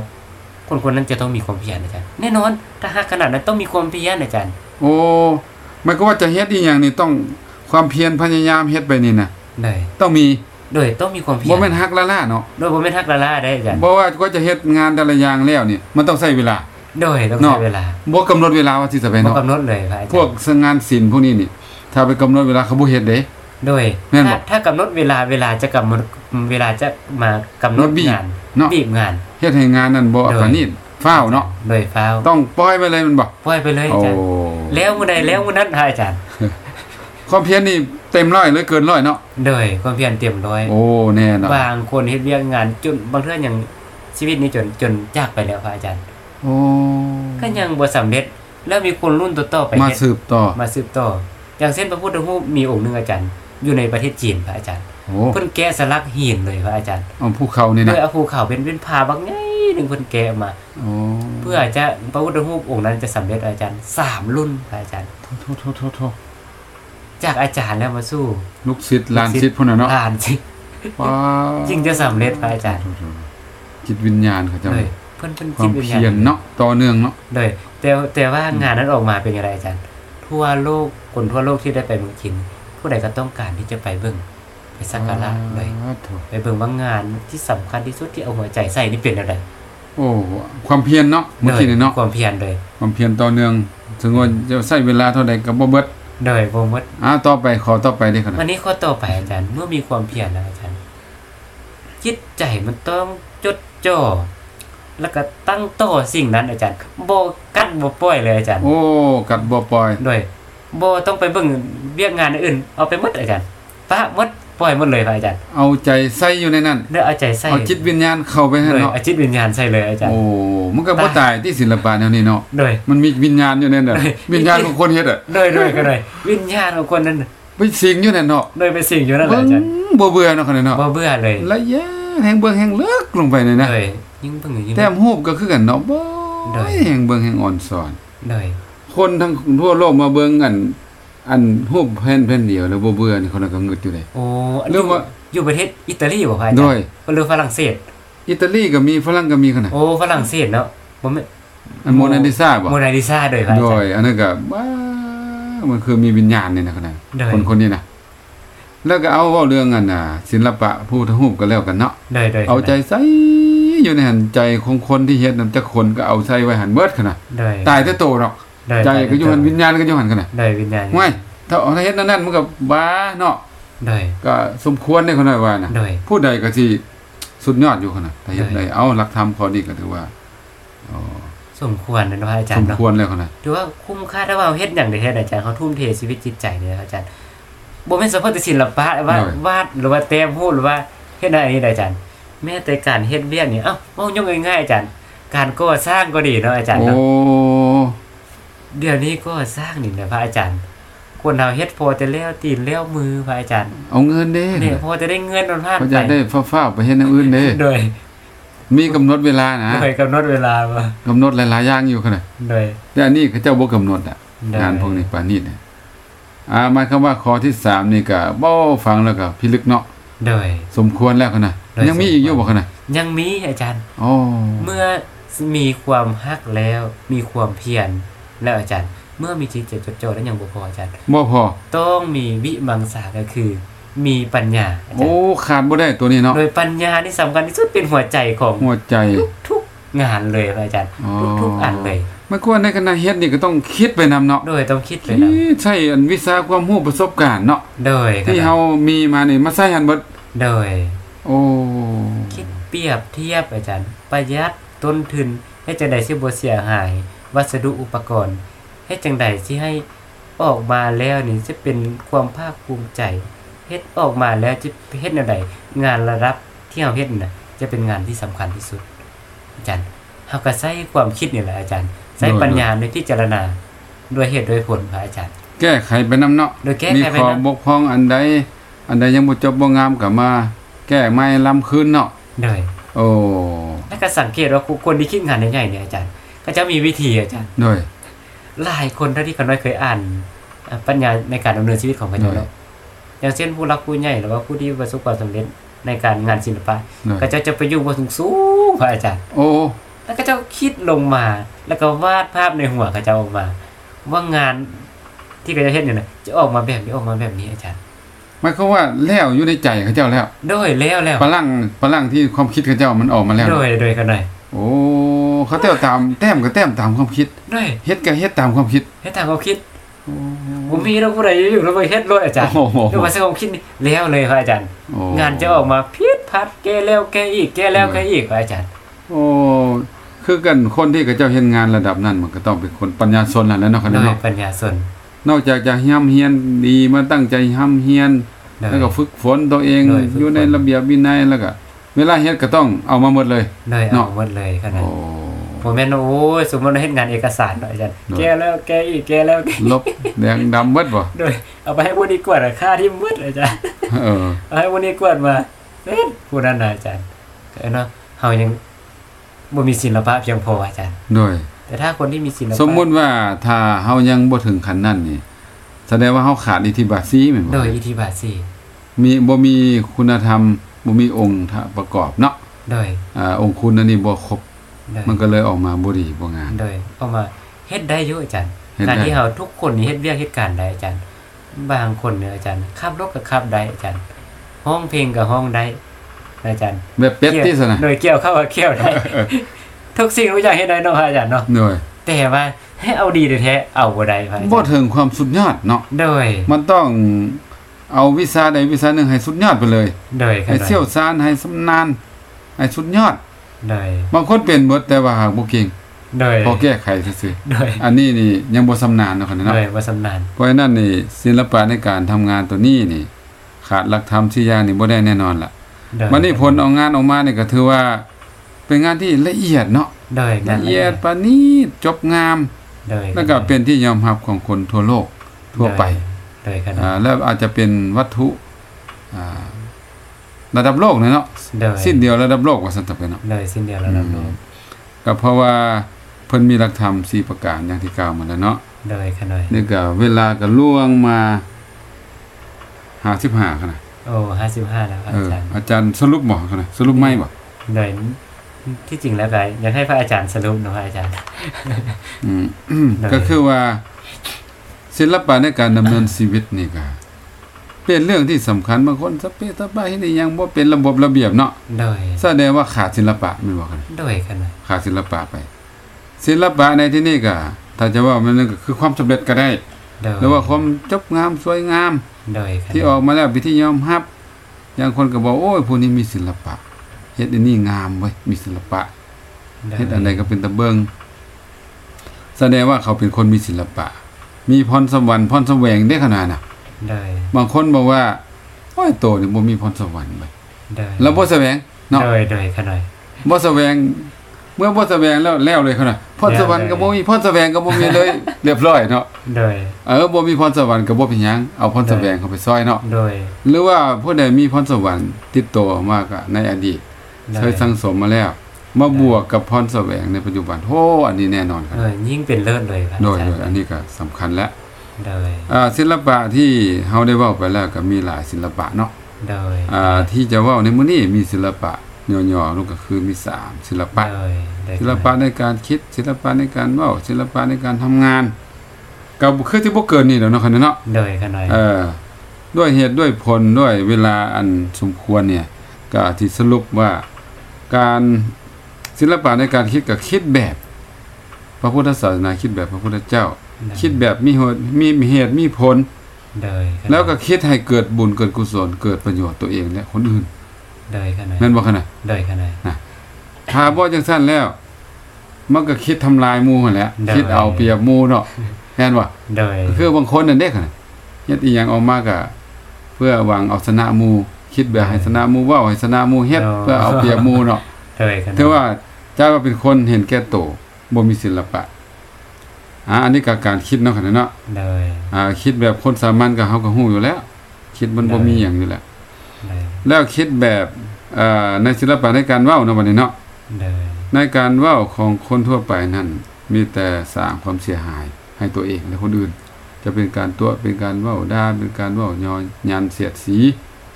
Speaker 2: คนคนนั้นจะต้องมีความเพียรอาจารย์แน่นอนถ้าหากขนาดนั้นต้องมีความเพียรอาจารย์
Speaker 1: โอ้มันก็ว่าจะเฮ็ดอีหยังนี่ต้องความเพียรพยายามเฮ็ดไปนี่นะ
Speaker 2: โดย
Speaker 1: ต้องมี
Speaker 2: โดยต้องมีความเพีย
Speaker 1: บ่
Speaker 2: ร
Speaker 1: แม่นฮักละล่าเนาะ
Speaker 2: โดยผมไม่นทักละล่าได้อาจารย์
Speaker 1: บ่ว่าก็จะเฮ็ดงานแต่ละอย่างแล้วนี่มันต้องใช้เวลา
Speaker 2: โดยต้อง
Speaker 1: เนาะ
Speaker 2: ใช้เวลา
Speaker 1: บ่กำหนดเวลาว่าสิจะไป
Speaker 2: บอก
Speaker 1: เนาะ
Speaker 2: กำหนดเลยพระอาจารย์
Speaker 1: พวกงานศิลป์พวกนี้นี่ ถ้าไปกำหนดเวลาเขาบ่เฮ็ดเด้
Speaker 2: โดย
Speaker 1: แม่นบ่
Speaker 2: ถ้าถ้ากำหนดเวลาเวลาจะกำหนดเวลาจะมากำหนด
Speaker 1: มาบีบ
Speaker 2: งาน
Speaker 1: เนาะ
Speaker 2: บีบงาน
Speaker 1: เฮ็ดให้งานนั้นบ่
Speaker 2: โดย
Speaker 1: ปานนี้ฟ้าวเนาะ
Speaker 2: โดยฟ้าว
Speaker 1: ต้องปล่อยไปเลยมันบ่
Speaker 2: ปล่อยไปเลย
Speaker 1: โอ้
Speaker 2: อาจารย์แล้วมื่อใดแล้วมื่อนั้นพระอาจารย์
Speaker 1: ความเพียรนี่เต็มร้อยเลยเกินร้อยเนาะ
Speaker 2: โดยความเพียรเต็มร้อย
Speaker 1: โอ้แน่เนาะ
Speaker 2: บางคนเฮ็ดเวียกงานจนบางเทื่ออย่างชีวิตนี้จนจนจากไปแล้วพระอาจารย์
Speaker 1: โอ้
Speaker 2: ก็ยังบ่สำเร็จแล้วมีคนรุ่นต่อๆไป
Speaker 1: มา
Speaker 2: เฮ็ด
Speaker 1: สืบต่อ
Speaker 2: มาสืบต่อ อย่างเช่นพระพุทธรูปมีองค์หนึงอาจารย์ อยู่ในประเทศจีนพระอาจารย์
Speaker 1: โอ้
Speaker 2: เพิ่นแกะสลักหินเลยพระอาจารย์
Speaker 1: เอาภูเขานี่
Speaker 2: โด
Speaker 1: นะ
Speaker 2: ยเอาภูเขาเป็นเป็นผาบางไงหนึ่งเพิ่นแกะออกมา
Speaker 1: โอ้
Speaker 2: เพื่อจะพระพุทธรูปองค์นั้นจะสำเร็จอาจารย์สามรุ่นพระอาจารย์
Speaker 1: โทษโทษโทษโทษ
Speaker 2: จากอาจารย์แล้วมาสู้
Speaker 1: ลูกศิษย์หลานศิษย์พุ่นน่ะเนาะ
Speaker 2: ผ่านสิ
Speaker 1: ว้า
Speaker 2: จึงจะสำเร็จพระอาจารย์
Speaker 1: จิตวิญญาณเขาเจ้า
Speaker 2: เลยเพิ่นเพิ่น
Speaker 1: ค
Speaker 2: จิ
Speaker 1: วา
Speaker 2: ต
Speaker 1: ม
Speaker 2: วิญญา
Speaker 1: เพียร
Speaker 2: ณ
Speaker 1: เนาะต่อเนื่องเนาะ
Speaker 2: เลยแต่แต่ว่างานนั้นออกมาเป็นอะไรอาจารย์ ทั่วโลกคนทั่วโลกที่ได้ไปเมืองจีนผู้ใดก็ต้องการที่จะไปเบิ่งไปสักการะเลย
Speaker 1: สาธุ
Speaker 2: ไปเบิ่งว่างานที่สำคัญที่สุดที่เอาหัวใจใส่นี่เป็นอะไร
Speaker 1: โอ้ความเพียรเนาะเมื่อกี้นี่เนาะ
Speaker 2: ความเพียรเลย
Speaker 1: ความเพียรต่อเนื่องถึงว่าจะใช้เวลาเท่าใดก็บ่เบิด
Speaker 2: โดยบ่มด
Speaker 1: อ่าต่อไปขอต่อไปได้ขนา
Speaker 2: วั
Speaker 1: ด
Speaker 2: นนี้ข้อต่อไปอาจารย์ เมื่อมีความเพียรแล้วอาจารย์จิตใจมันต้องจดจ่อ แล้วก็ตั้งโต้สิ่งนั้นอาจารย์บ่กัดบ่ปล่อยเลยอาจารย์
Speaker 1: โอ้ กัดบ่ปล่อย
Speaker 2: โดยบ่ต้องไปเบิ่งเวียกงานอื่น เอาไปหมดอาจารย์ปะหมดปล่อยหมดเลยครับอาจารย์
Speaker 1: เอาใจใส่อยู่ในนั้น
Speaker 2: เด้อเอาใจใส่
Speaker 1: เอาจิตวิญญาณเข้าไปให้
Speaker 2: เลย
Speaker 1: เนาะ
Speaker 2: เอาจิตวิญญาณใส่เลยอาจารย์
Speaker 1: โอ้ มันก็บ่ตายที่ศิลปะแนวนี้เนาะ
Speaker 2: โดย
Speaker 1: มันมีวิญญาณอยู่ใน
Speaker 2: *laughs*
Speaker 1: นั้นวิญญาณของคนเฮ็ดอะ
Speaker 2: โดยโดยก็เลยวิญญาณของคนนั้นน่ะ
Speaker 1: ไปสิงอยู่นั่นเนาะ
Speaker 2: โดยไปสิ่งอยู่นั่นแห
Speaker 1: เบิ่
Speaker 2: ละ
Speaker 1: ง
Speaker 2: อาจารย์
Speaker 1: บ่เบื่อเนาะคั่นเนาะ
Speaker 2: บ่เบื่อเลย
Speaker 1: ละเอียดแห่งเบิ่งแห่งเลิกลงไปเลยนะ
Speaker 2: โดยยิ่งเบิ่งยิ่ง
Speaker 1: แต้มรูปก็คือกันเนาะบ่
Speaker 2: ได้
Speaker 1: แห่งเบิ่งแห่งอ่อนสอน
Speaker 2: โดย
Speaker 1: คนทั้งทั่วโลกมาเบิ่งอัน อันรูปแผ่นแผ่นเดียวแล้วบ่เบื่อนี่คนนั้นก็งึดอยู่เลย
Speaker 2: โอ้
Speaker 1: เรื่องว่า
Speaker 2: อยู่ประเทศอิตาลีบ่พ่ออาจารย์
Speaker 1: โดย
Speaker 2: หรือฝรั่งเศส
Speaker 1: อิตาลีก็มีฝรั่งก็มีขนาด
Speaker 2: โอ้ฝรั่งเศสเนาะบ่แม่น
Speaker 1: อันโมนาลิซาบ่
Speaker 2: โมนาลิซาโดยพระอา
Speaker 1: โด
Speaker 2: จาร
Speaker 1: ย
Speaker 2: ย์
Speaker 1: อันนั้นก็บ้ามันคือมีวิญญาณนี่นะขนาด
Speaker 2: ได้
Speaker 1: คนคนนี้นะแล้วก็เอาเว้าเรื่องอันน่ะ ศิลปะผู้ทธรูปก็แล้วกันเนาะ
Speaker 2: โดยโดย
Speaker 1: เอาใจใส่อยู่ในหันใจของคนที่เฮ็ดนั่นแต่คนก็เอาใส่ไว้หันเบิดขนาด
Speaker 2: โดย
Speaker 1: ตายแต่โตเนาะ
Speaker 2: โดย
Speaker 1: ใจก็อยู่หันวิญญาณก็อยู่หันขนาด
Speaker 2: โดยวิญญาณ
Speaker 1: ไม่ถ้าเอาถ้าเฮ็ดนั่นนั่นมันก็บ้าเนาะ
Speaker 2: โดย
Speaker 1: ก็สมควรได้คนน้อยว่านะ
Speaker 2: โดย
Speaker 1: ผู้ใดก็สิสุดยอดอยู่ขนาดถ้าเฮ็ด
Speaker 2: ได้
Speaker 1: ได้เอาหลักธรรมข้อนี้ก็ถือว่าอ๋อ
Speaker 2: สมควรนะพระอาจา
Speaker 1: ส
Speaker 2: ร
Speaker 1: ม
Speaker 2: ย์เนาะ
Speaker 1: ควรแล้วขนาด
Speaker 2: ถือว่าคุ้มค่าถ้าว่าเฮ็ดอย่างใดเฮ็ดอาจารย์เขาทุ่มเทชีวิตจิตใจเนี่ยอาจารย์บ่แม่นเฉพาะแต่ศิลปะว่าวาดหรือว่าแต้มพูดหรือว่าเฮ็ดอะไรนี่อาจารย์ แม้แต่การเฮ็ดเวียกนี่เอ้าเว้ายกง่ายๆอาจารย์ การก่อสร้างก็ดีเนาะอาจารย์
Speaker 1: โอ้
Speaker 2: เนาะเดี๋ยวนี้ก็สร้างนี่นะพระอาจารย์ คนเราเฮ็ดพอแต่แล้วตีนแล้วมือพระอาจารย์
Speaker 1: เอาเงินเด้
Speaker 2: เนี่ยพอจะได้เงินมันพลาด
Speaker 1: เขา
Speaker 2: ไป
Speaker 1: จะได้ฟ้าวๆไปเฮ็ดอย่างอื่นเด้
Speaker 2: โดย
Speaker 1: มีกำหนดเวลานะ
Speaker 2: โดยกำหนดเวลาบ่
Speaker 1: กำหนดหลายๆอย่างอยู่ขนาด
Speaker 2: โดย
Speaker 1: แต่อันนี้เขาเจ้าบ่กำหนดอ่ะ งานพวกนี้ปานนี้นะอ่าหมายความว่าข้อที่สามนี่ก็บ่ฟังแล้วก็พิลึกเนาะ
Speaker 2: โดย
Speaker 1: สมควรแล้วขนาด
Speaker 2: ได้สมควร
Speaker 1: ยังมีอีกอยู่บ่ขนาด
Speaker 2: ยังมีอาจารย์
Speaker 1: อ๋อ
Speaker 2: เมื่อมีความฮักแล้ว มีความเพียรแล้วอาจารย์ เมื่อมีจิตจดจ่อแล้วยังบ่พออาจารย์
Speaker 1: บ่พอ
Speaker 2: ต้องมีวิมังสาก็คือ มีปัญญาอาจาร
Speaker 1: โอ้
Speaker 2: ย์
Speaker 1: ขาดบ่ได้ตัวนี้เนาะ
Speaker 2: โดยปัญญาที่สำคัญที่สุดเป็นหัวใจของ
Speaker 1: หัวใจ
Speaker 2: ทุกงานเลยอาจารย์
Speaker 1: อ๋อ
Speaker 2: ทุกๆอันเลย
Speaker 1: มันควรในขณะเฮ็ดนี่ก็ต้องคิดไปนำเนาะ
Speaker 2: โดยต้องคิดเลย
Speaker 1: คิ
Speaker 2: นะ
Speaker 1: ดใช้อันวิชาความรู้ประสบการณ์เนาะ
Speaker 2: โดย
Speaker 1: ที่เฮามีมานี่มาใช้หันเบิด
Speaker 2: โดย
Speaker 1: โอ้
Speaker 2: คิดเปรียบเทียบอาจารย์ ประหยัดต้นทุนให้จังใดสิบ่เสียหาย วัสดุอุปกรณ์ให้จังใดสิให้ออกมาแล้วนี่จะเป็นความภาคภูมิใจเฮ็ดออกมาแล้วจะเฮ็ดแนวใดงานระดับที่เฮาเฮ็ดน่ะจะเป็นงานที่สำคัญที่สุด อาจารย์เฮาก็ใช้ความคิดนี่แหละอาจารย์ใช้ปัญญาในพิจารณาด้วยเหตุด้วยผลพระอาจารย์
Speaker 1: แก้ไขไปนำเนาะ
Speaker 2: โดยแก้
Speaker 1: มี
Speaker 2: ไขไป
Speaker 1: ข้อน
Speaker 2: ำ
Speaker 1: บกพร่องอันใดอันใดยังบ่จบบ่งามก็มา แก้ใหม่ล้ำคืนเนาะ
Speaker 2: โดย
Speaker 1: โอ้
Speaker 2: แล้วก็สังเกตว่าคนที่คิดงานใหญ่ๆเนี่ยอาจารย์ ก็จะมีวิธีอาจารย์
Speaker 1: ด้วย
Speaker 2: หลายคนเท่าที่เขาน้อยเคยอ่านอ่ะปัญญาในการดำเนินชีวิตของเขา
Speaker 1: ด้
Speaker 2: เจ้า
Speaker 1: วย
Speaker 2: แล้วอย่างเช่นผู้รักผู้ใหญ่หรือว่าผู้ที่ประสบความสำเร็จในการงานศิลปะ
Speaker 1: เนอะ
Speaker 2: ก็เจะจะไปอยู่บนสูงสูงพระอาจารย์
Speaker 1: โอ้
Speaker 2: แล้วก็เจะคิดลงมา แล้วก็วาดภาพในหัวเขาเจะออกมา ว่างานที่เขาจะเห็นเนี่ยนะจะออกมาแบบนี้ออกมาแบบนี้อาจารย์
Speaker 1: หมายความว่าแล้วอยู่ในใจเขาเจ้าแล้ว
Speaker 2: โดยแล้วแล้ว
Speaker 1: พลังพลังที่ความคิดเขาเจ้ามันออกมาแล้ว
Speaker 2: โด
Speaker 1: เนอะ
Speaker 2: ยโดยกันหน่อย
Speaker 1: โอ้เขาเจ้าตามแต้มก็แต้มตามความคิด
Speaker 2: โดย
Speaker 1: เฮ็ดก็เฮ็ดตามความคิด
Speaker 2: ให้ทางเขาคิดผมมีเราผู้ใดอยู่แล้วไปเฮ็ดรถอาจารย์
Speaker 1: โอ้โห
Speaker 2: ด้วยว่าสความคิดนี่แล้วเลยพระอาจารย์
Speaker 1: โอ้
Speaker 2: งานจะออกมาเพียดพัดแก้แล้วแก้อีกแก้แล้วแก้อีกครับอาจารย์
Speaker 1: โอ้คือกันคนที่เขาเจ้าเฮ็ดงานระดับนั้น มันก็ต้องเป็นคนปัญญาชนนั่นแหล้วเนาะคน
Speaker 2: โด
Speaker 1: นั้น
Speaker 2: ย
Speaker 1: เนาะ
Speaker 2: ปัญญาส่วน
Speaker 1: นอกจากจะห้ามเฮียนดีมาตั้งใจห้ามเฮียน
Speaker 2: โดย
Speaker 1: แล้วก็ฝึกฝนตัวเอง
Speaker 2: เลยฝึกฝน
Speaker 1: อยู่ในระเบียบวินัยแล้วก็เวลาเฮ็ดก็ต้องเอามาหมดเลย
Speaker 2: โดย
Speaker 1: เนาะ
Speaker 2: เอาหมดเลยขนาด
Speaker 1: โอ้
Speaker 2: ผมแม่นโอ้ยสมมติเราเฮ็ดงานเอกสารเนาะอาจารย์
Speaker 1: เนาะ
Speaker 2: แก้แล้วแก้อีกแก้แล้วแก้
Speaker 1: ลบแดงดำเบิดบ่
Speaker 2: โดยเอาไปให้ผู้นี้กวดอะค่าที่มืดอา
Speaker 1: *laughs*
Speaker 2: จารย์
Speaker 1: เออ
Speaker 2: เอาให้ผู้นี้กวดมาเอ๊ะผู้นั้นน่ะอาจารย์เอ้ยเนาะเฮายังบ่มีศิลปะเพียงพออาจารย์
Speaker 1: ด้วย
Speaker 2: แต่ถ้าคนที่มีศิลปะ
Speaker 1: สมมุติว่าถ้าเฮายังบ่ถึงขั้นนั้นนี่แสดงว่าเฮาขาดอิทธิบาทซีแม่น
Speaker 2: โด
Speaker 1: บ่
Speaker 2: ยอิทธิบาทสี่
Speaker 1: มีบ่มีคุณธรรมบ่มีองค์ธรรมประกอบเนาะ
Speaker 2: โดย
Speaker 1: อ่าองค์คุณอันนี้บ่ครบ
Speaker 2: โดย
Speaker 1: มันก็เลยออกมาบ่ดีบ่งาม
Speaker 2: โดยเอามาเฮ็ดได้อยู่อาจารย์
Speaker 1: เฮ็ดได้
Speaker 2: การที่เฮาทุกคนนี่เฮ็ดเวียกเฮ็ดการได้อาจารย์ บางคนเนี่ยอาจารย์ขับรถก็ขับได้อาจารย์ ห้องเพลงก็ห้องได้อาจารย์
Speaker 1: แบบเป็ดที่สนะ
Speaker 2: หน่วยเกี่ยวเข้ากับเกี่ยวได้ *laughs* ทุกสิ่งทุกอย่างให้ได้เนาะพระอาจารย์เนาะ
Speaker 1: หน่วย
Speaker 2: แต่ว่าให้เอาดีแท้ๆเอาบ่ได้พระอาจารย์
Speaker 1: บ่ถึงความสุดยอดเนาะ
Speaker 2: โดย
Speaker 1: มันต้องเอาวิชาใดวิชาหนึ่งให้สุดยอดไปเลย
Speaker 2: โดยครั
Speaker 1: ให้
Speaker 2: บ
Speaker 1: เชี่ยวชาญให้สำนาญให้สุดยอด
Speaker 2: โดย
Speaker 1: บางคนเป็นหมดแต่ว่าหากบ่เก่ง
Speaker 2: โดย
Speaker 1: พอแก้ไขซื่อ
Speaker 2: โดย
Speaker 1: ๆอันนี้นี่ยังบ่สำนาญเนาะคั่นน่ะ
Speaker 2: โด
Speaker 1: เนาะ
Speaker 2: ยว่าสำนาน
Speaker 1: เพราะฉะนั้นนี่ศิลปะในการทำงานตัวนี้นี่ ขาดหลักธรรมที่ยางนี่บ่ได้แน่นอนล่ะ
Speaker 2: โดย
Speaker 1: วันนี้ผลออกงานออกมานี่ก็ถือว่า เป็นงานที่ละเอียดเนาะ
Speaker 2: โดยงา
Speaker 1: ละ
Speaker 2: น
Speaker 1: เอียดปานนี้จบงาม
Speaker 2: โดย
Speaker 1: แล้วก็เป็นที่ยอมรับของคนทั่วโลกทั่วไป
Speaker 2: โดยขนา
Speaker 1: อ่า
Speaker 2: ด
Speaker 1: แล้วอาจจะเป็นวัตถุอ่าระดับโลกนะเนาะ
Speaker 2: โดย
Speaker 1: สิ้นเดียวระดับโลกว่าสันตะเป็นเนาะ
Speaker 2: โดยสิ้นเดียวแล้วเรารู้
Speaker 1: ก็เพราะว่าเพิ่นมีหลักธรรม4ประการอย่างที่กล่าวมาแล้วเนาะ
Speaker 2: โดยขนาด
Speaker 1: นี่ก็เวลาก็ล่วงมา55คั่นน่ะ
Speaker 2: โอ้ห้าสิบห้าแล้วครับ
Speaker 1: เออ
Speaker 2: อาจารย์
Speaker 1: อาจารย์สรุปบ่คั่นน่ะสรุปไหม่บ่
Speaker 2: โดยที่จริงแล้วก็อยากให้พระอาจารย์สรุปนะพระอาจารย์
Speaker 1: อืมอืม
Speaker 2: ได้
Speaker 1: ก็คือว่า ศิลปะในการดำเนินชีวิตนี่ก็เป็นเรื่องที่สำคัญบางคนสะเปะสะปะเฮ็ดอีหยังบ่เป็นระบบระเบียบเนาะ
Speaker 2: โดย
Speaker 1: แสดงว่าขาดศิลปะแม่นบ่คั่น
Speaker 2: โดยขนาด
Speaker 1: ขาดศิลปะไป ศิลปะในที่นี่ก็ถ้าจะว่ามันก็คือความสำเร็จก็ได้
Speaker 2: โดย
Speaker 1: หรือว่าความจบงามสวยงาม
Speaker 2: โดยขนาด
Speaker 1: ที่ออกมาแล้วเป็นที่ยอมรับอย่างคนก็บอกโอ้ยผู้นี้มีศิลปะเฮ็ดอันนี้งามเว้ยมีศิลปะ
Speaker 2: โดย
Speaker 1: เฮ็ดอันใดก็เป็นตะเบิงแสดงว่าเขาเป็นคนมีศิลปะ มีพรสวรรค์พรแสวงได้ขนาดน่ะ
Speaker 2: โดย
Speaker 1: บางคนบอกว่าโอ้ยโตนี่บ่มีพรสวรรค์เว้ย
Speaker 2: โดย
Speaker 1: แล้วบ่แสวงเนาะ
Speaker 2: โดยโดยขนาด
Speaker 1: บ่แสวง เมื่อบ่แสวงแล้วแล้วเลยเขาน่ะพรสวรรค์ก็บ่มีพรแสวงก็บ่มี *laughs* เลย เรียบร้อยเนาะ
Speaker 2: โดย
Speaker 1: เออบ่มีพรสวรรค์ก็บ่เป็นหยังเอาพรแสวงเข้าไปซอยเนาะ
Speaker 2: โดย
Speaker 1: หรือว่าผู้ใดมีพรสวรรค์ติดตัวมากอะในอดีต
Speaker 2: โด
Speaker 1: เคยสั่งสมมาแล้ว มาบวกกับพรแสวงในปัจจุบันโอ้อันนี้แน่นอนครั
Speaker 2: เอบ อยิ่งเป็นเลิศเลยครั
Speaker 1: โดย
Speaker 2: บาจาร
Speaker 1: โดยอันนี้ก็สำคัญแล้ว
Speaker 2: โดย
Speaker 1: อ่าศิลปะที่เฮาได้เว้าไปแล้วก็มีหลายศิลปะเนาะ
Speaker 2: โดย
Speaker 1: อ่าที่จะเว้าในมื้อนี้มีศิลปะย่อๆนั่นก็คือมีสามศิลปะ
Speaker 2: โดยโดย
Speaker 1: ศิลปะในการคิดศิลปะในการเว้าศิลปะในการทำงานก็คือที่บ่เกินนี่แหล้วเนาะคันเนาะ
Speaker 2: โดยขนาด
Speaker 1: เออด้วยเหตุด้วยผลด้วยเวลาอันสมควรเนี่ยก็ที่สรุปว่าการศิลปะในการคิดกับคิดแบบ พระพุทธศาสนาคิดแบบพระพุทธเจ้า คิดแบบมีเหตุมีเหตุมีผล
Speaker 2: โดยขนาด
Speaker 1: แล้วก็คิดให้เกิดบุญเกิดกุศลเกิดประโยชน์ตัวเองและคนอื่น
Speaker 2: โดยขนาด
Speaker 1: แม่นบ่คั่นน่ะ
Speaker 2: โดยขนาด
Speaker 1: ถ้าบ่จังซั่นแล้ว มันก็คิดทำลายหมู่หั่นแหละ
Speaker 2: ได้
Speaker 1: คิดเอาเปรียบหมู่เนาะแม่นบ่
Speaker 2: โดย
Speaker 1: คือบางคนนั่นเด้ค่ะเฮ็ดอีหยังออกมาก็เพื่อหวังเอาชนะหมู่คิดแบบให้ชนะหมู่เว้าให้ชนะหมู่เฮ็ดเพื่อเอาเปรียบหมู่เนาะ
Speaker 2: *laughs* โดยขนาด
Speaker 1: ถือว่าเจ้าก็เป็นคนเห็นแก่ตัวบ่มีศิลปะอ่าอันนี้ก็การคิดเนาะค่ะเนาะ
Speaker 2: โดย
Speaker 1: อ่าคิดแบบคนสามัญก็เฮาก็ฮู้อยู่แล้ว คิดมันบ่
Speaker 2: ได้
Speaker 1: มีหยังอยู่แล้ว
Speaker 2: โดย
Speaker 1: แล้วคิดแบบเอ่อในศิลปะในการเว้าเนาะบัดนี้เนาะ
Speaker 2: โดย
Speaker 1: ในการเว้าของคนทั่วไปนั่นมีแต่สร้างความเสียหายให้ตัวเองและคนอื่น จะเป็นการตัวเป็นการเว้าด่าเป็นการเว้ายอนยันเสียดสี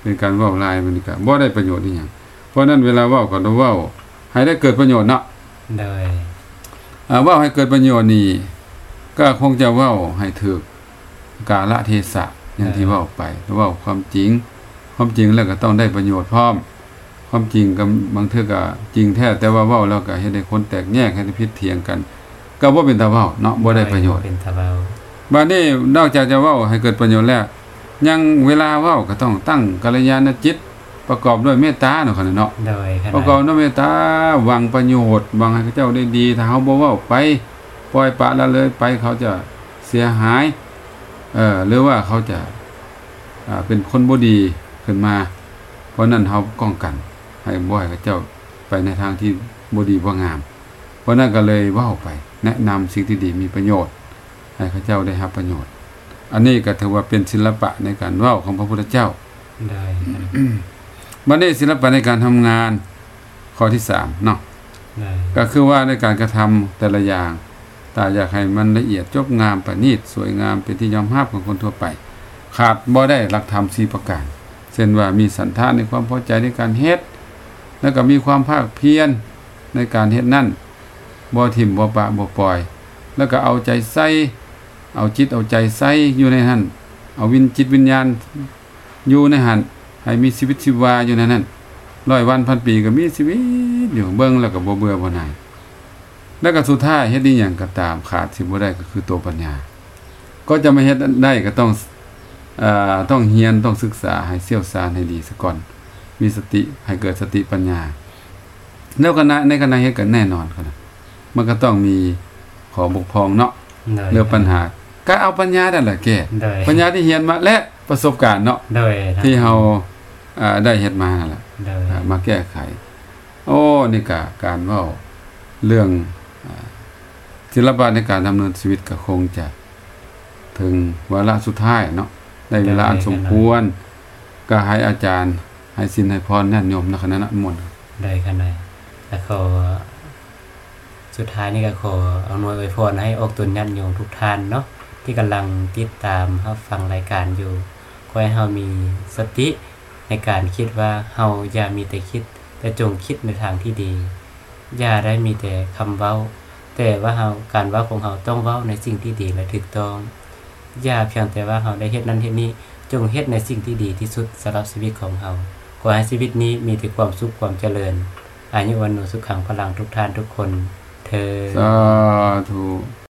Speaker 1: เป็นการเว้าลายมันก็บ่ได้ประโยชน์อีหยังเพราะนั้นเวลาเว้าก็ต้องเว้าให้ได้เกิดประโยชน์เนาะ
Speaker 2: โดย
Speaker 1: อ่าเว้าให้เกิดประโยชน์นี่ก็คงจะเว้าให้ถูกกาลเทศะอย่างที่เว้าไปเว้าความจริง ความจริงแล้วก็ต้องได้ประโยชน์พร้อม ความจริงก็บางเทื่อก็จริงแท้แต่ว่าเว้าแล้วก็เฮ็ดให้คนแตกแยกให้ได้พิษเถียงกัน ก็บ่เป็นตาเว้าเนาะบ่ได้ประโยชน์
Speaker 2: เป็นตะเบา
Speaker 1: บัดนี้นอกจากจะเว้าให้เกิดประโยชน์แล้ว ยังเวลาเว้าก็ต้องตั้งกัลยาณจิต ประกอบด้วยเมตตาเนาะคั่นน่ะเนาะ
Speaker 2: โดยขนาด
Speaker 1: ประกอบด้วยเมตตาหวังประโยชน์หวังให้เขาเจ้าได้ดี ถ้าเฮาบ่เว้าไป ปล่อยปละละเลยไปเขาจะเสียหายเอ่อหรือว่าเขาจะอ่าเป็นคนบ่ดีขึ้นมา เพราะนั้นเฮาป้องกัน ให้บ่ให้เขาเจ้าไปในทางที่บ่ดีบ่งาม เพราะนั้นก็เลยเว้าไป แนะนำสิ่งที่ดีมีประโยชน์ ให้เขาเจ้าได้รับประโยชน์ อันนี้ก็ถือว่าเป็นศิลปะในการเว้าของพระพุทธเจ้า
Speaker 2: โดยขนาด
Speaker 1: บัดนี้ศิลปะในการทำงานข้อที่3เนาะ
Speaker 2: โดย
Speaker 1: ก็คือว่าในการกระทำแต่ละอย่างตาอยากให้มันละเอียดจบงามประณีตสวยงามเป็นที่ยอมรับของคนทั่วไป ขาดบ่ได้หลักธรรม4ประการเช่นว่ามีสันทานในความพอใจในการเฮ็ดแล้วก็มีความภาคเพียรในการเฮ็ดนั่นบ่ทิ่มบ่ปะบ่ปล่อย แล้วก็เอาใจใส่ เอาจิตเอาใจใส่อยู่ในหันเอาวินจิตวิญญาณอยู่ในหันให้มีชีวิตชีวาอยู่ในนั้นร้อยวันพันปีก็มีชีวิตอยู่เบิ่งแล้วก็บ่เบื่อบ่หน่ายแล้วก็สุดท้ายเฮ็ดอีหยังก็ตามขาดสิบ่ได้ก็คือตัวปัญญา ก็จะมาเฮ็ดได้ก็ต้องเอ่อต้องเรียนต้องศึกษาให้เชี่ยวชาญให้ดีซะก่อน มีสติให้เกิดสติปัญญา แล้วคณะในคณะเฮ็ดกันแน่นอนครับมันก็ต้องมีขอบกพร่องเนาะ
Speaker 2: โดย
Speaker 1: เรื่องปัญหา ก็เอาปัญญานั่นแหละแก้
Speaker 2: โดย
Speaker 1: ปัญญาที่เรียนมาและประสบการณ์เนาะ
Speaker 2: โดย
Speaker 1: ที่เฮาอ่าได้เฮ็ดมานั่นแหละ
Speaker 2: โดย
Speaker 1: อ่ามาแก้ไข โอ้ นี่กะการเว่าเรื่องอ่าศิลปะในการดำเนินชีวิตก็คงจะ ถึงวาระสุดท้ายเนาะในเวลาอันสมควร ก็ให้อาจารย์ ให้สินให้พรแน่นโยมนะคณะนั้นหมด
Speaker 2: ได้ขนาดแล้วขอสุดท้ายนี่ก็ขออำนวยอวยพรให้ออกตุนยันโยมทุกท่านเนาะที่กำลังติดตามรับฟังรายการอยู่ขอให้เฮามีสติในการคิดว่าเฮาอย่ามีแต่คิด แต่จงคิดในทางที่ดี อย่าได้มีแต่คำเว้า แต่ว่าเฮาการเว้าของเฮาต้องเว้าในสิ่งที่ดีและถูกต้อง อย่าเพียงแต่ว่าเฮาได้เฮ็ดนั้นเฮ็ดนี้จงเฮ็ดในสิ่งที่ดีที่สุดสำหรับชีวิตของเฮา ขอให้ชีวิตนี้มีแต่ความสุขความเจริญ อายุวันโนสุขังพลังทุกท่านทุกคน เธอญ
Speaker 1: สาธุ